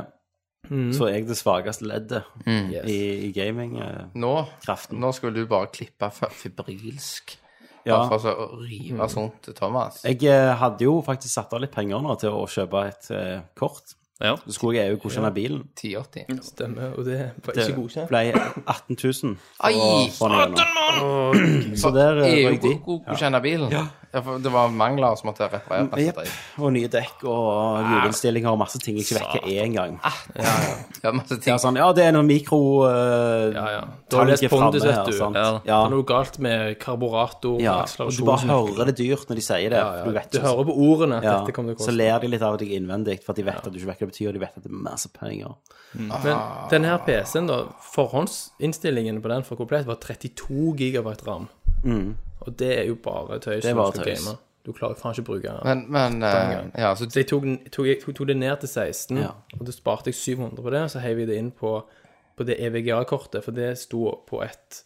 Speaker 1: så er jeg det svakeste leddet
Speaker 2: Yes.
Speaker 1: i, i gaming. eh,
Speaker 4: Nå,
Speaker 1: Kraften.
Speaker 4: nå skulle du bare klippe fa- fibrilsk.
Speaker 1: Ja.
Speaker 4: Bare for å rive sånt til Thomas.
Speaker 1: Jeg eh, hadde jo faktisk satt av litt penger nå til å kjøpe et eh, kort.
Speaker 3: Ja.
Speaker 1: Så skulle jeg jo godkjenne bilen.
Speaker 4: 1080.
Speaker 2: Mm. Stemmer, og det var
Speaker 1: Det
Speaker 2: ikke godkjent.
Speaker 1: ble 18 000.
Speaker 4: Ai!
Speaker 1: for den gjennom. Så der eh,
Speaker 4: EU
Speaker 1: røyk de.
Speaker 4: godkjenner bilen. Ja, for det var mangler som måtte repareres.
Speaker 2: altså,
Speaker 1: Jepp. Og nye dekk og hjulinnstillinger og masse ting jeg ikke vet hva er engang.
Speaker 2: Ah.
Speaker 4: Ja, masse ting.
Speaker 1: Ja, sånn, ja, det er noen mikro... eh,
Speaker 2: Ja, ja. Da har du lest
Speaker 1: tanker framme
Speaker 2: Pondus,
Speaker 1: her,
Speaker 2: vet du.
Speaker 1: sant?
Speaker 2: Ja.
Speaker 1: Ja.
Speaker 2: Det er noe galt med karburator,
Speaker 1: Ja, og du
Speaker 2: akselerasjon
Speaker 1: bare hører det dyrt når de sier det.
Speaker 2: Ja, ja.
Speaker 1: for Du, vet
Speaker 2: Du
Speaker 1: ikke-
Speaker 2: hører på ordene at
Speaker 1: ja,
Speaker 2: dette kommer til å
Speaker 1: Så
Speaker 2: koste.
Speaker 1: ler de litt av deg innvendig, for de vet at du ikke vet hva det betyr, og de vet at det er masse penger.
Speaker 2: Men den her PC-en, da, forhåndsinnstillingen på den for komplett var 32 gigabyte ram. Og det er jo bare tøys.
Speaker 1: Mm. er
Speaker 2: når
Speaker 1: bare
Speaker 2: du skal
Speaker 1: tøys.
Speaker 2: game. Du klarer faen ikke å bruke den.
Speaker 4: Men, men eh, Ja, så
Speaker 2: Så jeg tok, den- tok, jeg tok, tok det ned til 16,
Speaker 1: Ja.
Speaker 2: og da sparte jeg 700 på det, og så heiv jeg det inn på, på det E EVGA-kortet, for det sto på et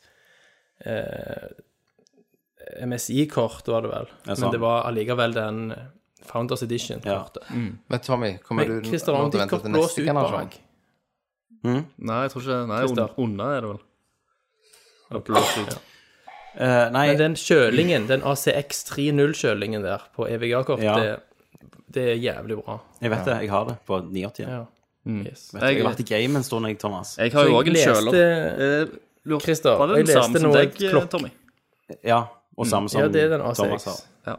Speaker 2: eh, MSI-kort, var det vel.
Speaker 1: Ja, sant.
Speaker 2: Men det var allikevel den eh, Founders Edition-kortet.
Speaker 4: Men Tommy, kommer
Speaker 2: Men
Speaker 4: du
Speaker 2: Christer,
Speaker 4: må
Speaker 2: om
Speaker 4: du
Speaker 2: ditt
Speaker 4: vente
Speaker 2: kort
Speaker 4: til
Speaker 2: blåser
Speaker 4: neste
Speaker 2: ut
Speaker 4: generasjon?
Speaker 2: bak
Speaker 3: Nei, jeg tror ikke Nei,
Speaker 2: Christer.
Speaker 3: un- unna er det vel.
Speaker 2: ja.
Speaker 1: Eh, nei,
Speaker 2: Men den kjølingen, den ACX 3.0-kjølingen der på E EVGA-kort,
Speaker 1: Ja.
Speaker 2: det, det er jævlig bra.
Speaker 1: jeg vet det. Jeg har det på 89.
Speaker 2: Ja. Yes.
Speaker 1: Vet du, Jeg
Speaker 3: Jeg-
Speaker 1: har vært i game en stund, jeg, Thomas.
Speaker 3: Jeg har
Speaker 2: Så
Speaker 3: jo
Speaker 2: jeg
Speaker 3: òg en
Speaker 2: leste-
Speaker 3: kjøler. Eh, lurte-
Speaker 2: Christer,
Speaker 3: var det
Speaker 2: jeg
Speaker 3: den samme
Speaker 2: leste
Speaker 3: som
Speaker 2: noe
Speaker 3: deg, eh,
Speaker 2: klokk-
Speaker 3: Tommy?
Speaker 1: Ja, og samme som
Speaker 2: Ja, det er den
Speaker 1: Thomas har.
Speaker 2: ACX.
Speaker 3: Ja.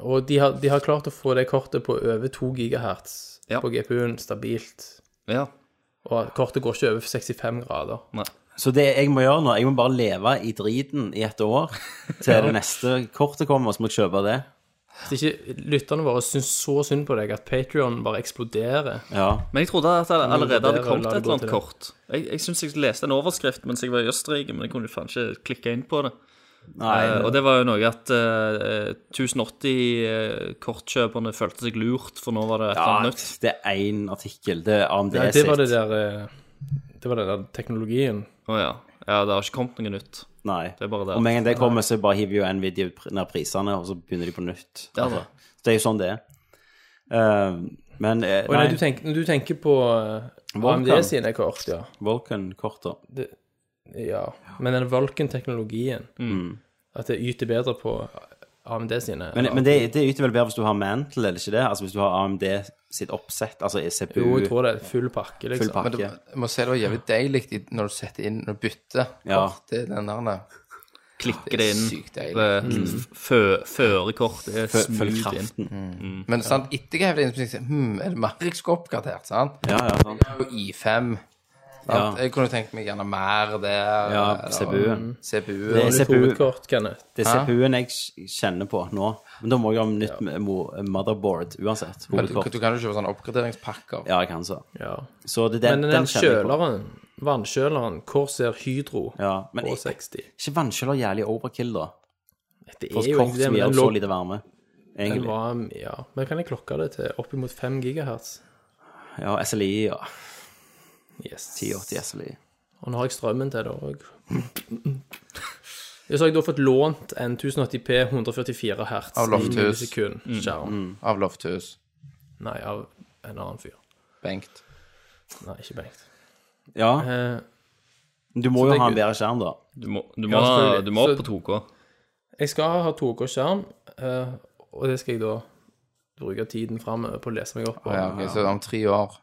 Speaker 2: Og de har, de har klart å få det kortet på over 2 GHz
Speaker 3: Ja.
Speaker 2: på GPU-en stabilt.
Speaker 3: Ja.
Speaker 2: Og at kortet går ikke over 65 grader.
Speaker 3: Nei.
Speaker 1: Så det jeg må gjøre nå, jeg må bare leve i driten i et år til det neste kortet kommer, så må jeg kjøpe det.
Speaker 2: Hvis ikke lytterne våre syns så synd på deg at Patrion bare eksploderer
Speaker 1: Ja.
Speaker 3: Men jeg trodde at det allerede hadde
Speaker 2: vurdere å
Speaker 3: kommet
Speaker 2: la
Speaker 3: et eller
Speaker 2: det gå
Speaker 3: annet
Speaker 2: til det.
Speaker 3: kort. Jeg, jeg syns jeg leste en overskrift mens jeg var i Østerrike, men jeg kunne faen ikke klikke inn på det.
Speaker 1: Nei,
Speaker 3: Eh, og det var jo noe at eh, 1080-kortkjøperne følte seg lurt, for nå var det et eller
Speaker 1: ja,
Speaker 3: annet nytt.
Speaker 1: det er én artikkel. Det er AMD
Speaker 2: Nei, det
Speaker 1: sitt.
Speaker 2: var det der eh, Det var den der teknologien.
Speaker 3: Å ja. ja, det har ikke kommet noe nytt.
Speaker 1: Nei.
Speaker 3: Det er bare det.
Speaker 1: Og med en gang det kommer, så bare hiver jo Nvidia pr- ned prisene, og så begynner de på nytt.
Speaker 3: Ja, da.
Speaker 1: Så det er jo sånn det er. Eh, men eh,
Speaker 2: Å, nei,
Speaker 1: nei,
Speaker 2: du tenker, du tenker på eh,
Speaker 1: Vulkan.
Speaker 2: AMD sine kort, ja.
Speaker 1: Vulcan-kortet.
Speaker 2: ja. Men den Vulcan-teknologien At det yter bedre på AMD sine.
Speaker 1: Mm. Men, men det, det yter vel bedre hvis du har Mantle, eller ikke det? Altså hvis du har AMD sitt oppsett, altså CPU,
Speaker 2: jo, jeg tror det er full pakke, liksom.
Speaker 1: full pakke.
Speaker 4: Jeg må si det var jævlig deilig i- når du setter inn når du bytter
Speaker 1: Ja.
Speaker 4: kort til den der nei.
Speaker 3: Klikker
Speaker 4: Det
Speaker 3: det
Speaker 4: er
Speaker 3: inn.
Speaker 4: sykt deilig.
Speaker 3: Mm. Førerkortet er
Speaker 1: Fø- Følg
Speaker 3: smooth inn.
Speaker 1: kraften.
Speaker 4: Men sant, etter jeg hevet inn, så tenkte jeg hm, er det Matrix skal oppgradert, sant?
Speaker 1: Ja, ja, sant.
Speaker 4: På I5.
Speaker 1: Ja.
Speaker 4: Sant? Jeg kunne tenkt meg gjerne mer der.
Speaker 1: Ja,
Speaker 4: eller-
Speaker 1: CPU.
Speaker 4: CPU.
Speaker 1: Det
Speaker 2: Har
Speaker 1: er
Speaker 2: du et
Speaker 1: CPU.
Speaker 2: hovedkort, Kenneth?
Speaker 1: Det er CPU-en jeg kj- kjenner på nå. Men da må jeg ha nytt mo- motherboard uansett.
Speaker 4: Men du,
Speaker 1: Hovedkort.
Speaker 4: du kan jo kjøpe sånne oppgraderingspakker.
Speaker 1: Ja, jeg kan så.
Speaker 2: Ja.
Speaker 1: Så det, den,
Speaker 2: Men den
Speaker 1: den
Speaker 2: der
Speaker 1: kjenner jeg på.
Speaker 2: kjøleren, vannkjøleren, Corsair Hydro
Speaker 1: Ja, men
Speaker 2: på
Speaker 1: ikke
Speaker 2: 60
Speaker 1: vannkjøler jævlig overkill, da.
Speaker 2: Det
Speaker 1: For
Speaker 2: er
Speaker 1: et
Speaker 2: jo
Speaker 1: kort
Speaker 2: egentlig det,
Speaker 1: som
Speaker 2: men
Speaker 1: gir
Speaker 2: den
Speaker 1: opp så
Speaker 2: lå
Speaker 1: lite varme.
Speaker 2: den
Speaker 1: Egentlig.
Speaker 2: var, Ja, men kan jeg klokke det til oppimot 5 GHz?
Speaker 1: Ja, SLI, ja.
Speaker 2: Yes.
Speaker 1: 1080 SLI.
Speaker 2: Og nå har jeg strømmen til det òg. Så har jeg da fått lånt en 1080P 144 hertz
Speaker 4: Av Lofthus. Mm.
Speaker 2: skjerm.
Speaker 1: Mm.
Speaker 4: Av Lofthus.
Speaker 2: Nei, av en annen fyr.
Speaker 4: Bengt.
Speaker 2: Nei, ikke Bengt.
Speaker 1: Ja,
Speaker 2: Eh,
Speaker 1: du må jo
Speaker 2: det er
Speaker 1: ha en
Speaker 2: gud.
Speaker 1: bedre skjerm, da.
Speaker 3: Du må, du
Speaker 2: Ja,
Speaker 3: må, ha-
Speaker 2: selvfølgelig.
Speaker 3: du må opp
Speaker 2: Så-
Speaker 3: på 2K.
Speaker 2: jeg skal ha 2K-skjerm, eh, og det skal jeg da bruke tiden framover på å lese meg opp på.
Speaker 4: Ja, ok, Så om tre år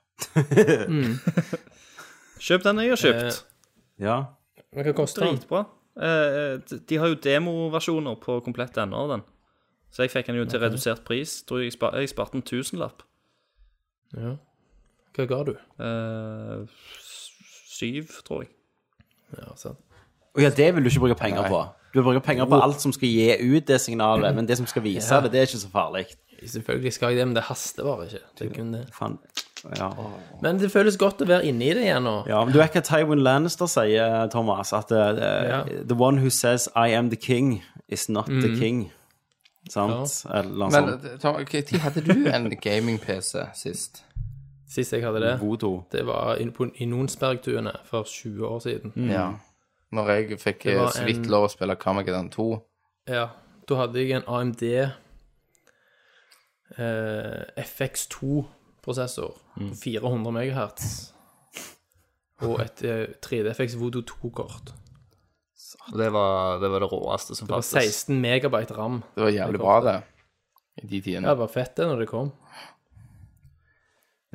Speaker 3: Kjøp den jeg har
Speaker 2: Eh,
Speaker 3: kjøpt.
Speaker 1: Ja.
Speaker 2: Men hva koster den?
Speaker 3: Dritbra. Eh, de- de har jo demoversjoner på komplett ennå av den. Så jeg fikk den jo til redusert pris. Tror jeg, spar, jeg sparte en tusenlapp.
Speaker 2: Ja. Hva ga du?
Speaker 3: Eh, s- syv, tror jeg.
Speaker 2: Ja, sant.
Speaker 1: Og ja, det vil du ikke bruke penger på. Du vil bruke penger på alt som skal gi ut det signalet, men det som skal vise det, det er ikke så farlig.
Speaker 2: Selvfølgelig skal jeg det, men det haster bare ikke. Det er kun det.
Speaker 1: Fan. Ja.
Speaker 2: Men det føles godt å være inni det igjen nå.
Speaker 1: ja, men du vet hva Tywin Lannister sier, Thomas, at eh,
Speaker 2: Ja. Mhm.
Speaker 1: the one who says I am the king It's not the king. Sant? Eller noe
Speaker 4: Men
Speaker 1: sånt.
Speaker 4: Tom, hva tid hadde du en gaming-PC sist?
Speaker 2: Sist jeg hadde det,
Speaker 1: Vodo.
Speaker 2: det var inne på Inonsbergtuene for 20 år siden.
Speaker 3: Mm.
Speaker 4: Ja. Når jeg fikk eh,
Speaker 2: var
Speaker 4: så vidt
Speaker 2: en-
Speaker 4: lov å spille Carmageddon 2.
Speaker 2: Ja, da hadde jeg en AMD eh, FX2-prosessor
Speaker 3: Mm.
Speaker 2: på 400 MHz. Og et eh, 3DFX Voodoo 2-kort.
Speaker 3: Og det var det, var det råeste som
Speaker 2: Det var
Speaker 3: fantes.
Speaker 2: 16 megabyte ram.
Speaker 4: Det var jævlig bra, det. I de tidene.
Speaker 2: Ja, det var fett det når det kom.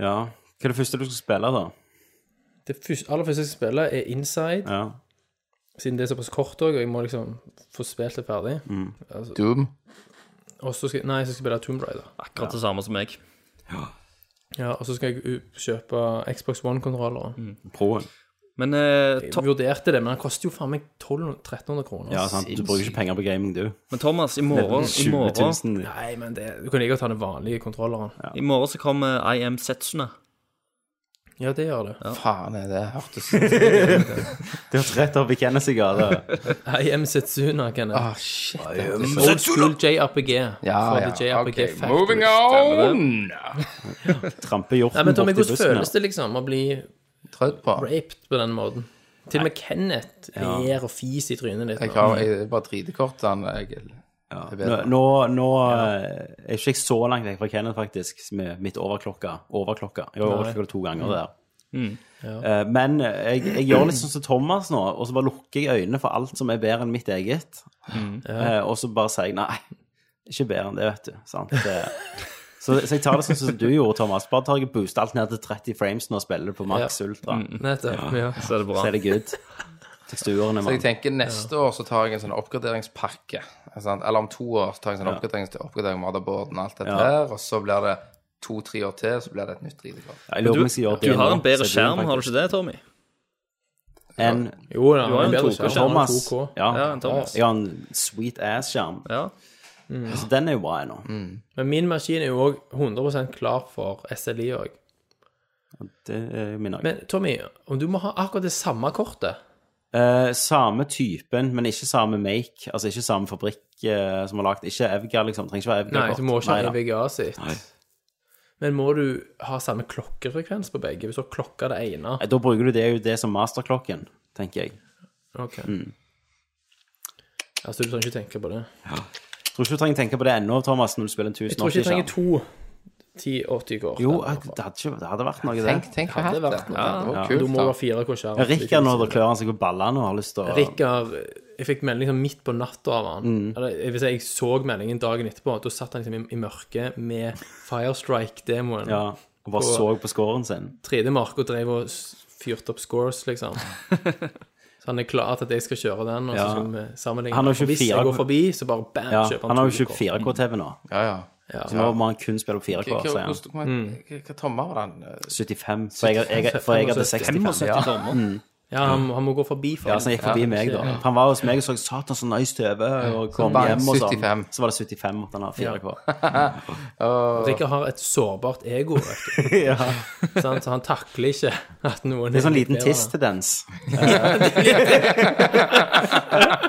Speaker 1: Ja. Hva er det første du skal spille, da?
Speaker 2: Det første, aller første jeg skal spille, er Inside,
Speaker 1: Ja.
Speaker 2: siden det er såpass kort òg, og jeg må liksom få spilt det ferdig.
Speaker 4: Doom.
Speaker 2: Og så skal, nei, så skal jeg spille Tomb Raider.
Speaker 3: Akkurat det samme som meg.
Speaker 2: Ja, og så skal jeg u- kjøpe Xbox One-kontrollere.
Speaker 1: Proen.
Speaker 3: Men eh,
Speaker 2: Jeg
Speaker 3: to
Speaker 2: vurderte det, men den koster jo faen meg 1200-1300 kroner.
Speaker 1: Ja, sant. Du bruker ikke penger på gaming, du.
Speaker 3: Men Thomas, i morgen, i
Speaker 1: 20
Speaker 3: morgen,
Speaker 1: 000.
Speaker 2: Nei, men det, du kan like godt ta den vanlige kontrolleren. Ja.
Speaker 3: i morgen så kommer I Am Setsuna.
Speaker 2: det gjør det.
Speaker 4: Faen, er det hørtes
Speaker 1: Det hørtes rett opp i Kennessy-gata.
Speaker 2: IM Setsuna, kan jeg.
Speaker 4: Å, shit. det hørtes-
Speaker 2: Old school JRPG.
Speaker 4: Ah, Ja,
Speaker 2: Fra
Speaker 4: ja.
Speaker 2: The JRPG
Speaker 4: ok,
Speaker 2: Factory.
Speaker 4: Moving on!
Speaker 1: Trampe
Speaker 2: Nei,
Speaker 1: hjorten
Speaker 2: men
Speaker 1: borti
Speaker 2: Tommy, hvordan
Speaker 1: bussen.
Speaker 2: føles det liksom å bli
Speaker 4: Trødd på.
Speaker 2: raped på den måten? Til og med Kenneth ler og fis i trynet ditt.
Speaker 4: Jeg
Speaker 2: nå.
Speaker 4: har jeg, bare dritekort, Egil. Ja.
Speaker 1: Nå, nå, nå eh, er ikke jeg så langt vekk fra Kenneth, faktisk, med mitt overklokka. Overklokka. Jeg har overklokka to
Speaker 3: Mm.
Speaker 1: ganger det der. Eh, Men jeg, jeg gjør litt sånn som Thomas nå, og så bare lukker jeg øynene for alt som er bedre enn mitt eget.
Speaker 3: Mm.
Speaker 1: Eh, Og så bare sier jeg nei, ikke bedre enn det, vet du. Sant? Det- Så, så jeg tar det sånn som du gjorde, Thomas. Bare tar jeg og booster alt ned til 30 frames nå og spiller det på maks ultra.
Speaker 2: Nettopp. Ja.
Speaker 3: Så er det Mm, bra.
Speaker 1: Så er det good. Teksturen er
Speaker 4: Så jeg
Speaker 1: mann.
Speaker 4: tenker neste år så tar jeg en sånn oppgraderingspakke. sant? Eller om to år så tar jeg en sånn oppgradering til oppgradering av motherboarden og alt dette her, og så blir det to-tre år til, så blir det et nytt dritekort.
Speaker 1: Jeg lurer på om jeg skal gjøre
Speaker 3: Du
Speaker 1: det
Speaker 3: har
Speaker 1: nå,
Speaker 3: en bedre
Speaker 1: sier
Speaker 3: skjerm, har du ikke det, Tommy?
Speaker 1: enn
Speaker 2: Jo
Speaker 3: har
Speaker 2: da,
Speaker 3: jo en
Speaker 2: bedre
Speaker 3: 2K
Speaker 2: skjerm.
Speaker 1: Thomas.
Speaker 2: 2K.
Speaker 1: Ja,
Speaker 3: Ja, en Thomas.
Speaker 1: jeg har en sweet ass-skjerm.
Speaker 3: Ja.
Speaker 2: Mm.
Speaker 1: Så den er jo bra ennå.
Speaker 2: Men min maskin er jo òg 100 klar for SLI òg.
Speaker 1: Det er min òg.
Speaker 2: Men Tommy, om du må ha akkurat det samme kortet
Speaker 1: Eh, samme typen, men ikke samme make. Altså ikke samme fabrikk eh, som har lagd Ikke Evgar, liksom. Trenger ikke være
Speaker 2: Nei,
Speaker 1: Evgar-kort.
Speaker 2: du må ikke ha
Speaker 1: Neida.
Speaker 2: EVGA sitt. Men må du ha samme klokkefrekvens på begge? Hvis du har klokka det ene
Speaker 1: Nei, Da bruker du det, jo det som masterklokken, tenker jeg.
Speaker 2: Ok. Altså, du trenger ikke tenke på det.
Speaker 1: Tror ikke du trenger tenke på det ennå, Thomas, når du spiller en
Speaker 2: Jeg tror ikke
Speaker 1: 1080
Speaker 2: jeg trenger
Speaker 1: skjerm.
Speaker 2: to 1080-kort.
Speaker 1: Jo, eh, det hadde, ikke, det hadde vært noe,
Speaker 4: Tenk,
Speaker 1: det.
Speaker 4: tenk hva hatt det
Speaker 2: vært
Speaker 4: Ja, det var
Speaker 2: Du
Speaker 4: kult,
Speaker 2: må
Speaker 4: da.
Speaker 2: ha 4K-skjerm.
Speaker 1: Rikard nå, da klør han seg på ballene og har lyst til å
Speaker 2: Rikard Jeg fikk melding sånn midt på natta av han. Eller jeg vil si, jeg så meldingen dagen etterpå. Da satt han liksom i, i mørket med Firestrike-demoen.
Speaker 1: Ja, og bare så på scoren sin.
Speaker 2: 3D-Mark og drev og s- fyrte opp scores, liksom. Så han er klar til at jeg skal kjøre den, og så
Speaker 1: Ja.
Speaker 2: skal vi sammenligne.
Speaker 1: Han har
Speaker 2: Og Hvis
Speaker 1: 24
Speaker 2: jeg går forbi, så bare bam,
Speaker 1: Ja,
Speaker 2: kjøper
Speaker 1: han har jo
Speaker 2: 2K.
Speaker 1: 24K-TV nå,
Speaker 4: Ja, ja.
Speaker 1: så nå må han kun spille på 4K,
Speaker 4: Hva-
Speaker 1: sier han.
Speaker 4: hvordan-
Speaker 2: Mm.
Speaker 4: hvordan- Hva hva tommer var den?
Speaker 1: 75, for jeg, jeg, for jeg hadde 65.
Speaker 4: Ja.
Speaker 2: Ja, han, han må gå forbi for
Speaker 1: Ja, så han gikk forbi meg, da. For Han var hos meg og så Satan, så nice TV, og kom
Speaker 4: var det
Speaker 1: hjem og sånn.
Speaker 4: 75.
Speaker 1: Så var det 75 måtte han ha fire k
Speaker 2: Rikke har et sårbart ego, vet du. Sant? så han takler ikke at noen
Speaker 1: Det er sånn liten tiss-tendens.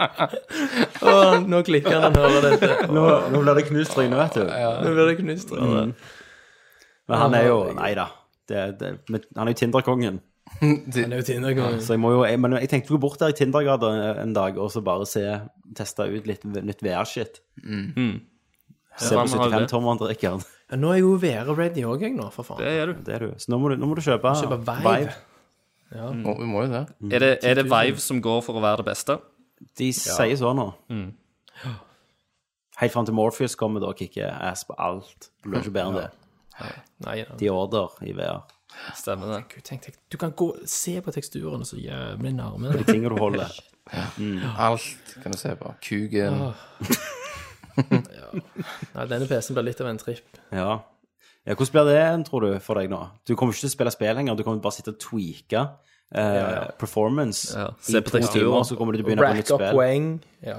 Speaker 2: Å, nå klikker han og hører dette.
Speaker 1: Nå, nå blir det knust tryne, vet du.
Speaker 2: Nå blir det knust. Mm.
Speaker 1: Men han er jo Nei da. Det, det, men han er jo Tinder-kongen.
Speaker 2: Mm, Det er jo Tinder-kongen.
Speaker 1: Så jeg må jo jeg, Men jeg tenkte å gå bort der i Tindergata en dag og så bare se teste ut litt nytt VR-shit. Se på
Speaker 3: Ja, han har det.
Speaker 1: 75-tommeren til Rikard.
Speaker 2: Ja, nå er jo VR-ready òg, jeg, nå, for faen.
Speaker 3: Det er du.
Speaker 1: Det er du. Så nå må du, nå må du kjøpe,
Speaker 2: Kjøpe Vive.
Speaker 4: Må- Vi må jo det.
Speaker 3: Er det, er det Vive som går for å være det beste?
Speaker 1: De sier så nå. Helt fram til Morpheus kommer da og kicker ass på alt. Det blir ikke bedre enn det.
Speaker 2: Nei, ja.
Speaker 1: De order i VR.
Speaker 3: Stemmer det.
Speaker 2: Gud, tenk, tenk. Du kan gå se på teksturene så jævlig nærme. deg.
Speaker 1: Ting du holder.
Speaker 4: Alt kan du se på. Kugen.
Speaker 2: Nei, denne PC-en blir litt av en tripp.
Speaker 1: Ja. ja. Hvordan blir det, tror du, for deg nå? Du kommer ikke til å spille spill lenger, du kommer bare sitte og tweake eh, performance
Speaker 3: Ja. Se på
Speaker 1: i to
Speaker 3: teksturer.
Speaker 1: timer, og så kommer du til å begynne på
Speaker 2: Rack
Speaker 1: nytt
Speaker 2: up
Speaker 1: spill. Mm.
Speaker 2: poeng. Ja.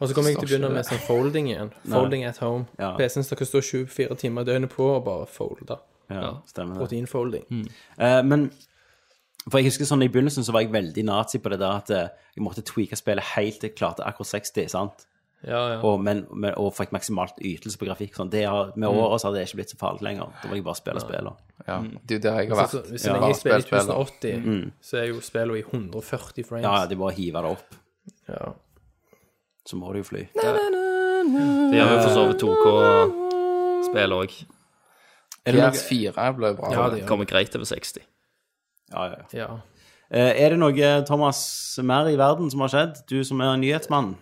Speaker 2: Og så kommer jeg til å begynne med sånn folding igjen. Folding at home.
Speaker 1: Ja.
Speaker 2: PC-en skal stå 24 timer i døgnet på og bare folde.
Speaker 1: Ja, stemmer det.
Speaker 2: Proteinfolding.
Speaker 1: Eh, men for jeg husker sånn I begynnelsen så var jeg veldig nazi på det der at eh, jeg måtte tweake spillet helt til jeg klarte akkurat 60. sant?
Speaker 2: Ja, ja.
Speaker 1: og, men, men, og fikk maksimalt ytelse på grafikk. Sånn. Det har, med åra så har det ikke blitt så farlig lenger. Da vil jeg bare spille spillene.
Speaker 4: Ja. Det er jo der jeg har
Speaker 2: Så, så,
Speaker 4: vært.
Speaker 2: Mm. Altså, hvis jeg spiller i 1080, så er jo spillet i 140 frames.
Speaker 1: Mm. Ja, ja, de bare hiver det opp.
Speaker 2: Ja.
Speaker 1: Så må det jo fly.
Speaker 3: Det gjør jo for så vidt 2K-spill òg.
Speaker 1: Er det noe,
Speaker 4: PS4 ble bra.
Speaker 2: Ja, det gjør det.
Speaker 3: Kommer greit over 60.
Speaker 1: ja, ja.
Speaker 2: Ja.
Speaker 1: Eh, er det noe, Thomas, mer i verden som har skjedd? Du som er en nyhetsmann.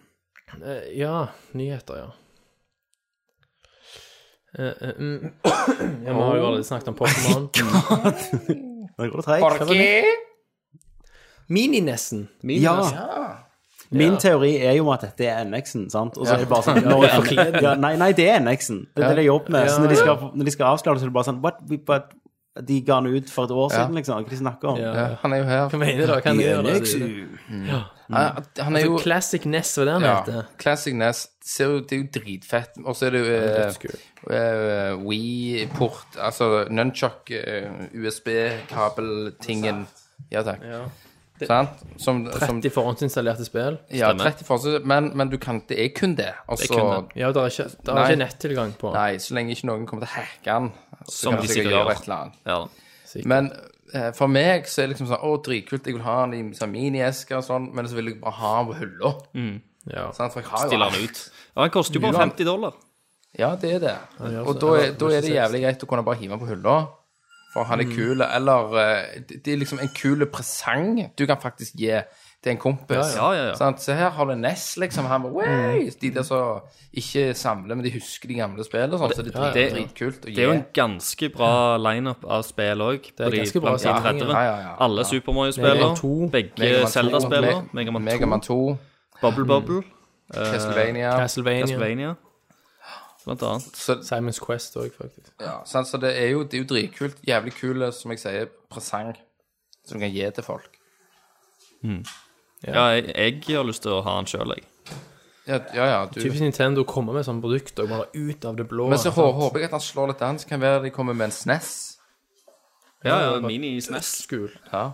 Speaker 2: Eh, ja, nyheter, ja. Eh, eh, mm. Ja, Vi har jo allerede snakket om Pokémon.
Speaker 1: Nå går det treigt.
Speaker 2: Mininessen.
Speaker 1: Ja. Min teori er jo at dette er NX-en, sant? Og så er det bare sånn når ja, nei, nei, det er NX-en. Det er det de jobber med. Så når de skal, når de skal avsløre det, så er det bare sånn What? We, but, de ga den ut for et år siden, liksom. Hva de snakker om?
Speaker 2: Ja.
Speaker 4: Ja, han er jo her.
Speaker 2: Hva mener du? da? Hva er det?
Speaker 1: NX.
Speaker 2: Det
Speaker 4: Han, han er
Speaker 2: er
Speaker 4: jo
Speaker 2: jo Classic Ness, hva det han
Speaker 4: ja,
Speaker 2: heter.
Speaker 4: Classic NES. Ser jo, det er jo dritfett. Og så er det jo
Speaker 2: Dødskul.
Speaker 4: eh, eh, Wii-port Altså nunchuck, eh, USB-kabeltingen. Ja takk. Sant? Som, som
Speaker 2: 30 forhåndsinstallerte spill.
Speaker 4: Ja,
Speaker 3: Stemmer.
Speaker 4: 30 forskjell, men, men du kan, det er kun det. Og
Speaker 3: er kun
Speaker 4: så
Speaker 3: det.
Speaker 2: Ja, det er ikke, der
Speaker 4: Nei.
Speaker 2: er ikke nettilgang på.
Speaker 4: Nei, så lenge ikke noen kommer til å hacke den, så
Speaker 3: Som
Speaker 4: kan
Speaker 3: de
Speaker 4: de sikkert
Speaker 3: sikkert gjør.
Speaker 4: gjøre et eller annet.
Speaker 3: Ja da.
Speaker 4: Men eh, for meg så er det liksom sånn Å, dritkult, jeg vil ha den i sånn miniesker og sånn, men så vil jeg bare ha den på hylla.
Speaker 2: Ja.
Speaker 4: sant? For jeg har jo
Speaker 3: Stiller
Speaker 4: alt.
Speaker 3: han ut. Ja, Han koster jo bare 50 dollar.
Speaker 4: Ja, det er det.
Speaker 2: gjør
Speaker 4: Og
Speaker 2: så-
Speaker 4: da
Speaker 2: eller
Speaker 4: er, da er det jævlig greit å kunne bare hive den på hylla. For han er
Speaker 3: Mm.
Speaker 4: kul, eller eh, det det er liksom en kul presang du kan faktisk gi til en kompis.
Speaker 3: Ja, ja, Mm. ja.
Speaker 4: Sant? Så her har du Ness, liksom. Han bare, «Wey!» De der som ikke samler, men de husker de gamle spillene og sånn. Så det er
Speaker 3: det-
Speaker 4: drit- dritkult å
Speaker 3: Det er jo
Speaker 4: gi.
Speaker 3: en ganske bra lineup av spill òg.
Speaker 2: er ganske bra samling, ja.
Speaker 4: Ja, ja, ja.
Speaker 3: Alle Super
Speaker 2: Mega
Speaker 3: Mario-spiller.
Speaker 2: Man 2,
Speaker 3: Begge
Speaker 4: Megaman 2,
Speaker 3: Zelda-spiller.
Speaker 4: Me-
Speaker 3: Megaman 2,
Speaker 4: Megaman 2,
Speaker 3: Bubble Bubble,
Speaker 4: Castlevania.
Speaker 2: Castlevania.
Speaker 3: Castlevania, blant annet.
Speaker 4: Så,
Speaker 2: Simons Quest òg, faktisk.
Speaker 4: ja, sant? så det er jo, det er jo dritkult. Jævlig kul, som jeg sier, presang som du kan gi til folk.
Speaker 3: Ja, jeg, jeg har lyst til å ha han sjøl, jeg.
Speaker 4: Ja, ja. ja du.
Speaker 2: Typisk Nintendo å komme med sånne produkter bare ut av det blå.
Speaker 4: Men så hå-
Speaker 2: sant?
Speaker 4: håper jeg at han slår litt an, så kan det være de kommer med en SNES.
Speaker 3: Ja, ja, Mini-SNES.
Speaker 2: Skul.
Speaker 4: Ja.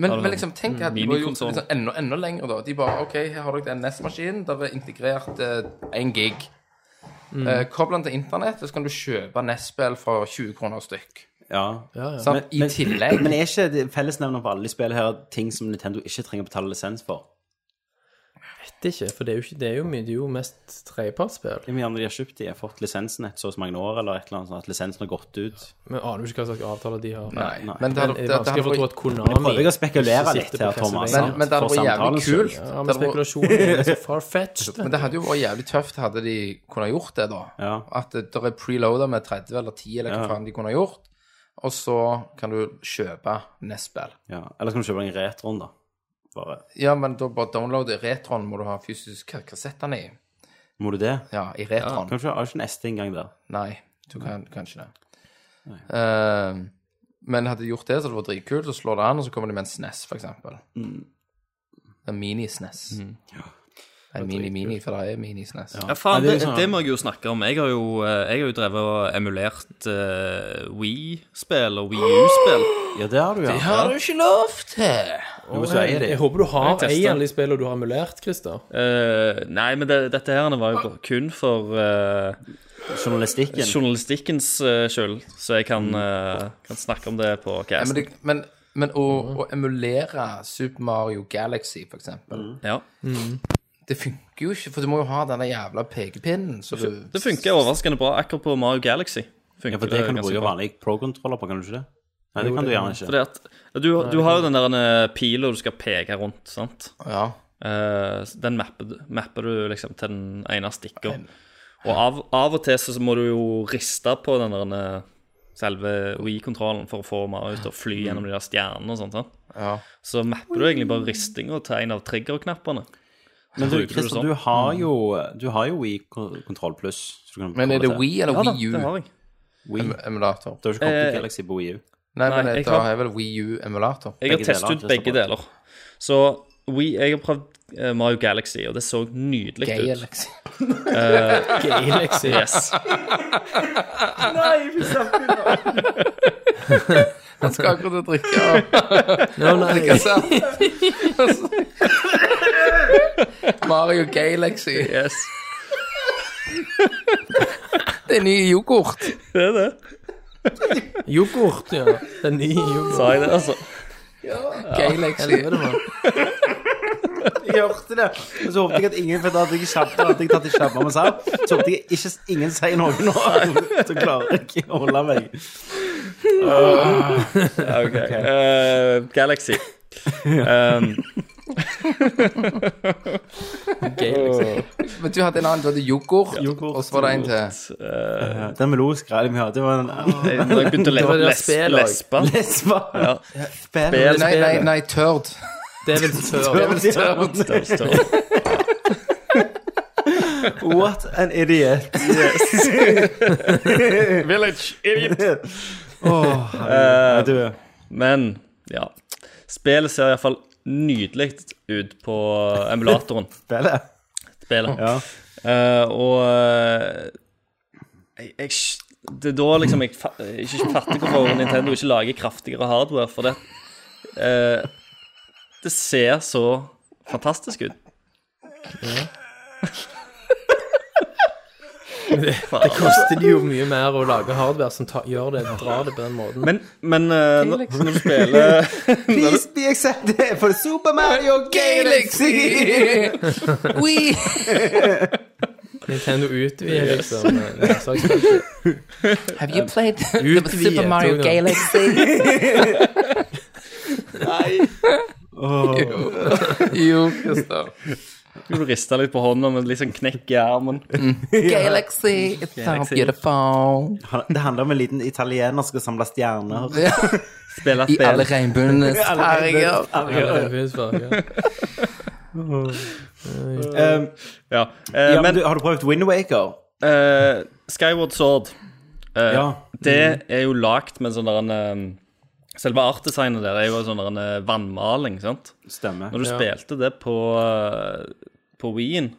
Speaker 4: Men, men liksom, tenk at de bare gjort det
Speaker 3: Minikonsol.
Speaker 4: liksom enda, enda lenger, da. De bare OK, her har dere den NES-maskinen. E Der er integrert én gig. Eh, Kobler den til internett, og så kan du kjøpe NES-spill for 20 kroner stykk.
Speaker 1: Ja.
Speaker 2: Ja, ja.
Speaker 4: Sant? Sånn, I tillegg.
Speaker 1: Men er ikke det fellesnevner for alle de spillene her ting som Nintendo ikke trenger å betale lisens for?
Speaker 2: Det er ikke, for det er jo, ikke, det er jo, mye- det er jo mest tredjepartsspill.
Speaker 1: Hvor mye annet de har kjøpt? De har fått lisensen etter så og så mange år, eller et eller annet sånn at lisensen har gått ut?
Speaker 2: Men aner jo ikke hva slags avtaler de har.
Speaker 4: Nei. Men
Speaker 2: Men
Speaker 4: det hadde
Speaker 2: det er
Speaker 4: det- det
Speaker 2: vanskelig
Speaker 4: hadde
Speaker 2: for å tro
Speaker 4: vært
Speaker 2: at Konami
Speaker 1: Prøver jeg å spekulere
Speaker 2: ikke
Speaker 1: litt
Speaker 2: sitter på
Speaker 1: her, Thomas?
Speaker 2: Castlevania.
Speaker 1: sant?
Speaker 4: Men det hadde
Speaker 1: For
Speaker 4: vært jævlig
Speaker 1: samtalens
Speaker 4: kult.
Speaker 1: skyld.
Speaker 2: Ja, men
Speaker 4: Det hadde vært-
Speaker 2: spekulasjonen er så far-fetched.
Speaker 4: Men det hadde jo vært jævlig tøft hadde de kunne gjort det, da.
Speaker 1: Ja.
Speaker 4: At det der er preloader med 30 eller 10 eller hva faen de kunne gjort. Og så kan du kjøpe E Nesbell.
Speaker 1: Ja. Eller skal du kjøpe en retroen, da? Bare.
Speaker 4: Ja, men da bare download i retroen må du ha fysisk ka- kassettene i.
Speaker 1: Må du det?
Speaker 4: Ja, i retroen.
Speaker 1: Kanskje har du ikke en SD engang der?
Speaker 4: Nei, du kan kanskje det. Eh, men hadde de gjort det, så hadde det vært dritkult. Så slår det an, og så kommer de med en SNES, for eksempel.
Speaker 3: Mm.
Speaker 4: En mini-SNES. E En mini-mini, for det er mini-SNES.
Speaker 3: Ja, faen,
Speaker 1: Nei, det er
Speaker 3: det,
Speaker 1: sånn-
Speaker 3: det må jeg jo snakke om. Jeg har jo, eh, jeg har jo drevet og emulert uh, Wii-spill og Wii U-spill.
Speaker 1: Ja, det har du, ja.
Speaker 4: Har du ikke lov til?
Speaker 1: Noe som eier de.
Speaker 2: Jeg håper du har
Speaker 3: Jeg
Speaker 2: ei
Speaker 3: tester.
Speaker 2: av de spillene du har emulert, Christer.
Speaker 3: Eh, nei, men det, dette her var jo kun for eh,
Speaker 1: Journalistikken.
Speaker 3: journalistikkens eh, skyld, så jeg
Speaker 1: Mm.
Speaker 3: kan, eh, kan snakke om det på
Speaker 4: Ja, men,
Speaker 3: casten.
Speaker 4: det, men, men å,
Speaker 3: Mm.
Speaker 4: å emulere Super Mario Galaxy, for eksempel,
Speaker 1: Mm.
Speaker 3: Ja.
Speaker 4: det funker jo ikke, for du må jo ha denne jævla pekepinnen. Så du,
Speaker 3: Det funker overraskende bra akkurat på Mario Galaxy. Funker
Speaker 1: Ja, for det kan du
Speaker 3: ganske
Speaker 1: bruke
Speaker 3: bra.
Speaker 1: vanlig pro-kontroller på, kan du ikke det? Nei, det kan du gjerne ikke.
Speaker 3: Fordi at du, du har jo den der eh, pila du skal peke rundt, sant?
Speaker 4: Ja.
Speaker 3: Eh, den mapper, du- mapper du liksom til den ene stikka. Og av, av og til så må du jo riste på den der eh, selve Wii-kontrollen for å få Mario til å fly
Speaker 1: Mm.
Speaker 3: gjennom de der stjernene og sånt. sant?
Speaker 4: Ja.
Speaker 3: Så mapper du egentlig bare ristinga til en av triggerknappene.
Speaker 1: Men du,
Speaker 3: bruker du
Speaker 1: Christer,
Speaker 3: sånn.
Speaker 1: du har jo, du har jo Wii Kontroll Pluss. så du kan
Speaker 4: Men er det
Speaker 1: koble til.
Speaker 4: Wii eller
Speaker 3: Ja da,
Speaker 4: Wii
Speaker 3: det
Speaker 4: U
Speaker 3: har jeg.
Speaker 1: Wii?
Speaker 4: emulator?
Speaker 1: Det har ikke kommet
Speaker 3: Eh,
Speaker 1: til Galaxy på Wii U.
Speaker 4: Nei,
Speaker 3: Nei,
Speaker 4: men
Speaker 3: jeg
Speaker 4: da
Speaker 3: har-
Speaker 4: har jeg vel Wii U emulator.
Speaker 3: Jeg har
Speaker 1: Begge
Speaker 3: testet
Speaker 1: deler,
Speaker 3: ut
Speaker 1: det
Speaker 3: begge
Speaker 1: står på.
Speaker 3: deler. Så Wii, jeg har prøvd eh, Mario Galaxy, og det så nydelig ut.
Speaker 4: Galaxy.
Speaker 2: Galaxy.
Speaker 3: Yes.
Speaker 4: Han skal akkurat drikke av
Speaker 2: No, nei,
Speaker 4: kassett. Mario Galaxy.
Speaker 3: yes.
Speaker 4: Det er ny yoghurt.
Speaker 3: Det er det.
Speaker 2: Yoghurt, ja. Den nye yoghurt.
Speaker 3: Sa jeg det, altså?
Speaker 4: Galaxy.
Speaker 1: Jeg hørte det. Men så håpet jeg at ingen For da hadde jeg kjabba, hadde jeg tatt i kjabba med Sam. Så håpet jeg ikke, ingen sier noe nå. Så klarer jeg ikke å holde meg.
Speaker 3: Ok. Eh, Galaxy. Um,
Speaker 4: Men du hadde en annen. Du hadde yoghurt, og så var det en til.
Speaker 1: Eh, Den melodiske radioen vi hadde, var en
Speaker 3: jeg jeg begynte å le-
Speaker 2: var det der
Speaker 3: les-
Speaker 2: spel også.
Speaker 3: lespe.
Speaker 1: Lesba.
Speaker 3: Ja.
Speaker 1: Spel.
Speaker 3: Spel.
Speaker 4: Nei, nei, nei, tørd.
Speaker 2: Det er vel før.
Speaker 1: Spel.
Speaker 3: Større, større.
Speaker 1: What an idiot.
Speaker 3: Village idiot.
Speaker 1: Åh, herregud. Nei, du,
Speaker 3: Men ja. Spillet ser iallfall nydelig ut på emulatoren.
Speaker 1: spillet.
Speaker 3: Spillet.
Speaker 1: Ja.
Speaker 3: Eh, og eh, jeg, jeg, Det er da liksom jeg, fa- jeg ikke fatter hvorfor Nintendo ikke lager kraftigere hardware, for det eh, Det ser så fantastisk ut.
Speaker 2: Det koster det jo mye mer å lage hardware som ta, gjør det, drar det på den måten.
Speaker 3: Men, men eh, når, når du spiller
Speaker 1: Please be accepted for Super Mario Galaxy!
Speaker 4: We
Speaker 2: Nintendo utvider liksom nedslagsfeltet.
Speaker 4: Have you played
Speaker 2: Utvidet,
Speaker 4: Super Mario
Speaker 2: tror jeg.
Speaker 4: Galaxy? Nei. Jo, Kristoff.
Speaker 3: Du rister litt på hånda med litt sånn knekk i armen.
Speaker 4: Galaxy, it's so beautiful.
Speaker 1: Han- Det handler om en liten italiener som skal samle stjerner.
Speaker 3: Spiller
Speaker 4: I alle
Speaker 3: spill.
Speaker 4: regnbuenes farger.
Speaker 2: Ja, det finnes bare, ja.
Speaker 1: Um,
Speaker 3: Ja. Eh,
Speaker 1: ja, men
Speaker 3: men
Speaker 1: du, har du prøvd Wind Waker?
Speaker 3: eh, Skyward Sword eh,
Speaker 1: Ja.
Speaker 3: Det er jo lagt med sånn der en eh, Selve artdesignet der er jo sånn der en eh, vannmaling, sant?
Speaker 1: Stemmer.
Speaker 3: Når du spilte det på, eh, på Wien,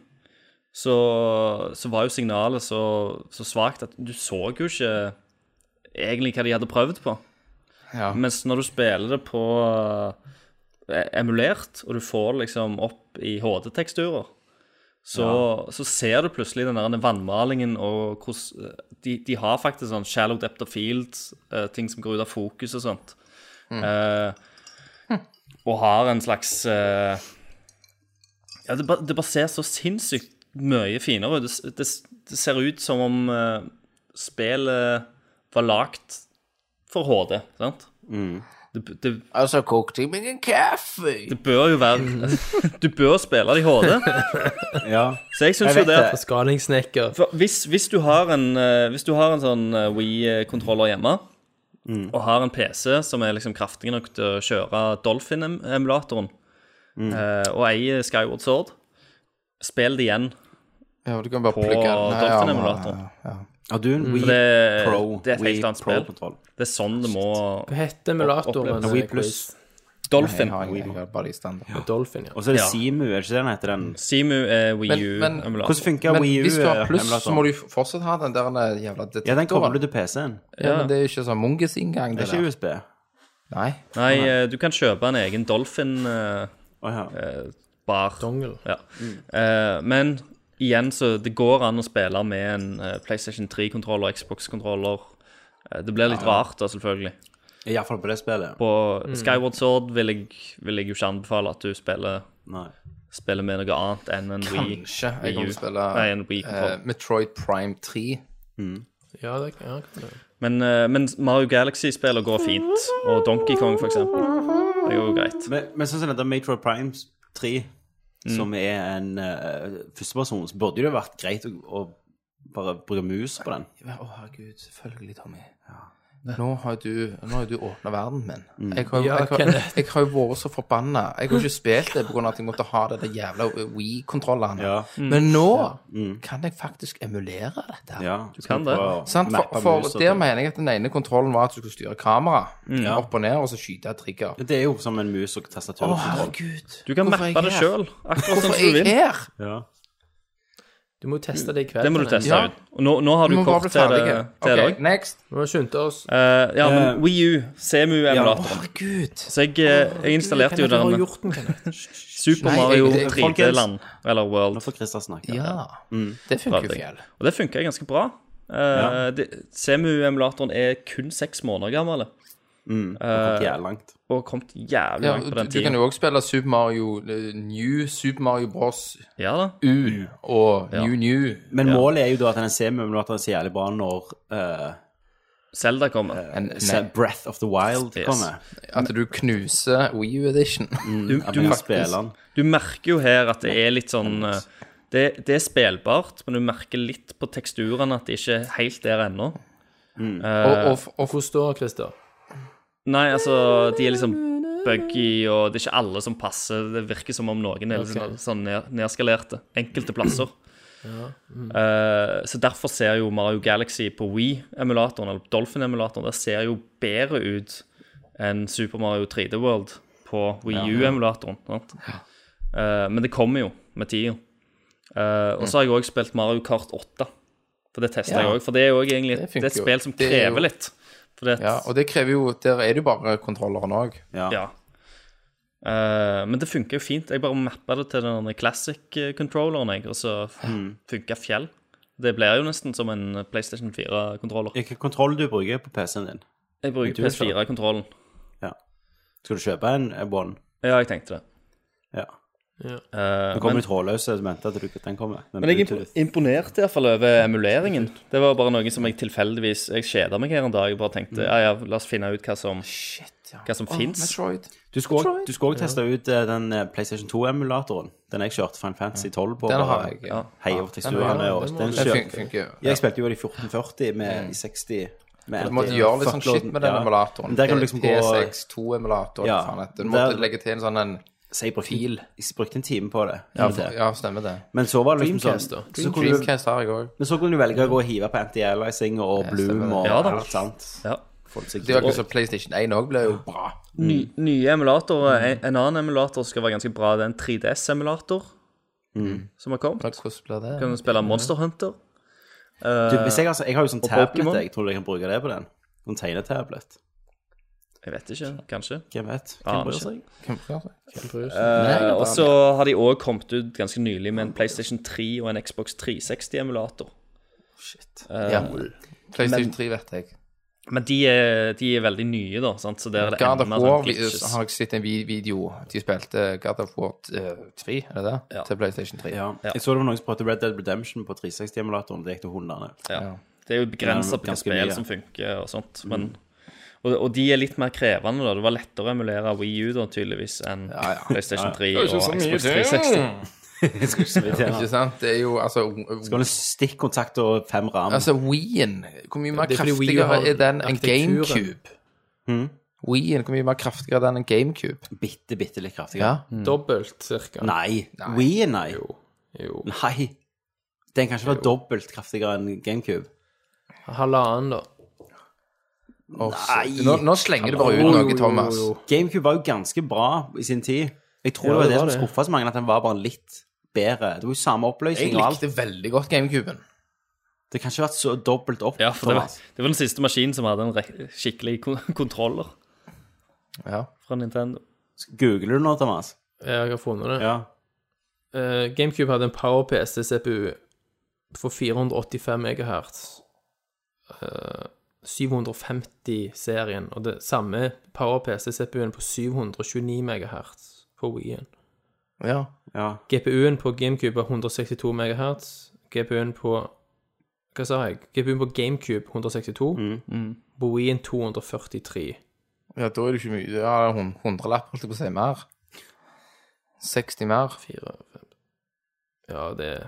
Speaker 3: så, så var jo signalet så, så svakt at du så jo ikke egentlig hva de hadde prøvd på.
Speaker 4: Ja.
Speaker 3: Mens når du spiller det på eh, emulert, og du får det liksom opp i HD-teksturer, så, så ser du plutselig den der vannmalingen og hvordan eh, de, de har faktisk sånn shallow depth of fields, eh, ting som går ut av fokus og sånt. Eh, og har en slags eh, Ja, det, ba- det bare ser så sinnssykt mye finere ut. Det, s- det, s- det ser ut som om eh, spillet var lagt for HD, sant?
Speaker 1: Mm.
Speaker 3: Det, det,
Speaker 4: Og så kokte jeg Altså, meg en kaffe.
Speaker 3: det bør jo være Du bør spille det i HD.
Speaker 1: Ja.
Speaker 3: Så jeg syns
Speaker 1: Jeg
Speaker 3: jo
Speaker 1: vet
Speaker 3: det at
Speaker 1: det.
Speaker 2: Skalingssnekker.
Speaker 3: for hvis, hvis, du har en, eh, hvis du har en sånn We-kontroller hjemme,
Speaker 1: Mm.
Speaker 3: og har en PC som er liksom kraftig nok til å kjøre Dolphin-emulatoren,
Speaker 1: Mm.
Speaker 3: eh, og eier Skyward Sword, spill det igjen.
Speaker 4: Ja, du kan bare
Speaker 3: På
Speaker 4: plugge
Speaker 3: Dolphin-emulatoren.
Speaker 1: Har du en Wii
Speaker 3: For det,
Speaker 1: Pro?
Speaker 3: det er et helt annet spill.
Speaker 1: Pro-kontroll.
Speaker 3: Det er sånn det må
Speaker 2: Hva heter emulatoren?
Speaker 1: Wii Plus.
Speaker 3: Dolphin.
Speaker 2: Dolphin, ja.
Speaker 1: Og så er det
Speaker 3: Ja.
Speaker 1: Simu, er det ikke det den heter? den?
Speaker 3: Simu er Wii
Speaker 4: Men- men-
Speaker 1: Hvordan
Speaker 3: U-emulator.
Speaker 1: funker
Speaker 4: Men
Speaker 1: Wii
Speaker 4: hvis du har pluss, så må
Speaker 1: U-emulatoren?
Speaker 4: du jo fortsatt ha den der jævla detektoren.
Speaker 1: Ja, den kobler du til PC-en.
Speaker 4: Ja, men det er jo ikke sånn Mungus inngang,
Speaker 1: Det
Speaker 4: det
Speaker 1: er ikke
Speaker 4: der.
Speaker 1: USB. Å
Speaker 4: Nei.
Speaker 3: Nei, eh, du kan kjøpe en egen eh, Dolphin-bar.
Speaker 1: ja.
Speaker 2: Dongel.
Speaker 3: Ja. Eh, men igjen, så det går an å spille med en eh, PlayStation 3-kontroller, Xbox-kontroller. Eh, det blir litt rart, da, selvfølgelig.
Speaker 1: Iallfall på det spillet.
Speaker 3: På
Speaker 4: Mm.
Speaker 3: Skyward Sword vil jeg, vil jeg jo ikke anbefale at du spiller,
Speaker 1: Nei.
Speaker 3: spiller med noe annet enn en Wii.
Speaker 4: Kanskje jeg
Speaker 3: Wii
Speaker 4: kommer
Speaker 3: U.
Speaker 4: til å spille
Speaker 3: Nei, en Wii-kontroll.
Speaker 4: eh, Metroid Prime 3.
Speaker 2: Ja, det kan ja, kan det.
Speaker 3: Men, eh, men Mario Galaxy-spiller går fint. Og Donkey Kong, for eksempel. Det går jo greit.
Speaker 1: Men, men sånn som dette Metro Primes 3, som er en eh, førsteperson, så burde det jo vært greit å, å bare bruke mus på den.
Speaker 4: Å, herregud. Selvfølgelig, Tommy. Nå har du, nå har du åpna verden min. Jeg har,
Speaker 2: Ja,
Speaker 4: jeg, har,
Speaker 2: Kenneth.
Speaker 4: jeg har jo vært så forbanna. Jeg har jo ikke spilt det pga. at jeg måtte ha den der jævla We-kontrollene.
Speaker 1: Ja.
Speaker 2: Mm.
Speaker 4: Men nå kan jeg faktisk emulere dette. her.
Speaker 1: Ja, du
Speaker 3: kan det.
Speaker 4: Sant? For, for der mener jeg at den ene kontrollen var at du skulle styre kamera opp og ned, og så skyte et trigger.
Speaker 1: Det er jo som en mus og sånn. tastatur.
Speaker 4: herregud.
Speaker 3: Du kan
Speaker 4: Hvorfor er
Speaker 3: mappe
Speaker 4: jeg
Speaker 3: det
Speaker 4: her?
Speaker 3: sjøl, akkurat som
Speaker 4: Hvorfor
Speaker 3: du
Speaker 4: er jeg
Speaker 3: vil.
Speaker 4: her?
Speaker 1: ja.
Speaker 2: Du må jo teste det i kveld.
Speaker 3: Det må du
Speaker 2: Kenneth.
Speaker 3: teste
Speaker 4: Ja.
Speaker 3: ut. Og nå, nå har
Speaker 4: Du
Speaker 3: du
Speaker 4: må bare
Speaker 3: kort
Speaker 4: bli
Speaker 3: til det
Speaker 4: ferdig.
Speaker 3: til det
Speaker 4: OK,
Speaker 3: også.
Speaker 4: next.
Speaker 2: Vi må skynde oss.
Speaker 3: Eh, ja, men Wii U, CMU-emulatoren.
Speaker 2: Herregud.
Speaker 3: Så jeg, eh, jeg installerte jo
Speaker 2: Kenneth, du har
Speaker 3: den
Speaker 2: gjort den, Kenneth.
Speaker 3: Super
Speaker 4: Nei,
Speaker 3: Mario
Speaker 4: jeg- jeg-
Speaker 3: 3D-land, eller World.
Speaker 1: Nå får Christer snakke.
Speaker 4: Ja. Det funker jo fjell.
Speaker 3: Og det funka ganske bra. Eh, det- CMU-emulatoren er kun seks måneder gammel Eh,
Speaker 1: Kom jævlig langt.
Speaker 3: og har kommet jævlig
Speaker 4: Ja,
Speaker 3: langt på
Speaker 4: du,
Speaker 3: den
Speaker 4: du
Speaker 3: tiden.
Speaker 4: kan jo òg spille Super Mario eh, New, Super Mario Bros.
Speaker 3: Ja da.
Speaker 4: U og New New.
Speaker 1: Men målet er jo da at den semiumulater er så jævlig bra når eh,
Speaker 3: Zelda kommer.
Speaker 4: En,
Speaker 1: se-
Speaker 4: nei,
Speaker 1: Breath of the Wild
Speaker 3: Yes.
Speaker 1: kommer.
Speaker 4: at du knuser Wii U Edition.
Speaker 3: Du,
Speaker 1: At
Speaker 3: du,
Speaker 1: vi kan spille den.
Speaker 3: du merker jo her at det er litt sånn eh, det, det er spillbart, men du merker litt på teksturen at det ikke er helt der ennå. Eh,
Speaker 4: og, og, og
Speaker 2: Hvor står Christer?
Speaker 3: Nei, altså, de er liksom buggy, og det er ikke alle som passer. Det virker som om noen er liksom sånn ned, nedskalerte. Enkelte plasser.
Speaker 4: mm.
Speaker 3: Eh, så derfor ser jo Mario Galaxy på Wii-emulatoren, eller Dolphin-emulatoren, der ser jo bedre ut enn Super Mario 3D World på Wii U-emulatoren. sant? Eh, men det kommer jo med tida. Eh, og så har jeg òg spilt Mario Kart 8. For det testa jeg òg. For det er jo også egentlig
Speaker 4: Det
Speaker 3: et,
Speaker 4: funker
Speaker 3: det er et
Speaker 4: jo.
Speaker 3: spill som
Speaker 4: Det er
Speaker 3: krever
Speaker 4: jo-
Speaker 3: litt. For det,
Speaker 4: Ja, og det krever jo Der er det jo bare kontrolleren òg.
Speaker 1: Ja.
Speaker 3: ja. Eh, men det funka jo fint. Jeg bare mappa det til den classic-controlleren, jeg, og så funka fjell. Det blir jo nesten som en PlayStation 4-kontroller.
Speaker 1: Hvilken kontroll du bruker på PC-en din?
Speaker 3: Jeg bruker
Speaker 1: du sa.
Speaker 3: PS4-kontrollen.
Speaker 1: Ja. Skal du kjøpe en eh, One?
Speaker 3: Ja, jeg tenkte det.
Speaker 1: Ja.
Speaker 3: Eh,
Speaker 1: Den kommer i trådløse, så venter at du den kommer. Den
Speaker 3: Men jeg
Speaker 1: Bluetooth.
Speaker 3: impo- imponerte iallfall over emuleringen. Det var bare noe som jeg tilfeldigvis Jeg kjeda meg her en dag og bare tenkte ja, ja, la oss finne ut hva som, hva som fins.
Speaker 4: Metroid.
Speaker 1: Du skulle også- du skulle òg teste ut eh, den eh, PlayStation 2-emulatoren. Den jeg kjørte Final Fantasy 12 på.
Speaker 4: Den
Speaker 1: bare
Speaker 4: har jeg. Ja.
Speaker 1: Hei over teksturene. og Den
Speaker 4: Den fun-
Speaker 1: kjørte
Speaker 4: funker jo.
Speaker 1: Jeg spilte jo i 1440 med i 60 med
Speaker 4: Mm.
Speaker 1: eh,
Speaker 4: Du måtte gjøre litt sånn shit med den emulatoren.
Speaker 1: Men Der kan du liksom gå
Speaker 4: PSX2-emulator.
Speaker 1: Ja.
Speaker 4: faen heter det. Du måtte
Speaker 1: Der-
Speaker 4: legge til en sånn en
Speaker 1: Jeg brukte, jeg brukte en time på det.
Speaker 4: Ja,
Speaker 1: med det.
Speaker 4: ja stemmer det.
Speaker 1: Men så var det liksom
Speaker 2: Dreamcast,
Speaker 1: sånn
Speaker 2: da.
Speaker 1: så kunne du,
Speaker 4: Dreamcast har jeg òg.
Speaker 1: Men så kunne du velge å gå og hive på anti-aliasing og bloom
Speaker 4: stemmer
Speaker 1: og
Speaker 3: Ja, da.
Speaker 1: alt sånt.
Speaker 3: Ja.
Speaker 4: Det var ikke så PlayStation 1 òg ble jo bra.
Speaker 3: Ny, nye emulatorer. En, en annen emulator skal være ganske bra. Det er en 3DS-emulator som har kommet.
Speaker 4: Hvordan blir det?
Speaker 3: Kan du spille Monster Hunter?
Speaker 1: Du, hvis jeg, altså, jeg har jo sånn tablet,
Speaker 3: Pokémon.
Speaker 1: jeg tror du jeg kan bruke det på den. Sånn tegnetablet.
Speaker 3: Jeg vet ikke, kanskje.
Speaker 1: Hvem vet?
Speaker 3: Aner
Speaker 1: Hvem bryr
Speaker 3: ikke.
Speaker 1: seg?
Speaker 3: Eh, og så har de òg kommet ut ganske nylig med en PlayStation 3 og en Xbox 360-emulator.
Speaker 4: Ja. PlayStation 3 vet jeg.
Speaker 3: Men de er, de er veldig nye, da, sant? så der er det
Speaker 4: God
Speaker 3: enda
Speaker 4: of
Speaker 3: mer
Speaker 4: War
Speaker 3: sånn
Speaker 4: vi-
Speaker 3: glitches.
Speaker 4: har jeg sett en vi- video de spilte God of War eh, 3, er det det?
Speaker 3: Ja.
Speaker 4: Til PlayStation 3.
Speaker 1: Ja. Jeg så det var noen som prøvde Red Dead Redemption på 360-emulatoren. Det gikk til hundene.
Speaker 3: Ja. Det er jo
Speaker 1: Ja,
Speaker 3: begrensa på hvilke
Speaker 1: ganske
Speaker 3: spill
Speaker 1: mye.
Speaker 3: som funker og sånt. Men, og, og de er litt mer krevende, da. Det var lettere å emulere Wii U da, tydeligvis enn PlayStation 3 og Xbox 360.
Speaker 4: Ikke sant? Det er jo altså
Speaker 1: Du har en stikkontakt og fem ram.
Speaker 4: Altså, Wien Hvor mye mer
Speaker 2: Det er fordi Wii
Speaker 4: kraftigere
Speaker 2: har
Speaker 4: er den enn
Speaker 2: arkitekturen. Hm?
Speaker 4: GameCube? Wien, hvor mye mer kraftigere er den enn GameCube?
Speaker 1: bitte, bitte litt kraftigere.
Speaker 3: Hmm.
Speaker 2: Dobbelt, cirka.
Speaker 1: Nei. Wii, nei.
Speaker 2: Jo.
Speaker 1: Nei. Den kan ikke være dobbelt kraftigere enn GameCube.
Speaker 2: Halvannen, da.
Speaker 4: Åh,
Speaker 1: Nei.
Speaker 4: så- Nå, nå slenger du bare ut noe, Thomas.
Speaker 1: GameCube var jo ganske bra i sin tid. Jeg tror det var
Speaker 2: Ja, det
Speaker 1: det,
Speaker 2: var
Speaker 1: som
Speaker 2: det.
Speaker 1: skuffa så mange, at den var bare litt bedre. Det var jo samme
Speaker 4: Jeg
Speaker 1: oppløsning og alt.
Speaker 4: likte veldig godt GameCuben.
Speaker 1: Det kan ikke ha vært så dobbelt opp.
Speaker 3: Ja, for det var,
Speaker 1: Thomas.
Speaker 3: det var den siste maskinen som hadde en re skikkelig kon kontroller
Speaker 4: Ja.
Speaker 3: fra Nintendo.
Speaker 1: Googler du nå, Thomas?
Speaker 2: Jeg har funnet det.
Speaker 1: Ja.
Speaker 2: Eh, GameCube hadde en PowerPC CPU for 485 MHz. 750-serien, Eh, og det samme PowerPC-CPU-en på 729 MHz på Wii-en.
Speaker 4: ja.
Speaker 1: ja.
Speaker 2: GPU-en på GameCube var 162 MHz. GPU-en på Hva sa jeg? GPU-en på GameCube 162.
Speaker 1: Mm.
Speaker 2: På Wii-en 243.
Speaker 4: Ja, da er det ikke mye. Ja, det er hun- hundrelapp, holdt jeg på å si. Mer. 60 mer.
Speaker 2: 4, 5. Ja, det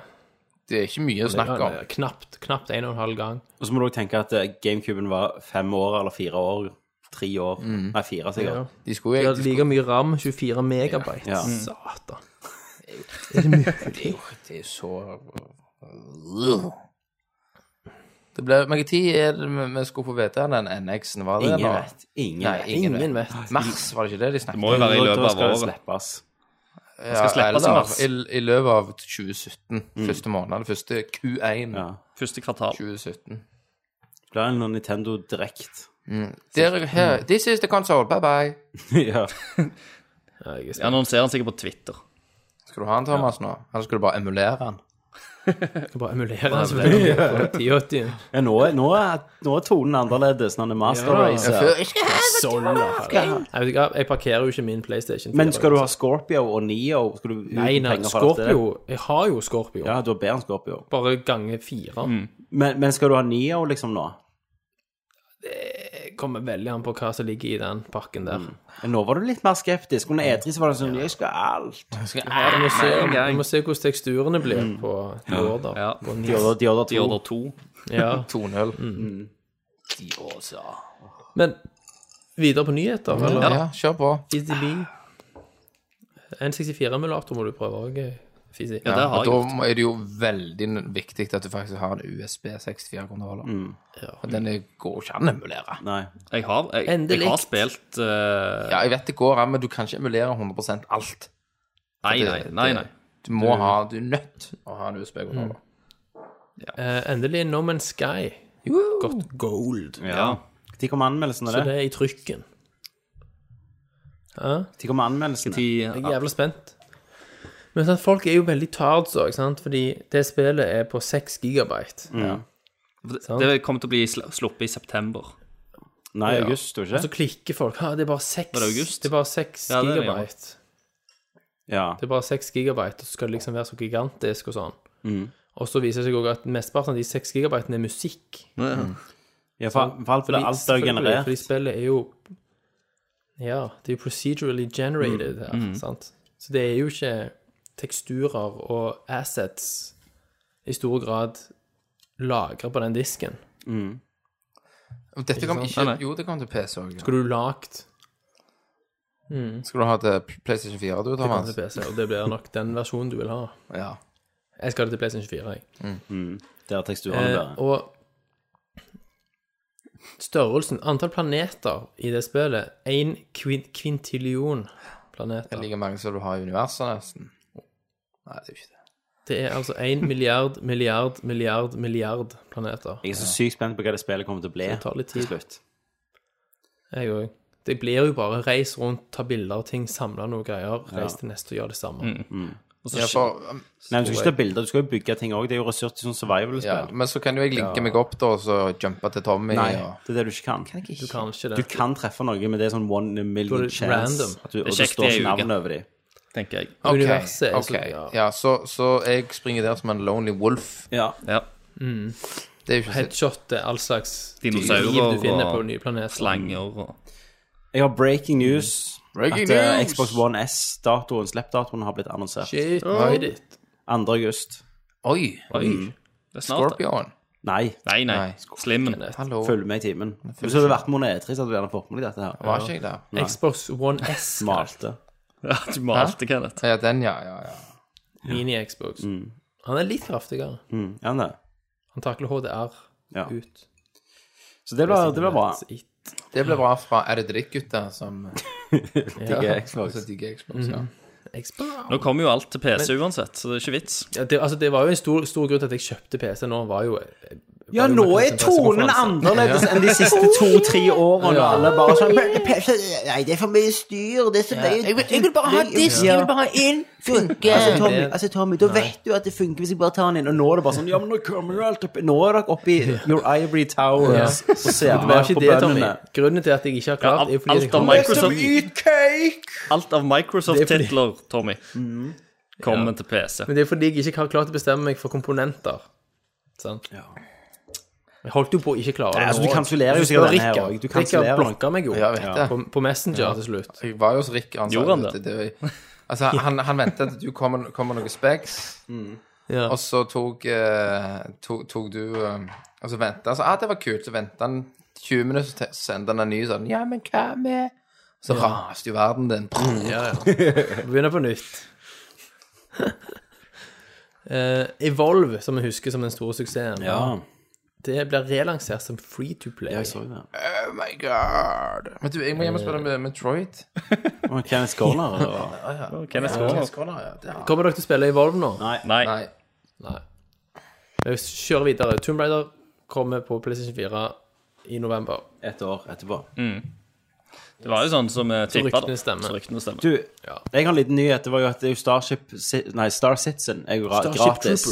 Speaker 4: Det er ikke mye å snakke
Speaker 2: det
Speaker 4: om.
Speaker 2: er Knapt, knapt en og en halv gang.
Speaker 1: Og så må du også tenke at eh, GameCuben var fem år eller fire år. Tre år. Nei, fire sikkert.
Speaker 4: De skulle
Speaker 2: De
Speaker 4: jo
Speaker 2: hadde like mye RAM, 24 megabyte.
Speaker 1: Ja. Mm.
Speaker 2: Satan.
Speaker 4: Det er jo- det er jo så Det ble Hvilken tid er det vi vi skulle få vite den NX-en? Var det
Speaker 1: Ingen
Speaker 4: eller?
Speaker 1: vet. Ingen
Speaker 4: Nei,
Speaker 1: vet.
Speaker 4: ingen,
Speaker 2: Ingen
Speaker 4: vet.
Speaker 2: vet.
Speaker 4: Mars, var det ikke det de snakket
Speaker 3: Må jo være i
Speaker 1: Da
Speaker 3: løpet av
Speaker 1: skal det
Speaker 3: året.
Speaker 1: slippes.
Speaker 4: Ja,
Speaker 3: skal slippe sin
Speaker 4: eller
Speaker 3: vers.
Speaker 4: i, I løpet av 2017. Første måned. Første Q1
Speaker 1: Ja.
Speaker 3: Første kvartal.
Speaker 4: 2017.
Speaker 1: Det er en Nintendo Direct.
Speaker 4: Der, er- her, this is the console. Bye bye.
Speaker 1: ja.
Speaker 3: Jeg annonserer den sikkert på Twitter.
Speaker 4: Skal du ha den, Thomas, nå? Eller skal du bare emulere den?
Speaker 2: Skal bare emulere den selvfølgelig. På 1080-en.
Speaker 1: Ja, nå, er, nå, er, nå er tonen annerledes når den er Master Race.
Speaker 4: Før- skal jeg-
Speaker 2: Jeg vet ikke, jeg parkerer jo ikke min PlayStation.
Speaker 1: Men skal du ha Scorpio og Neo? Skal du ut
Speaker 2: Nei, nei,
Speaker 1: penger for alt det der?
Speaker 2: Scorpio Jeg har jo Scorpio.
Speaker 1: Ja, Mm. du har bedre enn Scorpio.
Speaker 2: Bare ganger fire.
Speaker 1: Men, men skal du ha Neo liksom nå?
Speaker 2: Det kommer veldig an på hva som ligger i den pakken der.
Speaker 3: Mm.
Speaker 1: Men Nå var du litt mer skeptisk. Under E3 så var det sånn Jeg skal ha alt.
Speaker 2: Ja, vi, må se,
Speaker 3: en gang.
Speaker 2: vi må se hvordan teksturene blir på Jorda.
Speaker 3: Mm. Ja.
Speaker 2: På
Speaker 1: De order, de order to.
Speaker 3: De order to.
Speaker 2: ja.
Speaker 4: 2-0.
Speaker 2: Men videre på nyheter, eller?
Speaker 4: Ja, kjør på.
Speaker 2: EDB. N64-emulator må du prøve òg, Fisi.
Speaker 3: Ja, det har
Speaker 4: og da
Speaker 3: jeg gjort.
Speaker 4: må- er det jo veldig viktig at du faktisk har en USB 64-kontroller. For den er- går ikke an å emulere.
Speaker 1: Nei.
Speaker 3: Jeg har, jeg, jeg
Speaker 2: Endelig.
Speaker 3: har spilt eh,
Speaker 4: Ja, jeg vet det går an, men du kan ikke emulere 100 alt.
Speaker 3: Nei, nei, nei. nei.
Speaker 4: Du må ha, du er nødt å ha en USB-kontroller.
Speaker 2: Eh, endelig No Man's Sky. Godt gold.
Speaker 1: Ja. De kom anmeldelsene,
Speaker 2: Så
Speaker 1: det.
Speaker 2: det er i trykken.
Speaker 1: De kom anmeldelsene.
Speaker 3: De,
Speaker 2: Jeg er jævla spent. Men sant, folk er jo veldig tards òg, sant? fordi det spillet er på 6 gigabyte.
Speaker 3: Mm. det kommer til å bli sl- sluppet i september.
Speaker 1: Nei, august, tror du
Speaker 2: Så
Speaker 1: ikke?
Speaker 2: klikker folk. Ha, det er bare 6,
Speaker 3: det august?
Speaker 2: det er bare 6
Speaker 3: Ja, det er det, ja.
Speaker 2: gigabyte.
Speaker 1: Ja.
Speaker 2: Det er bare 6 gigabyte, og så skal det liksom være så gigantisk og sånn.
Speaker 1: Mm.
Speaker 2: Og så viser det seg òg at mesteparten av de 6 gigabytene er musikk.
Speaker 1: ja for, for alt,
Speaker 2: Fordi-
Speaker 1: alt er jo
Speaker 2: selvfølgelig,
Speaker 1: generert.
Speaker 2: Fordi spillet er jo Ja, det er jo procedurally
Speaker 1: Mm.
Speaker 2: generated her, sant. Så det er jo ikke teksturer og assets i stor grad lagra på den disken.
Speaker 4: Og Dette kom
Speaker 3: Nei, nei.
Speaker 4: ikke Jo, det kom til PC òg.
Speaker 2: Skulle du lagt
Speaker 4: Skal du ha til PlayStation 4, du,
Speaker 2: den
Speaker 4: Thomas?
Speaker 2: til PC, og det blir nok den versjonen du vil ha.
Speaker 4: Ja.
Speaker 2: Jeg skal ha det til PlayStation 4, jeg.
Speaker 1: Der teksturene
Speaker 2: Eh,
Speaker 1: bare
Speaker 2: og størrelsen Antall planeter i det spillet Én kvin kvintillion
Speaker 4: Det
Speaker 2: planeter.
Speaker 4: er like mange som du har i universet, nesten. Nei, det er ikke det.
Speaker 2: Det er altså én milliard, milliard, milliard, milliard planeter.
Speaker 1: Jeg er så sykt spent på hva det spillet kommer til å bli
Speaker 2: Det tar litt
Speaker 1: til
Speaker 2: tid,
Speaker 1: slutt.
Speaker 2: jeg òg. Det blir jo bare reis rundt, ta bilder av ting, samle noe greier, reis til neste og gjør det samme.
Speaker 1: Mm.
Speaker 4: Ja, for, um,
Speaker 1: Nei, men Du skal ikke ta bilder, du skal jo bygge ting òg. Det er jo resurs til sånn
Speaker 4: ja,
Speaker 1: survival-spill.
Speaker 4: men så kan jo jeg linke meg opp, da, og så jumpe til Tommy.
Speaker 1: Nei,
Speaker 4: Og,
Speaker 1: det er det du ikke kan.
Speaker 2: Du kan ikke
Speaker 1: Du
Speaker 2: det.
Speaker 1: kan treffe noe, men det er sånn one in a
Speaker 2: Da er
Speaker 1: million
Speaker 2: det
Speaker 1: chance.
Speaker 2: random.
Speaker 1: At du,
Speaker 3: Det er
Speaker 1: og det
Speaker 3: kjekt,
Speaker 1: står
Speaker 3: det er
Speaker 1: ikke
Speaker 3: jo ikke.
Speaker 1: navn over dem.
Speaker 3: tenker jeg.
Speaker 4: Ok,
Speaker 2: Universet er så-
Speaker 4: ok.
Speaker 2: ja.
Speaker 4: Ja, så, så jeg springer der som en lonely wolf.
Speaker 1: Ja.
Speaker 3: Ja.
Speaker 4: Det er jo ikke sitt.
Speaker 2: Headshot er all slags liv
Speaker 3: Dinosaurer
Speaker 2: du finner
Speaker 3: og
Speaker 2: på nye planeter.
Speaker 3: Slanger og
Speaker 1: Jeg har breaking news.
Speaker 4: Breaking
Speaker 1: at eh,
Speaker 4: news!
Speaker 1: Xbox One S-datoen, slippdatoen, har blitt annonsert.
Speaker 2: Shit, oh.
Speaker 1: 2. august.
Speaker 4: Oi, mm,
Speaker 3: Oi. Det er snart, det.
Speaker 4: Scorpion.
Speaker 1: Nei,
Speaker 3: Nei, nei.
Speaker 4: Nei.
Speaker 3: Slimmen.
Speaker 4: Hallo.
Speaker 1: følg med i timen. Hvis du hadde vært med under E3, så hadde du gjerne fått med deg dette her.
Speaker 4: Var ikke jeg der?
Speaker 2: Xbox One S,
Speaker 1: Malte.
Speaker 3: Ja, du malte, Kenneth.
Speaker 4: Ja, den, ja, ja. ja.
Speaker 2: mini-Xbox. Han er litt kraftigere.
Speaker 1: Mm, ja, det.
Speaker 2: Han takler HDR
Speaker 1: Ja.
Speaker 2: ut.
Speaker 1: Så det blir, det blir bra.
Speaker 2: That's it.
Speaker 4: Det ble bra fra Er det drittgutter som
Speaker 1: Digger Xbox.
Speaker 4: som digger Xbox?
Speaker 3: Mhm.
Speaker 4: Ja.
Speaker 2: Xbox.
Speaker 3: Nå kommer jo alt til PC uansett, så det er ikke vits.
Speaker 2: Ja, det, altså, det var jo en stor, stor grunn til at jeg kjøpte PC nå, var jo
Speaker 1: Ja, nå er tonen annerledes enn de siste to-tre årene. og Alle bare sånn
Speaker 5: Pe- pe- pe- Nei, det er for mye styr. Det er så mye jeg, vil bare ha disk. Jeg vil bare ha inn. Funker.
Speaker 1: Altså, Tommy, altså, Tommy, da vet du at det funker hvis jeg bare tar den inn. Og nå er det bare sånn Ja, men nå kommer jo alt opp Nå er dere oppe i Your Ivory Towers og ser
Speaker 2: Det var
Speaker 1: ned
Speaker 2: ikke
Speaker 1: på
Speaker 2: det, Tommy.
Speaker 1: bøndene.
Speaker 2: Grunnen til at jeg ikke har
Speaker 3: Ja,
Speaker 2: klart, er jo fordi
Speaker 3: alt
Speaker 2: jeg
Speaker 3: av
Speaker 2: har
Speaker 3: Microsoft- Alt av Microsoft-titler, Tommy, kommer til PC.
Speaker 2: Mm. Men det er fordi jeg ikke har klart å bestemme meg for komponenter. Sant? Jeg holdt jo på å ikke klare det.
Speaker 1: Nei, altså,
Speaker 2: nå.
Speaker 1: du kansellerer jo
Speaker 2: Jeg spør
Speaker 1: sikkert denne her
Speaker 2: Rikard.
Speaker 1: også. Du kansellerer
Speaker 2: Rikard
Speaker 1: den.
Speaker 2: blokka meg jo
Speaker 4: Ja, jeg vet det.
Speaker 2: på, på Messenger til slutt.
Speaker 4: Jeg var jo hos Rick. Han sa
Speaker 3: Gjorde han
Speaker 4: at
Speaker 3: det?
Speaker 4: det- Altså, han, han ventet at du kom med kom med noen specs,
Speaker 3: Mm.
Speaker 2: Ja.
Speaker 4: og så tok, eh, tok, tok du eh, Og så ventet han. Så, ah, det var kult. Så ventet han 20 minutter, så te- så sendte han en ny sånn Ja, men hva med Så raste jo verden din.
Speaker 3: Mm,
Speaker 2: Ja, ja. Begynner på nytt. Eh, Evolve, som vi husker som den store suksessen,
Speaker 1: Ja.
Speaker 2: Det blir relansert som free to play.
Speaker 1: Ja, jeg så det.
Speaker 4: Oh my god. Men du, jeg må hjem og spille med Metroid.
Speaker 1: Og Kenneth Corner og
Speaker 3: Kenneth Skåner.
Speaker 2: Kommer dere til å spille i Volv nå?
Speaker 1: Nei.
Speaker 3: Nei.
Speaker 4: Nei.
Speaker 2: Nei. Vi kjører videre. Tomb Raider kommer på PlayStation 4 i november.
Speaker 1: Et år etterpå.
Speaker 3: Det var jo sånn som vi tippa.
Speaker 2: ryktene stemmer.
Speaker 3: Så ryktene stemmer.
Speaker 1: Du, jeg har en liten nyhet. Det var jo at det er jo Starship Si- Nei, Star Citizen er jo gra- gratis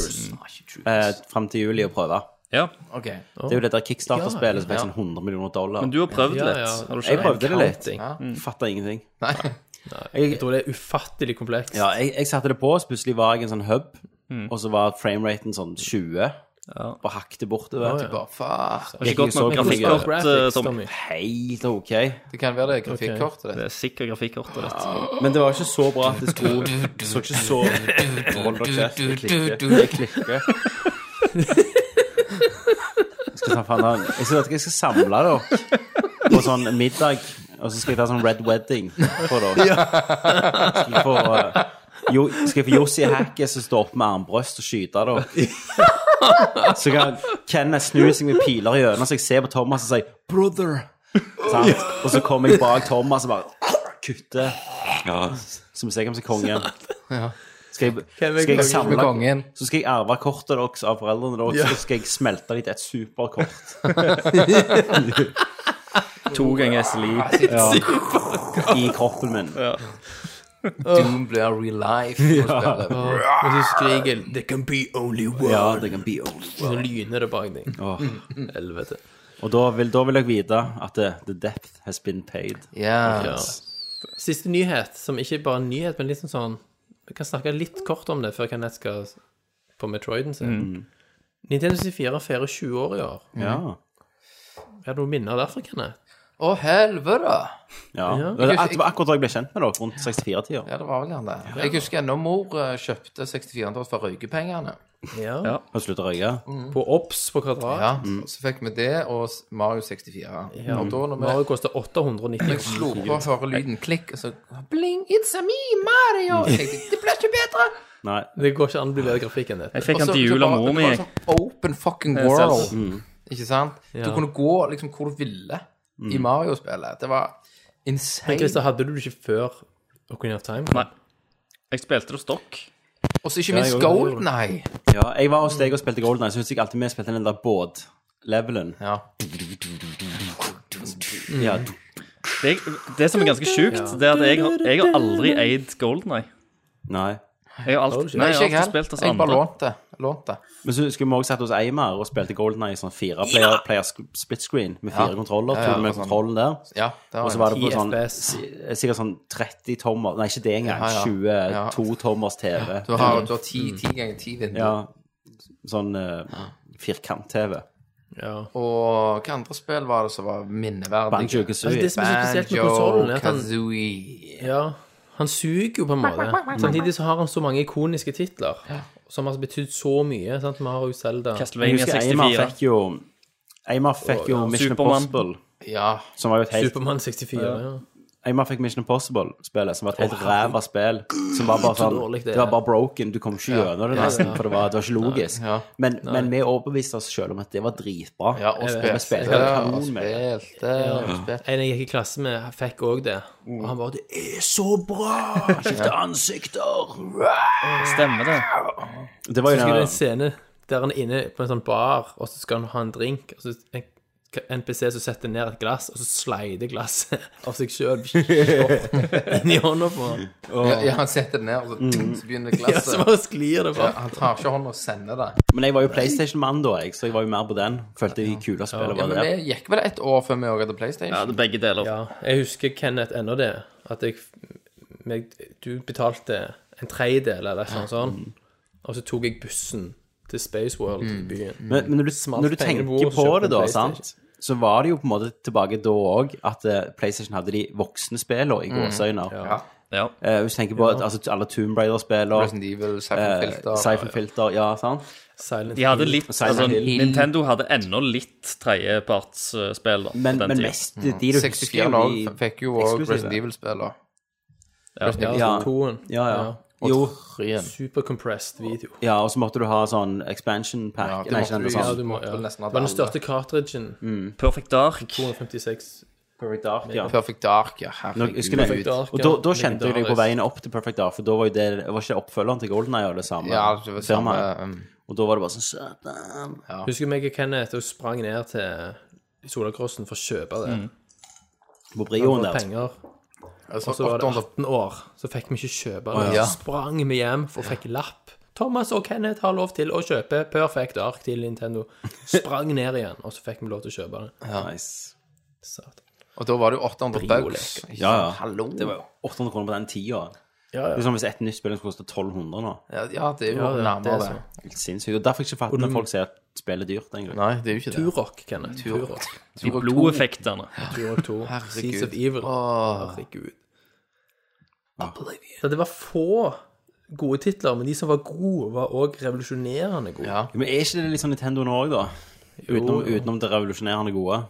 Speaker 1: eh, fram til juli å prøve.
Speaker 3: Ja,
Speaker 4: OK.
Speaker 1: Det er jo det der Kickstarter-spillet som fikk
Speaker 4: Ja.
Speaker 1: sånn 100 millioner dollar.
Speaker 3: men du har prøvd
Speaker 2: Ja,
Speaker 3: litt.
Speaker 2: ja.
Speaker 3: Har du
Speaker 1: Jeg
Speaker 3: ikke?
Speaker 1: prøvde det litt.
Speaker 2: Counting.
Speaker 1: Fatta ingenting.
Speaker 4: Nei.
Speaker 2: Jeg tror det er ufattelig komplekst.
Speaker 1: Ja, jeg, jeg satte det på, så plutselig var jeg i en sånn hub, og så var frameraten sånn 20, og hakte bortover.
Speaker 2: ja.
Speaker 4: Bare faen.
Speaker 3: Det er ikke godt nok
Speaker 1: Jeg husker
Speaker 3: grafikkort, eh,
Speaker 2: Graphics,
Speaker 3: Tommy.
Speaker 2: Tommy.
Speaker 1: Helt OK.
Speaker 4: Det kan være det er grafikkortet ditt.
Speaker 3: Det er sikkert eh, grafikkort og litt.
Speaker 1: Men det var ikke så bra at det skulle Det så ikke så Hold dere kjeft, jeg klikker. Jeg klikker. Jeg skal ta faen av- Jeg synes at jeg skal samle dere på sånn middag, og så skal jeg ta sånn Red Wedding på dere. Skal jeg få, eh, jo, skal jeg få Jossi Hackes som står opp med armbrøst og skyte dere? Så kan Kenneth snu seg med piler i øynene, så jeg ser på Thomas og sier 'brother'. Sant? Og så kommer jeg bak Thomas og bare kutter. Som sikkert som kongen. Skal jeg, skal jeg
Speaker 4: Med
Speaker 1: samle
Speaker 4: kongen.
Speaker 1: så skal jeg arve kortet deres av foreldrene deres, så skal jeg smelte dem til et superkort.
Speaker 3: To ganger SLI.
Speaker 1: I kroppen min.
Speaker 4: Doom blir real life. å spille.
Speaker 2: Og så skriker jeg, 'There can be only one',
Speaker 1: Ja, det kan bli old.
Speaker 2: og så lyner det bak deg.
Speaker 1: Åh.
Speaker 2: Helvete.
Speaker 1: Og da vil, da vil jeg vite at det, the depth has been paid.
Speaker 2: Ja.
Speaker 4: Yes.
Speaker 2: Siste nyhet, som ikke bare er en nyhet, men liksom sånn Vi kan snakke litt kort om det før Kenneth skal på Metroiden sin.
Speaker 1: Mm.
Speaker 2: Nintendo 64 feirer 20 år i år.
Speaker 1: Ja.
Speaker 2: Jeg hadde noen minner derfra, Kenneth.
Speaker 4: Å, helvete!
Speaker 1: ja. Det var ak- det var akkurat da jeg ble kjent med dere, rundt 64-tida.
Speaker 4: Ja, det var vel gjerne det. Jeg husker ennå mor eh, kjøpte 64-tall for røykepengene.
Speaker 2: Ja.
Speaker 3: Ja.
Speaker 1: Har du sluttet å røyke?
Speaker 2: På Obs på Kvadrat.
Speaker 4: Ja, Så fikk vi det og s- Mario 64. Og da når vi
Speaker 2: Mario koster 890
Speaker 4: jeg slo på og hører lyden klikk, og så Bling, it's a me, Mario! Jeg tenkte, det blir ikke bedre!
Speaker 1: Nei.
Speaker 2: Det går ikke an å bli bedre grafikk enn dette.
Speaker 3: Jeg fikk
Speaker 4: Og
Speaker 3: den
Speaker 4: så-
Speaker 3: til
Speaker 4: så
Speaker 3: jul av
Speaker 4: var-
Speaker 3: mor mi.
Speaker 4: Det var sånn open fucking
Speaker 3: Jeg ser
Speaker 4: world.
Speaker 3: det. Mm.
Speaker 4: Ikke sant? Du
Speaker 2: Ja.
Speaker 4: kunne gå liksom hvor du ville i
Speaker 3: Mm.
Speaker 4: Mario-spillet. Det var insane.
Speaker 2: Christer, hadde du det ikke før Ocarina of Time?
Speaker 3: Nei. Jeg spilte det stokk.
Speaker 4: Og så ikke minst Golden Eye.
Speaker 1: Ja, jeg var hos deg og spilte Golden Eye, så husker jeg alltid vi spilte den der båt-levelen.
Speaker 4: Ja.
Speaker 1: Ja.
Speaker 3: Det, det som er ganske sjukt, det er at jeg, har- jeg har aldri eid Golden Eye.
Speaker 1: Nei.
Speaker 3: Jeg har alltid, nei,
Speaker 4: Nei,
Speaker 3: jeg
Speaker 4: ikke
Speaker 3: har
Speaker 4: jeg
Speaker 3: alltid spilt hos
Speaker 4: heller. Jeg bare
Speaker 3: andre.
Speaker 4: lånte. lånte.
Speaker 1: Men så skulle vi også sette hos Eimar og spilte Golden Eye i sånn fire player, player sk- split screen med fire
Speaker 4: Ja.
Speaker 1: kontroller.
Speaker 4: Ja,
Speaker 1: Tok
Speaker 4: ja,
Speaker 1: du med
Speaker 4: og sånn.
Speaker 1: kontrollen der?
Speaker 4: Ja, det var
Speaker 1: Og så var det på
Speaker 2: 10
Speaker 1: sånn,
Speaker 2: FPS.
Speaker 1: si- sikkert sånn 30 tommer, nei ikke det engang,
Speaker 4: Ja, ja.
Speaker 1: 22 tommers TV.
Speaker 4: Du har, du har ti, ti ganger ti vinduer.
Speaker 1: Ja, sånn eh, firkant-TV.
Speaker 2: Ja.
Speaker 4: Og hva andre spill var det som var minneverdige?
Speaker 2: Altså,
Speaker 1: Banjo-Kazooie.
Speaker 2: det som er så spesielt med konsollen, er at han
Speaker 4: Kazooie.
Speaker 2: Ja, han suger jo på en måte. Samtidig så har han så mange ikoniske titler som har betydd så mye. sant? Vi har jo Zelda.
Speaker 1: Jeg
Speaker 3: Castlevania
Speaker 1: husker Eimar
Speaker 3: 64.
Speaker 1: fikk jo Eimar fikk jo Mission
Speaker 3: Superman.
Speaker 1: Impossible,
Speaker 4: Ja.
Speaker 1: som var jo et helt
Speaker 2: Supermann 64. ja.
Speaker 1: Eimar fikk Mission Impossible-spillet, som var et helt ræva spill. Som var bare sånn
Speaker 2: dårlig det
Speaker 1: Det
Speaker 2: er.
Speaker 1: var bare broken. Du kom ikke gjennom det, nesten, for det var, det var ikke logisk.
Speaker 4: Ja.
Speaker 1: Men, men vi overbeviste oss sjøl om at det var dritbra.
Speaker 4: Ja, og
Speaker 1: Vi
Speaker 4: spilte.
Speaker 1: spilte
Speaker 4: Ja, og
Speaker 1: kanon med det.
Speaker 4: spilte. og spilte.
Speaker 2: En jeg gikk i klasse med, fikk òg det. Og han bare det er så bra!
Speaker 1: Skifte ansikter!
Speaker 3: Stemmer det.
Speaker 1: Det var jo
Speaker 2: Så er det
Speaker 1: den
Speaker 2: en scene der han er inne på en sånn bar, og så skal han ha en drink. og så en NPC som setter ned et glass, og så slider glasset av seg sjøl inn i hånda på han.
Speaker 4: Ja, ja, han setter det ned, og så, så begynner
Speaker 2: Ja, så
Speaker 4: glasset.
Speaker 2: bare sklir det bare.
Speaker 4: Ja, han tar ikke hånda og sender det.
Speaker 1: Men jeg var jo PlayStation-mann da, jeg, så jeg var jo mer på den. Følte de kule spillene
Speaker 4: Ja,
Speaker 1: var
Speaker 4: men
Speaker 1: det.
Speaker 4: det gikk vel et år før vi også hadde PlayStation.
Speaker 3: Ja, det er begge deler.
Speaker 2: Ja, jeg husker Kenneth ennå det. At jeg, meg, du betalte en tredjedel eller noe sånt, sånn, og så tok jeg bussen til Space World i byen.
Speaker 1: Men, men når du,
Speaker 2: Smalt
Speaker 1: når du
Speaker 2: pengene
Speaker 1: tenker
Speaker 2: på bordet,
Speaker 1: på
Speaker 2: kjøpte
Speaker 1: det,
Speaker 2: en
Speaker 1: da,
Speaker 2: PlayStation.
Speaker 1: sant, så var det jo på en måte tilbake da òg at eh, PlayStation hadde de voksne spillene
Speaker 4: Mm.
Speaker 1: i gåseøyne.
Speaker 3: Ja.
Speaker 1: Eh, hvis du tenker på at, altså, alle Tomb Raider-spillene,
Speaker 4: Resident Evil, Siphon
Speaker 1: eh,
Speaker 4: Filter.
Speaker 1: Siphon Filter, ja, sant?
Speaker 2: Silent
Speaker 3: De hadde
Speaker 2: Hill.
Speaker 3: litt
Speaker 1: Silent
Speaker 3: altså,
Speaker 1: Hill.
Speaker 3: Nintendo hadde ennå litt tredjepartsspill da,
Speaker 1: Men,
Speaker 3: på den
Speaker 1: men
Speaker 3: tiden.
Speaker 1: mest
Speaker 4: Mm.
Speaker 1: de du husker,
Speaker 4: 64
Speaker 1: jo
Speaker 4: lag
Speaker 1: de
Speaker 4: fikk jo også
Speaker 1: eksklusive.
Speaker 4: Resident Evil-spiller.
Speaker 2: Ja, altså,
Speaker 1: Ja.
Speaker 2: ja. Toen.
Speaker 1: Ja, ja. Jo,
Speaker 4: Ryen.
Speaker 2: Supercompressed video.
Speaker 1: ja, og så måtte du ha sånn expansion pack.
Speaker 4: Ja, det
Speaker 1: Nei,
Speaker 4: måtte
Speaker 1: ikke den,
Speaker 4: du,
Speaker 1: men
Speaker 2: Ja,
Speaker 1: sånn.
Speaker 2: du må, ja.
Speaker 4: Måtte nesten ha
Speaker 2: Det var den
Speaker 4: alle.
Speaker 2: største cartridgen.
Speaker 3: Perfect Dark.
Speaker 2: 256.
Speaker 1: Perfect Dark, ja.
Speaker 4: Perfect Dark, ja.
Speaker 1: Nå,
Speaker 4: Herregud.
Speaker 1: husker jeg,
Speaker 2: Perfect Dark,
Speaker 1: og da, da
Speaker 2: ja.
Speaker 1: kjente jeg deg på veien opp til Perfect Dark, for da var jo det Var ikke det oppfølgeren til Golden Eye og det samme?
Speaker 4: Ja, det var samme
Speaker 1: firmaet?
Speaker 4: um,
Speaker 1: Og da var det bare sånn Satan.
Speaker 2: Husker meg og Kenneth og sprang ned til Solakrossen for å kjøpe
Speaker 4: Mm.
Speaker 2: det.
Speaker 1: På
Speaker 2: Vi
Speaker 1: brioen
Speaker 2: hadde
Speaker 1: der.
Speaker 2: penger.
Speaker 4: altså,
Speaker 2: Så var det
Speaker 4: 800
Speaker 2: 18 år, så fikk vi ikke kjøpe det.
Speaker 4: Ja.
Speaker 2: Så sprang vi hjem og fikk lapp. Thomas og Kenneth har lov til å kjøpe Perfect Ark til Nintendo. Sprang ned igjen, og så fikk vi lov til å kjøpe det.
Speaker 1: Nice.
Speaker 2: Satan.
Speaker 4: Og da var det jo 800 bucks.
Speaker 2: Brio-leker.
Speaker 1: Ja, ja.
Speaker 4: Hallo.
Speaker 1: Det var jo 800 kroner på den tida.
Speaker 2: Ja,
Speaker 1: Det
Speaker 2: ja.
Speaker 1: er som hvis et nytt spill skulle koste 1200 nå.
Speaker 4: Ja, ja, det er jo
Speaker 2: Ja, det-
Speaker 4: nærmere
Speaker 2: det
Speaker 4: det.
Speaker 2: er
Speaker 1: Helt sinnssykt. Og derfor jeg ikke fatter når folk sier at spill er dyrt, egentlig.
Speaker 4: Nei, det er jo ikke det.
Speaker 2: Turok, Kenneth. Turok.
Speaker 3: De blodeffektene.
Speaker 2: Turok 2. Seas of Evil. Herregud. Så det var få gode titler, men de som var gode, var òg revolusjonerende gode.
Speaker 4: Ja.
Speaker 1: Men er ikke det litt sånn Nintendo nå òg, da? Utenom, utenom det revolusjonerende gode.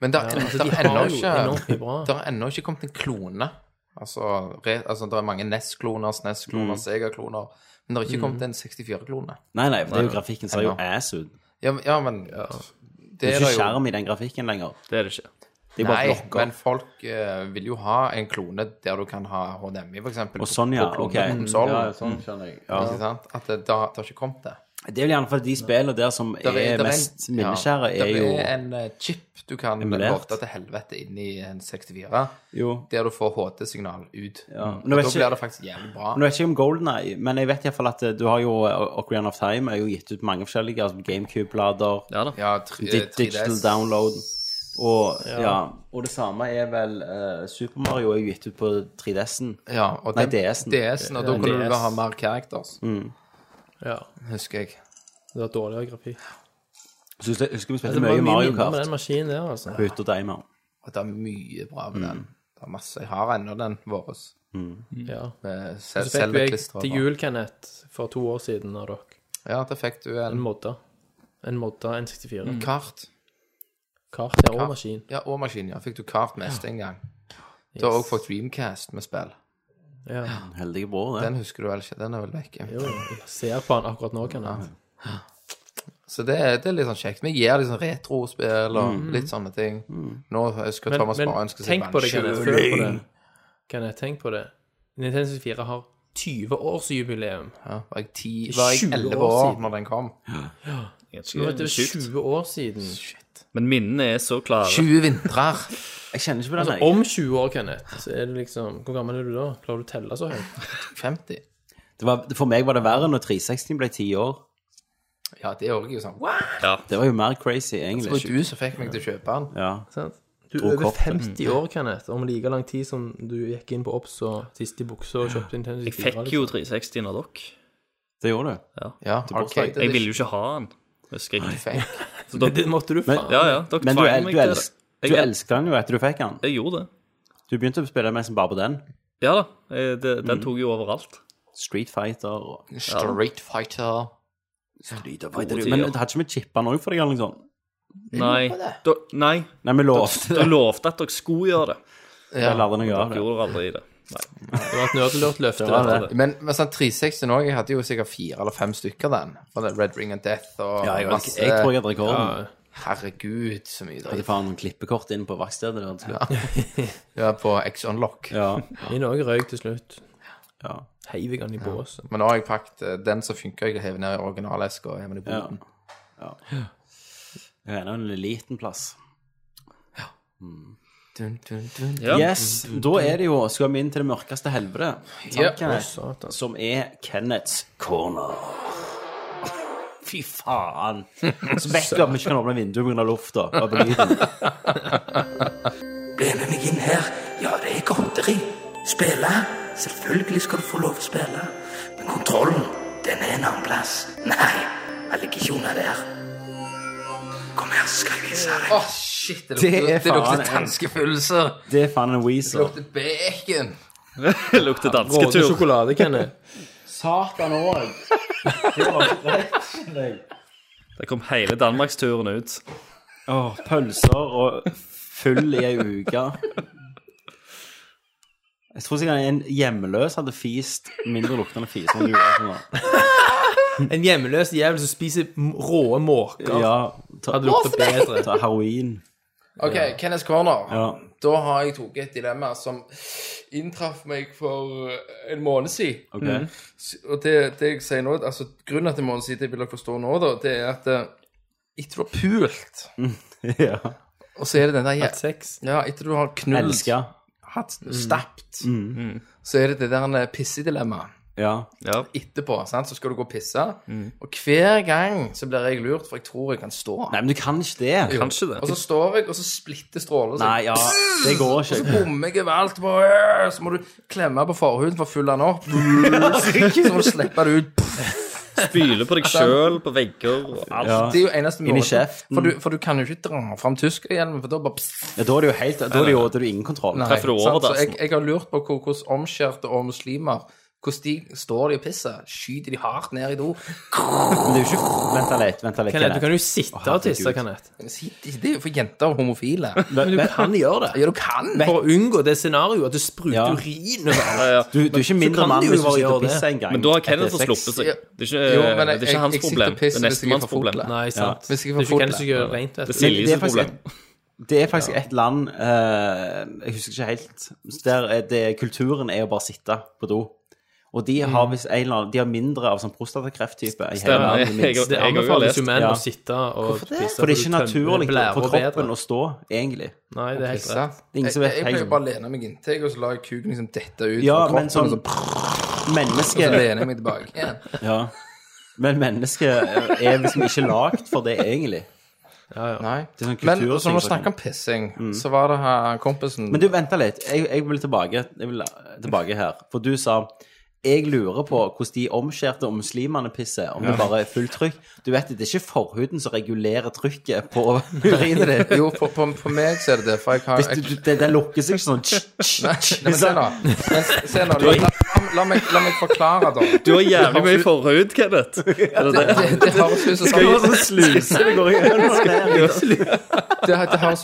Speaker 4: Men det
Speaker 2: Altså,
Speaker 4: er
Speaker 2: de
Speaker 4: ennå
Speaker 2: har jo enormt
Speaker 4: ikke
Speaker 2: mye
Speaker 1: Ah.
Speaker 2: bra.
Speaker 4: Det har ennå ikke kommet en klone. Altså, re, altså det er mange NES-kloner, SNES-kloner,
Speaker 1: Mm.
Speaker 4: E Sega-kloner. Men det har ikke kommet en 64-klone.
Speaker 1: Nei, nei, for det er jo grafikken ser jo
Speaker 4: Ennå.
Speaker 1: ass ut.
Speaker 4: Ja, men- ja, men
Speaker 1: Det
Speaker 4: Det
Speaker 1: er
Speaker 4: er det
Speaker 1: ikke
Speaker 4: jo.
Speaker 1: skjerm i den grafikken lenger.
Speaker 3: Det er det ikke.
Speaker 1: Det er bare
Speaker 4: Nei,
Speaker 1: blokker.
Speaker 4: men folk eh, vil jo ha en klone der du kan ha HDMI, for eksempel.
Speaker 1: Og sånn, ja. Ok. Ja, sånn skjønner jeg. Ja.
Speaker 4: Ikke sant? At det, det, har, det har ikke kommet det.
Speaker 1: Det er vel gjerne fordi de spillene der som
Speaker 4: Der
Speaker 1: er,
Speaker 4: der
Speaker 1: mest
Speaker 4: en-
Speaker 1: minneskjære,
Speaker 4: ja,
Speaker 1: er
Speaker 4: der
Speaker 1: jo
Speaker 4: er en eh, chip du kan
Speaker 1: emulert.
Speaker 4: lorte til helvete inn i en 64,
Speaker 1: Jo.
Speaker 4: der du får HD-signal ut.
Speaker 1: Ja.
Speaker 4: Og
Speaker 1: Nå
Speaker 4: da
Speaker 1: vet
Speaker 4: blir
Speaker 1: ikke-
Speaker 4: det faktisk jævlig bra.
Speaker 1: Nå vet jeg ikke om Golden Eye, men jeg vet iallfall at eh, du har jo eh, Ocarina of Time er jo gitt ut mange forskjellige, altså GameCube-blader,
Speaker 3: Ja da.
Speaker 4: Ja, tr-
Speaker 1: di-
Speaker 4: eh, 3DS.
Speaker 1: digital download og ja. Og det samme er vel eh, Super Mario er jo gitt ut på 3DS-en.
Speaker 4: Ja, og
Speaker 1: Nei,
Speaker 4: den-
Speaker 1: DS-en.
Speaker 4: DS-en, og da kunne du
Speaker 2: DS.
Speaker 4: vel ha mer characters,
Speaker 1: Mm.
Speaker 2: Ja.
Speaker 4: husker jeg.
Speaker 2: Det var dårligere grafikk.
Speaker 1: Så Husker jeg- husker vi
Speaker 2: Det
Speaker 1: spilte
Speaker 2: var
Speaker 1: mye Mario
Speaker 2: minner med
Speaker 1: Kart Mm.
Speaker 2: den maskinen der, altså.
Speaker 1: på hytta til Eimer.
Speaker 4: Og det er mye bra med
Speaker 1: Mm.
Speaker 4: den. Det er masse. Jeg har ennå den vår.
Speaker 2: Ja.
Speaker 4: Med
Speaker 2: Så
Speaker 4: sel
Speaker 2: fikk jeg
Speaker 4: selveklister.
Speaker 2: til jul, Kenneth, for to år siden av dere,
Speaker 4: sånn. Ja, da fikk du
Speaker 2: en
Speaker 4: en
Speaker 2: modda. En modda N64.
Speaker 4: kart.
Speaker 2: Kart ja, og maskin.
Speaker 4: Ja, og maskin, ja. Fikk du kart mest en gang. Du har òg fått Dreamcast med spill.
Speaker 2: Ja.
Speaker 1: Heldige bror, det.
Speaker 4: Den husker du vel ikke? Den er vel vekke.
Speaker 2: Jo, jeg ser på han akkurat nå, Kenneth.
Speaker 4: Så det, er- det er litt sånn kjekt. Vi gir litt sånn retrospill og
Speaker 1: Mm.
Speaker 4: litt sånne ting. Nå skal
Speaker 2: Men,
Speaker 4: Thomas bare
Speaker 2: men
Speaker 4: ønske seg
Speaker 2: tenk på det, Kenneth.
Speaker 4: vannkjøling.
Speaker 2: Føl på det. Kenneth, tenk på det. Nintendo 64 har 20-årsjubileum.
Speaker 4: Ja, var jeg ti- var jeg
Speaker 2: 20 år
Speaker 4: 11 år
Speaker 2: siden.
Speaker 4: når den kom?
Speaker 2: Nå vet du, det er
Speaker 3: Sjukt.
Speaker 2: 20 år siden.
Speaker 3: Men minnene er så klare.
Speaker 4: 20 vintrer.
Speaker 1: Jeg kjenner ikke på den, jeg.
Speaker 2: Om 20 år, Kenneth, så er det liksom Hvor gammel er du da? Klarer du å telle så høyt?
Speaker 4: 50.
Speaker 1: Det var, for meg var det verre når 360 ble ti år.
Speaker 4: Ja, det er også jo sånn. Wow!
Speaker 1: Det var jo mer crazy,
Speaker 4: Det var
Speaker 1: egentlig.
Speaker 4: du som fikk meg til å kjøpe den.
Speaker 1: Ja.
Speaker 2: Sant? Du
Speaker 1: Dro
Speaker 2: er over
Speaker 1: kortet.
Speaker 2: 50 år, Kenneth, om like lang tid som du gikk inn på Obs og siste i buksa og kjøpte Nintendo 64.
Speaker 3: Jeg fikk jo 360 av dere.
Speaker 1: Det gjorde du.
Speaker 4: Ja,
Speaker 1: bursdag.
Speaker 4: Arcade
Speaker 3: Jeg ville jo ikke ha den, husker jeg.
Speaker 4: Fake.
Speaker 3: Så dere,
Speaker 2: Det måtte du faen.
Speaker 3: ja, ja, dere
Speaker 1: Men du,
Speaker 3: tvang
Speaker 1: el
Speaker 3: meg
Speaker 1: du,
Speaker 3: til det.
Speaker 1: elsk
Speaker 3: Jeg
Speaker 1: du
Speaker 3: el-
Speaker 1: elsket den jo etter du fikk den.
Speaker 3: Jeg gjorde det.
Speaker 1: Du begynte å spille nesten bare på den.
Speaker 3: Ja da. eh, Det, den tok jo overalt.
Speaker 1: Street Fighter og
Speaker 4: Street Fighter.
Speaker 3: Gode
Speaker 1: Men
Speaker 3: tider.
Speaker 1: det hadde ikke vi chippa den òg for deg? eller noe sånt?
Speaker 3: Nei, da, nei,
Speaker 1: Nei, vi lovte
Speaker 3: dere
Speaker 1: det.
Speaker 3: lovte at dere skulle gjøre det.
Speaker 1: Jeg lærte noe av
Speaker 3: Dere
Speaker 1: det.
Speaker 3: gjorde aldri det. Nei.
Speaker 2: Det var et nødlørt løfte.
Speaker 1: Det var
Speaker 2: dette.
Speaker 1: det.
Speaker 4: Men, men sånn 360 nå, jeg hadde jo sikkert fire eller fem stykker den. For det er Red Ring and Death og
Speaker 1: Ja, jeg, jeg,
Speaker 4: masse
Speaker 1: jeg tror jeg hadde rekorden.
Speaker 2: Ja,
Speaker 4: Herregud, så mye
Speaker 1: Jeg hadde
Speaker 4: dritt.
Speaker 1: faen noen klippekort inn på verkstedet. der, til slutt.
Speaker 4: Ja, på X Unlock.
Speaker 1: Ja.
Speaker 2: Min òg røyk til slutt.
Speaker 1: Ja.
Speaker 2: Heiv jeg han i båsen.
Speaker 4: Men nå har jeg pakket eh, den som funker, jeg hever ned i originaleska og hever den i
Speaker 1: Ja.
Speaker 4: boden.
Speaker 1: Jeg er ennå en liten plass.
Speaker 4: Dun, dun, dun.
Speaker 3: Ja.
Speaker 1: Yes, da er det jo Skal vi inn til det mørkeste helvete?
Speaker 4: Ja.
Speaker 1: Takk, Kenneth. Som er Kenneths corner. Fy faen. Så vet du at vi ikke kan åpne vinduet pga. lufta. og på lyden.
Speaker 6: Bli med meg inn her. Ja, det er godteri. Spille? Selvfølgelig skal du få lov å spille. Men kontrollen, den er en annen plass. Nei, jeg ligger ikke under der. Kom her, så skal jeg vise deg.
Speaker 4: Åh, shit, det
Speaker 1: Det er
Speaker 4: lukter, det
Speaker 1: faen
Speaker 4: lukter
Speaker 1: en-
Speaker 4: tanskefølelser.
Speaker 1: Det er faen en
Speaker 4: Det
Speaker 1: weezer.
Speaker 4: lukter bacon.
Speaker 3: Det lukter
Speaker 2: Råte
Speaker 3: dansketur.
Speaker 2: sjokolade, Kenneth.
Speaker 1: Satan òg. Det var rett i deg.
Speaker 3: Der kom hele danmarksturen ut.
Speaker 1: Åh, pølser og full i ei uke. Jeg tror sikkert en hjemløs hadde fist mindre luktende fise enn du gjør. Sånn, da.
Speaker 2: En hjemløs jævel som spiser m- råe måker.
Speaker 1: ja, ta,
Speaker 2: Hadde lukta bedre.
Speaker 1: ta heroin.
Speaker 4: OK, Kenneth Corner.
Speaker 1: Ja.
Speaker 4: Da har jeg tatt et dilemma som inntraff meg for en måned siden.
Speaker 1: ok.
Speaker 4: Og det, det jeg sier nå, altså grunnen til måneden siden, det vil dere forstå nå, da, det er at eh, etter du har pult,
Speaker 1: ja.
Speaker 4: og så er det den der jæ-
Speaker 2: Sex.
Speaker 4: Ja, etter du har knullet,
Speaker 1: Elska.
Speaker 4: hatt, stappet, så er det det der eh, pissedilemmaet.
Speaker 1: Ja.
Speaker 3: Ja.
Speaker 4: Etterpå sant? så skal du gå og pisse, og hver gang så blir jeg lurt, for jeg tror jeg kan stå.
Speaker 1: Nei, men du kan ikke det.
Speaker 3: Kanskje det.
Speaker 4: Og så står jeg, og så splitter stråler seg.
Speaker 1: Nei, ja, det går
Speaker 4: Så
Speaker 1: ikke.
Speaker 4: bommer jeg overalt. bare, Så må du klemme på forhuden for å fylle den opp. Så må du slippe det ut.
Speaker 3: Spyle på deg
Speaker 4: Altså-
Speaker 3: sjøl, på vegger og alt.
Speaker 1: Ja.
Speaker 4: Det er jo eneste
Speaker 1: Inn i
Speaker 4: måten.
Speaker 1: kjeften.
Speaker 4: For du, for du kan jo ikke dra fram tyskerhjelmen, for da bare pss,
Speaker 1: Ja, da er det jo helt, da er det jo da er det jo ingen kontroll.
Speaker 4: nei,
Speaker 3: treffer du over
Speaker 4: sant? Så
Speaker 3: dassen.
Speaker 4: jeg, jeg har lurt på hvor- hvordan omskjærte og muslimer hvordan de står de og pisser. Skyter de hardt ned i do?
Speaker 1: Men det er jo ikke Vent da litt, vent da litt.
Speaker 2: Kenneth, du kan
Speaker 1: Kenneth.
Speaker 2: jo sitte og tisse,
Speaker 1: herregud.
Speaker 2: Kenneth.
Speaker 4: Det er jo for jenter og homofile.
Speaker 2: Men du
Speaker 1: men-
Speaker 2: kan gjøre det.
Speaker 4: Ja, du kan!
Speaker 2: For å unngå det scenarioet at du spruter
Speaker 1: Ja.
Speaker 2: urin over
Speaker 3: Ja, ja.
Speaker 1: Du, du er ikke mindre
Speaker 2: kan
Speaker 1: mann
Speaker 2: du jo
Speaker 1: hvis du
Speaker 2: bare
Speaker 1: sitter og
Speaker 2: gjøre det.
Speaker 1: pisser en gang.
Speaker 3: Men da har Kenneth
Speaker 1: etter
Speaker 3: fått
Speaker 1: sex.
Speaker 3: sluppet seg. Det er ikke, eh, det
Speaker 4: Jo, men jeg-
Speaker 3: er ikke
Speaker 4: jeg- jeg
Speaker 3: hans
Speaker 4: sitter
Speaker 3: problem.
Speaker 4: og
Speaker 3: Det
Speaker 4: pisser
Speaker 3: er
Speaker 4: hvis jeg er
Speaker 3: nestemanns
Speaker 4: for fort,
Speaker 3: problem.
Speaker 4: da.
Speaker 2: Nei, sant.
Speaker 4: Hvis jeg
Speaker 2: Det
Speaker 4: får
Speaker 2: er ikke
Speaker 4: fort
Speaker 2: Kenneth som gjør det rent.
Speaker 3: Det er
Speaker 2: vet du.
Speaker 1: Men det
Speaker 3: Siljes
Speaker 1: er faktisk
Speaker 3: problem.
Speaker 1: Det er faktisk et land eh, Jeg husker ikke helt. Der er det, kulturen er å bare sitte på do. Og de har visst en eller annen De har mindre av sånn prostatakreft-type i hele
Speaker 3: Stemmer.
Speaker 1: verden. minst.
Speaker 2: Det
Speaker 3: Jeg har
Speaker 2: anbefales
Speaker 3: lest.
Speaker 2: jo menn
Speaker 1: Ja.
Speaker 2: å sitte og pisse.
Speaker 1: For det er ikke
Speaker 2: du tømmer
Speaker 1: naturlig
Speaker 2: blærer
Speaker 1: for kroppen
Speaker 2: bedre.
Speaker 1: å stå, egentlig.
Speaker 2: Nei, det er helt
Speaker 4: Pisse.
Speaker 2: rett.
Speaker 1: Det er ingen
Speaker 4: Jeg,
Speaker 1: som vet
Speaker 4: jeg
Speaker 1: helt
Speaker 4: pleier
Speaker 1: sånn.
Speaker 4: bare å lene meg inntil, og så lar jeg kuken liksom dette ut
Speaker 1: Ja,
Speaker 4: fra kroppen, altså.
Speaker 1: men sånn
Speaker 4: og så,
Speaker 1: Menneske
Speaker 4: så lener jeg meg tilbake igjen.
Speaker 1: ja. Men mennesket er liksom ikke lagd for det, egentlig.
Speaker 4: Nei.
Speaker 1: Det er sånn
Speaker 4: Men
Speaker 1: kulturting,
Speaker 4: så
Speaker 1: for
Speaker 4: når vi snakker om pissing, så var det her kompisen
Speaker 1: Mm. Men du, vent litt. Jeg, jeg vil tilbake Jeg vil eh, tilbake her. For du sa jeg lurer på hvordan de omskjærte og muslimene pisser, om det bare er fullt trykk. Du vet, det er ikke forhuden som regulerer trykket på urinen ditt.
Speaker 4: Jo, for, for, for meg så er det det, for jeg har
Speaker 1: Hvis du,
Speaker 4: jeg,
Speaker 1: du, det, det lukker seg ikke sånn tsk, tsk,
Speaker 4: Nei,
Speaker 1: tsk,
Speaker 4: men se nå.
Speaker 1: sånn.
Speaker 4: Men, se nå la, la, la, meg, la meg forklare, da.
Speaker 3: Du har jævlig mye forhud, Kenneth. Er det det?
Speaker 4: Det, det høres ut som
Speaker 1: Det er
Speaker 4: dere,
Speaker 1: sånn sluse det går igjennom.
Speaker 4: det, det høres ut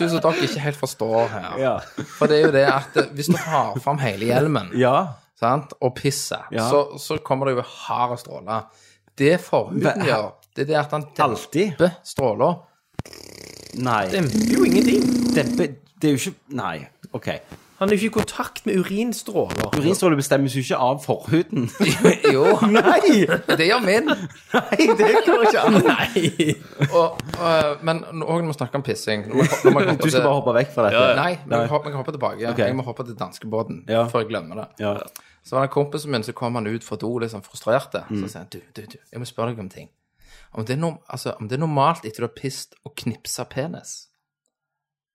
Speaker 4: som dere ikke helt forstår her.
Speaker 1: Ja.
Speaker 4: For det er jo det at eh, hvis du har fram hele hjelmen
Speaker 1: ja.
Speaker 4: sant, og pisser,
Speaker 1: Ja.
Speaker 4: så, så kommer det jo hard stråle. Det forhuden
Speaker 1: Hva-
Speaker 4: gjør, det er det at han
Speaker 1: Alltid.
Speaker 4: demper stråler.
Speaker 1: Nei.
Speaker 2: Demper jo ingenting.
Speaker 1: Dempe Det er jo ikke Nei. OK.
Speaker 2: Han er jo ikke i kontakt med urinstråler.
Speaker 1: Urinstråle bestemmes jo ikke av forhuden.
Speaker 4: Jo,
Speaker 1: Nei!
Speaker 4: det gjør min.
Speaker 1: Nei, det går ikke an. Nei.
Speaker 4: Og, og, men òg når vi snakker om pissing når vi- når vi kommer
Speaker 1: Du skal
Speaker 4: til-
Speaker 1: bare hoppe vekk fra dette.
Speaker 4: Nei, men vi kan hoppe tilbake.
Speaker 1: Ok.
Speaker 4: Jeg må hoppe til danskebåten
Speaker 1: Ja.
Speaker 4: før jeg glemmer det.
Speaker 1: Ja.
Speaker 4: Så var det en kompis min, så kom han ut fra do litt sånn frustrert.
Speaker 1: Mm.
Speaker 4: Så sier han du, du, du, jeg må spørre deg om ting. Om det er, norm altså, om det er normalt etter du har pisset å knipse penis?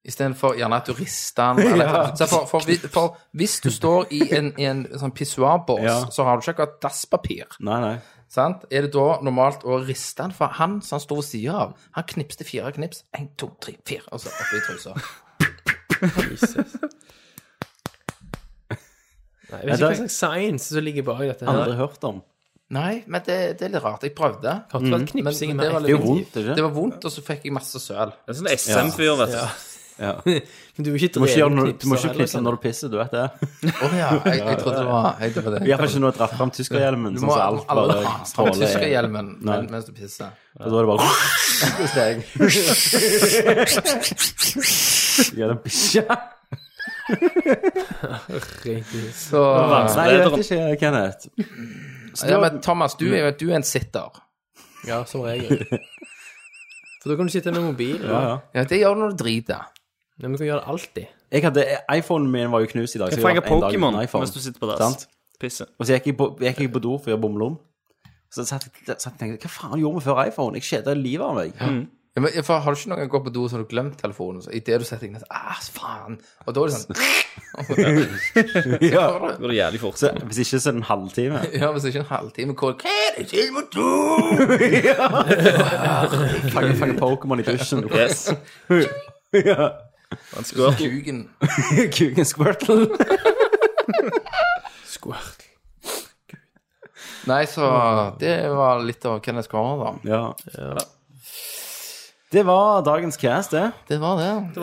Speaker 4: Istedenfor gjerne at du rister den. Eller, så for, for, vi- for hvis du står i en, i en sånn pissoarbås,
Speaker 1: Ja.
Speaker 4: så har du ikke akkurat dasspapir.
Speaker 1: Nei, nei.
Speaker 4: Sant? Er det da normalt å riste han? For han som han sto ved siden av, han knipste fire knips. Én, to, tre, fire. Og så opp i trusa.
Speaker 2: Jeg vet ikke hva slags science som ligger bak dette. her.
Speaker 1: Aldri hørt om.
Speaker 4: Nei, men det, det er litt rart. Jeg prøvde.
Speaker 2: Har ikke vært
Speaker 4: Men
Speaker 2: knipsing
Speaker 4: det
Speaker 2: med
Speaker 4: var
Speaker 1: Det er jo
Speaker 4: litt-
Speaker 1: vondt, ikke
Speaker 4: Det var vondt, og så fikk jeg masse søl.
Speaker 3: Det er sånn SM-fyr, vet du.
Speaker 2: Men du må ikke
Speaker 1: Du må ikke, gjøre
Speaker 2: dreven
Speaker 1: noe, du må
Speaker 2: knipser
Speaker 1: ikke
Speaker 2: heller,
Speaker 1: knipse når du pisser, du vet det.
Speaker 4: Å ja, jeg, jeg trodde det var jeg trodde det.
Speaker 1: I hvert fall ikke når du drar fram tyskerhjelmen,
Speaker 4: Du
Speaker 1: sånn
Speaker 4: må
Speaker 1: som
Speaker 4: alle
Speaker 1: alt
Speaker 4: alle
Speaker 1: bare
Speaker 4: ha fram
Speaker 1: stråler.
Speaker 4: tyskerhjelmen
Speaker 1: Nei.
Speaker 4: men- mens du pisser.
Speaker 1: Og da er det bare
Speaker 4: Hvis det er jeg.
Speaker 1: Ja, den bikkja.
Speaker 2: sant?
Speaker 4: Så,
Speaker 1: Nei, jeg vet ikke, Kenneth. Så
Speaker 4: ja,
Speaker 1: da-
Speaker 4: men Thomas, du, er jo- du er en sitter.
Speaker 2: Ja, som regel. For da kan du sitte med mobil.
Speaker 1: ja, ja.
Speaker 4: Ja, det gjør du når du driter.
Speaker 2: Ja, men du kan gjøre det alltid.
Speaker 1: Jeg hadde, iPhonen min var jo knust i dag, så
Speaker 3: Jeg
Speaker 1: jeg har
Speaker 3: fanger
Speaker 1: vært en dag
Speaker 3: Pokémon
Speaker 1: uten iPhone.
Speaker 3: mens du sitter på dass.
Speaker 1: Sant?
Speaker 3: Pisse.
Speaker 1: Og så gikk jeg på, gikk jeg på do for å gjøre bomlom. Så satt jeg satt jeg og tenkte, hva faen gjorde vi før iPhone? Jeg kjeda livet av meg.
Speaker 3: Mm.
Speaker 4: Ja, men, for har du ikke noen gang gått på do så har du glemt telefonen? Så, I det du setter deg ned, så, ah, faen. Og da er det sånn
Speaker 1: Ja.
Speaker 3: Det går jævlig fort.
Speaker 1: Så, hvis ikke, så er det en halvtime.
Speaker 4: Ja, hvis det ikke er en halvtime hvor Hva er det til med do?
Speaker 1: Fange, fange Pokémon i dusjen.
Speaker 3: Yes.
Speaker 1: Ja.
Speaker 3: Han skvørte
Speaker 4: Kuken.
Speaker 1: Kuken squirtle.
Speaker 2: Squirt.
Speaker 4: Nei, så det var litt av Kenneth Corner, da.
Speaker 1: Ja. Det var dagens cast, det.
Speaker 4: Det var det.
Speaker 1: 1-4-3.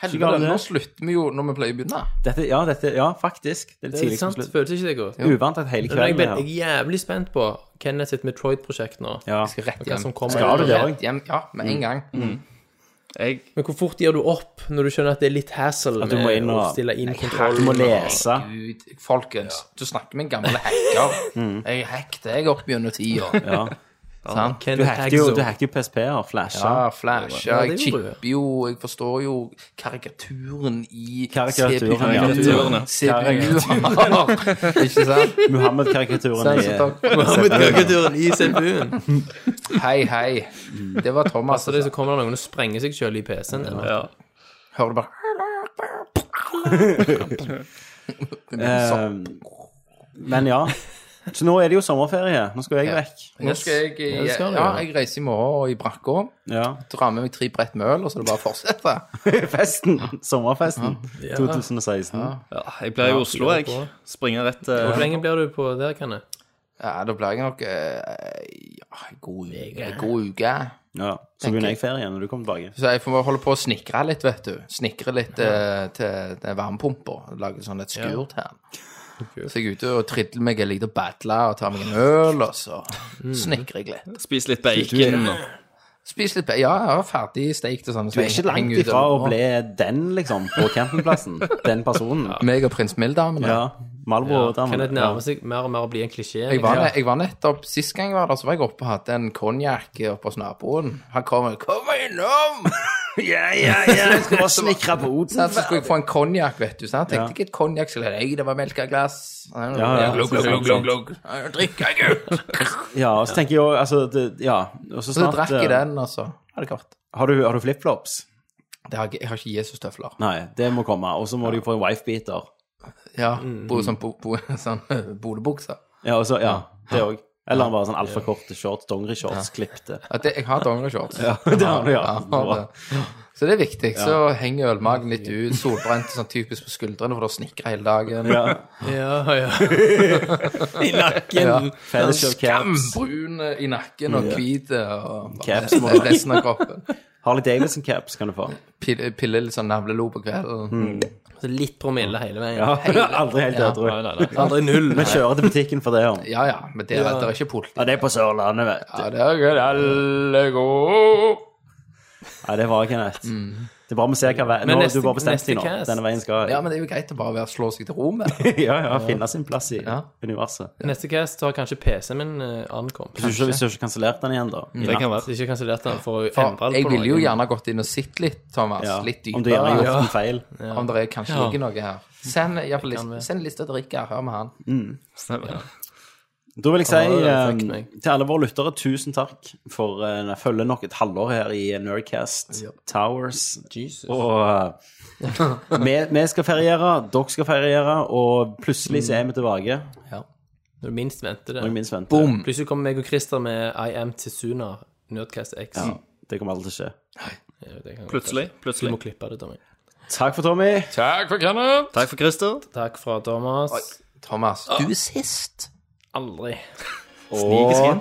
Speaker 4: Helvete, nå slutter vi jo når vi pleier å begynne.
Speaker 1: Dette, ja, dette, ja, faktisk. Det er
Speaker 2: Det er
Speaker 1: tidlig som
Speaker 2: sant,
Speaker 1: liksom slutt.
Speaker 2: føles ikke det godt?
Speaker 1: Uvant at hele
Speaker 2: Men jeg,
Speaker 1: kvelden
Speaker 2: ben,
Speaker 1: er her.
Speaker 2: jeg er jævlig spent på Kenneth sitt Metroid-prosjekt nå.
Speaker 1: Ja.
Speaker 4: Jeg skal rett
Speaker 2: Hva som
Speaker 4: hjem.
Speaker 2: kommer.
Speaker 1: Skal du det Mm.
Speaker 4: Rett
Speaker 1: òg?
Speaker 4: hjem. Ja, med en gang.
Speaker 3: Jeg,
Speaker 2: Men hvor fort gir du opp når du skjønner at det er litt hassle
Speaker 1: At du må inn
Speaker 2: med å
Speaker 1: og-
Speaker 2: stille inn
Speaker 1: Du må
Speaker 2: kontrollen?
Speaker 1: lese.
Speaker 4: Gud, folkens. Du snakker med en gammel hacker. Jeg hacket jeg opp gjennom tida.
Speaker 1: Mm. Ja.
Speaker 4: sant?
Speaker 1: Du
Speaker 2: Kenneth
Speaker 1: hacket jo,
Speaker 2: Hagzo.
Speaker 1: du hacket jo PSP-er, flasha.
Speaker 4: Ja, flash.
Speaker 2: Ja, det
Speaker 4: Ja, jeg
Speaker 2: gjorde du.
Speaker 4: chipper jo Jeg forstår jo karikaturen i
Speaker 1: Karikaturen, ja.
Speaker 4: CPU-en. CPU-er. Ikke sant?
Speaker 1: Muhammed-karikaturen i
Speaker 4: Så takk for meg.
Speaker 2: Muhammed-karikaturen i CPU-en.
Speaker 4: Hei, hei. Det var Thomas.
Speaker 2: Så det så kommer det noen og sprenger seg sjøl i PC-en. din.
Speaker 3: ja.
Speaker 4: Hører du bare
Speaker 1: eh, Men ja. Så nå er det jo sommerferie. Nå skal jeg vekk.
Speaker 4: Eh, Nå skal jeg i,
Speaker 2: det skal du
Speaker 4: Ja,
Speaker 2: gjøre.
Speaker 4: jeg reiser i morgen i brakka.
Speaker 1: Ja.
Speaker 4: Drar med meg tre brett med øl, og så er det bare å fortsette.
Speaker 1: Festen. Sommerfesten 2016.
Speaker 3: ja. Jeg blir i Oslo, jeg. Springer rett
Speaker 2: Hvor
Speaker 3: eh,
Speaker 2: lenge blir du på der, Kenneth?
Speaker 4: Ja, da blir jeg nok eh, ja, en god, en god uke.
Speaker 1: Ja. Så begynner jeg ferie når du kommer tilbake.
Speaker 4: Så jeg får bare holde på å snikre litt, vet du. Snikre litt eh, til den varmepumpa. Lage sånn et skur til den. Så jeg er ute og tridler meg, jeg liker å battle og tar meg en øl, og så
Speaker 1: Mm.
Speaker 4: snikrer jeg litt.
Speaker 3: Spiser litt bacon. og-
Speaker 4: Spiser litt be- Ja, ja, ferdig steikt og sånn.
Speaker 1: Du er ikke langt ifra å bli den, liksom, på campingplassen. Den personen.
Speaker 4: Meg og prins Mild-damen.
Speaker 1: Ja. Malbro og
Speaker 2: Kenneth
Speaker 1: damen.
Speaker 2: nærmer seg mer og mer å bli en klisjé.
Speaker 4: Jeg var, jeg var nettopp, Sist gang jeg var der, så var jeg oppe og hadde en konjakk oppe hos naboen. Han kom og 'Kom innom!'
Speaker 1: Ja, ja, ja. Jeg skal bare snikre på
Speaker 4: Så, så skulle jeg få en konjakk, vet du. Så jeg tenkte ikke et konjakk skulle jeg, det var melkeglass.
Speaker 1: ja. Sånn,
Speaker 4: Glugg, glugg, glugg, glugg, glugg. Ja, Drikker jeg ut!
Speaker 1: Ja, og så tenker jeg jo altså, det, Ja. Og så
Speaker 4: Så
Speaker 1: snart
Speaker 4: drakk jeg
Speaker 1: eh,
Speaker 4: den, og så var det kort.
Speaker 1: Har du, har du flipflops?
Speaker 4: Det har, jeg- jeg har ikke Jesus-tøfler.
Speaker 1: Nei, det må komme. Og så må du jo få en wifebeater.
Speaker 4: Ja,
Speaker 1: Mm.
Speaker 4: bo, sånn, bo, bo, sånn bodebukser.
Speaker 1: Ja, og så, ja, det òg. Eller bare sånn altforkorte shorts, dongerishorts, klippte.
Speaker 4: At det- Jeg har dongerishorts.
Speaker 1: Ja, det har du, ja.
Speaker 4: har det. Så det er viktig. Så henger ølmagen litt ut, solbrent sånn typisk på skuldrene, for du har snikra hele dagen.
Speaker 1: Ja.
Speaker 2: Ja, ja. I nakken.
Speaker 4: Ja.
Speaker 1: Fellesskjøp caps.
Speaker 4: Skambrun i nakken og hvit og
Speaker 1: Caps må du ha.
Speaker 4: resten av kroppen.
Speaker 1: Harley Davidson caps kan du få.
Speaker 4: Pille, pille litt sånn navlelo på kvelden.
Speaker 1: Mm.
Speaker 2: Så litt promille hele veien.
Speaker 1: Ja, Aldri helt ødru.
Speaker 3: Nei, nei, nei.
Speaker 2: Aldri null.
Speaker 1: Vi kjører til butikken for det. Om.
Speaker 4: Ja ja, men det, det er ikke politi.
Speaker 1: Mm. Ja, det er på Sørlandet, vet du.
Speaker 4: Ja, det er gøy, alle går.
Speaker 1: Ja, det var Kenneth. Det er bra vi ser hva veien Nå har du
Speaker 2: neste-
Speaker 1: bare bestemt
Speaker 2: neste
Speaker 1: deg nå.
Speaker 2: cast.
Speaker 1: Denne veien skal
Speaker 4: Ja, men det er jo greit å bare være, slå seg til ro med det.
Speaker 1: ja, ja, finne sin plass i
Speaker 4: Ja.
Speaker 1: universet.
Speaker 2: Neste cast har kanskje PC-en min eh, ankommet.
Speaker 1: Hvis du ikke- hvis du ikke har kansellert den igjen, da. i
Speaker 3: Det
Speaker 1: natt.
Speaker 3: kan være.
Speaker 2: Så ikke kansellert den for å endre
Speaker 4: For jeg
Speaker 2: på
Speaker 4: ville jo
Speaker 2: noe.
Speaker 4: gjerne gått inn og sett litt, Thomas.
Speaker 1: Ja.
Speaker 4: Litt
Speaker 1: Om du gjerne har
Speaker 4: dypere.
Speaker 1: gjort en feil.
Speaker 4: Om det er kanskje ligger noe her. Send, i hvert fall list, send lista til Rikard. Hør med han.
Speaker 3: Stemmer.
Speaker 1: Da vil jeg si
Speaker 2: det er
Speaker 1: eh,
Speaker 2: fuck meg.
Speaker 1: til alle våre lyttere, tusen takk for uh, følge nok et halvår her i eh, Nerdcast Towers.
Speaker 2: Jesus.
Speaker 1: Og eh, vi, vi skal feriere, dere skal feriere, og plutselig så
Speaker 2: Mm.
Speaker 1: er vi tilbake.
Speaker 2: Når du minst venter
Speaker 1: Når jeg
Speaker 2: det.
Speaker 1: minst venter.
Speaker 2: Plutselig kommer meg og Christer med I Am Tizuna, Nerdcast X.
Speaker 1: Ja, det kommer aldri til å skje.
Speaker 2: Ja, det kan-
Speaker 3: Plutselig.
Speaker 2: Du må
Speaker 3: plutselig.
Speaker 2: klippe det, Tommy.
Speaker 1: Takk for Tommy.
Speaker 4: Takk for Kenneth.
Speaker 3: Takk for Christer.
Speaker 2: Takk fra Thomas.
Speaker 4: Thomas, du er sist.
Speaker 2: Aldri.
Speaker 1: Snikes inn.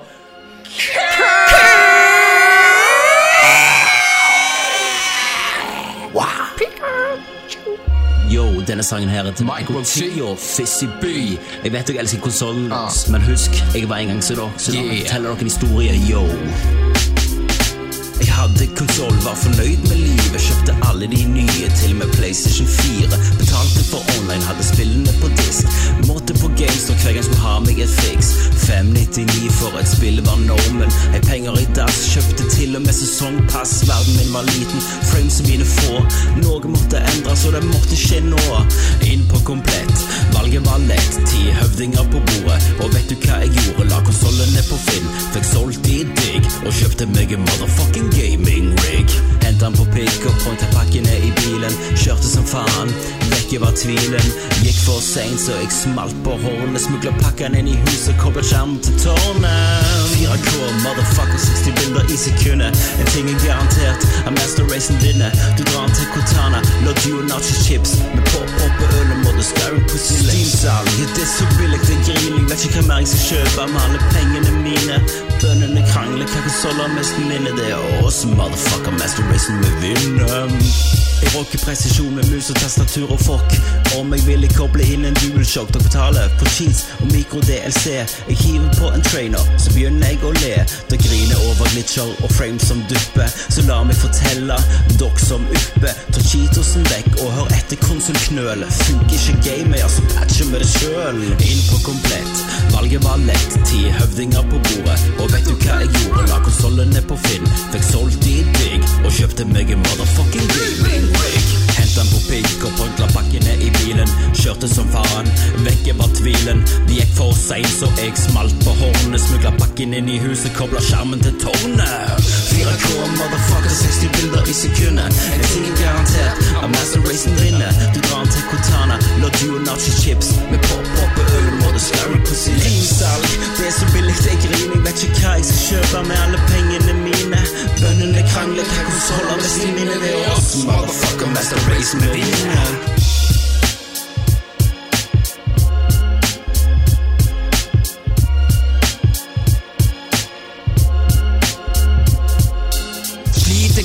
Speaker 7: Yo, denne sangen her er til Michael T og Fizzy B. Jeg vet dere elsker konsollen, Mm. men husk, jeg var en gang så da, så la meg fortelle dere en historie, yo. Jeg hadde konsoll, var fornøyd med livet, kjøpte alle de nye, til og med PlayStation 4. Betalte for online, hadde spillene på disk. Måtte på GameStop hver gang jeg skulle ha meg et fiks. 599 for et spill var normen. Jeg penger i dass, kjøpte til og med sesongpass. Verden min var liten, frames mine få. Noe måtte endres, og det måtte skje nå. Inn på komplett, valget var lett. Ti høvdinger på bordet, og vet du hva jeg gjorde? La konsollene på Finn, fikk solgt de digg, og kjøpte meg en motherfucking gaming rig. Hentet den på pickup, pointa pakkene i bilen, kjørte som faen. Vekk Vekke var tvilen. Gikk for seint, så jeg smalt på hornet. Smugla pakken inn i huset, kobla skjermen til tårnet. 4K, motherfucker, 60 bilder i sekundet. En ting er garantert, er master racen vinner. Du drar den til Cortana, lodder you nacho chips. Med pop, pop og øl og måte scarring på sin Steamsalg, ja, det er så billig, det er grilling. Vet ikke hva mer jeg skal kjøpe med alle pengene mine. Bøndene krangler, hva konsoller mest minner det er oss, motherfucker, master racen vi vinner. Jeg rocker presisjon med mus og tastatur og fork. Om jeg ville koble inn en dualshock, dere betaler på cheese og mikro-DLC. Jeg hiver på en trainer, så begynner jeg å le. Da griner over glitcher og frames som dupper. Så la meg fortelle, dere som uppe. Ta cheatosen vekk og hør etter konsolknøl. Funker ikke gamet, ja, så patcher vi det sjøl. Inn på komplett, valget var lett. Ti høvdinger på bordet, og vet du hva jeg gjorde? La konsollene på Finn, fikk solgt de digg, og kjøpte meg en motherfucking gaming wig. Hentan på pigg og pryntla pakkene i bilen. Kjørte som faen, vekke var tvilen. Det gikk for seint, så jeg smalt på hornet. Smugla pakken inn i huset, kobla skjermen til tårnet. 4K, motherfucker, 60 bilder i sekundet. En ting er garantert, at Master Racen vinner. Du drar den til Cortana, la duo nacho chips. Med pop, pop og øl, må du skarre på sin rimsalg. Det er så billig, det er grining. Vet ikke hva jeg skal kjøpe med alle pengene mine. Bøndene krangler, hva konsoller mest i minne ved oss? Motherfucker, master race med vinneren.
Speaker 8: Sliter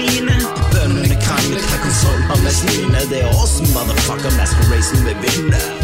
Speaker 7: mine. Bøndene krangler, hva konsoll har mest mine? Det er oss, motherfucker, master racen vi vinner.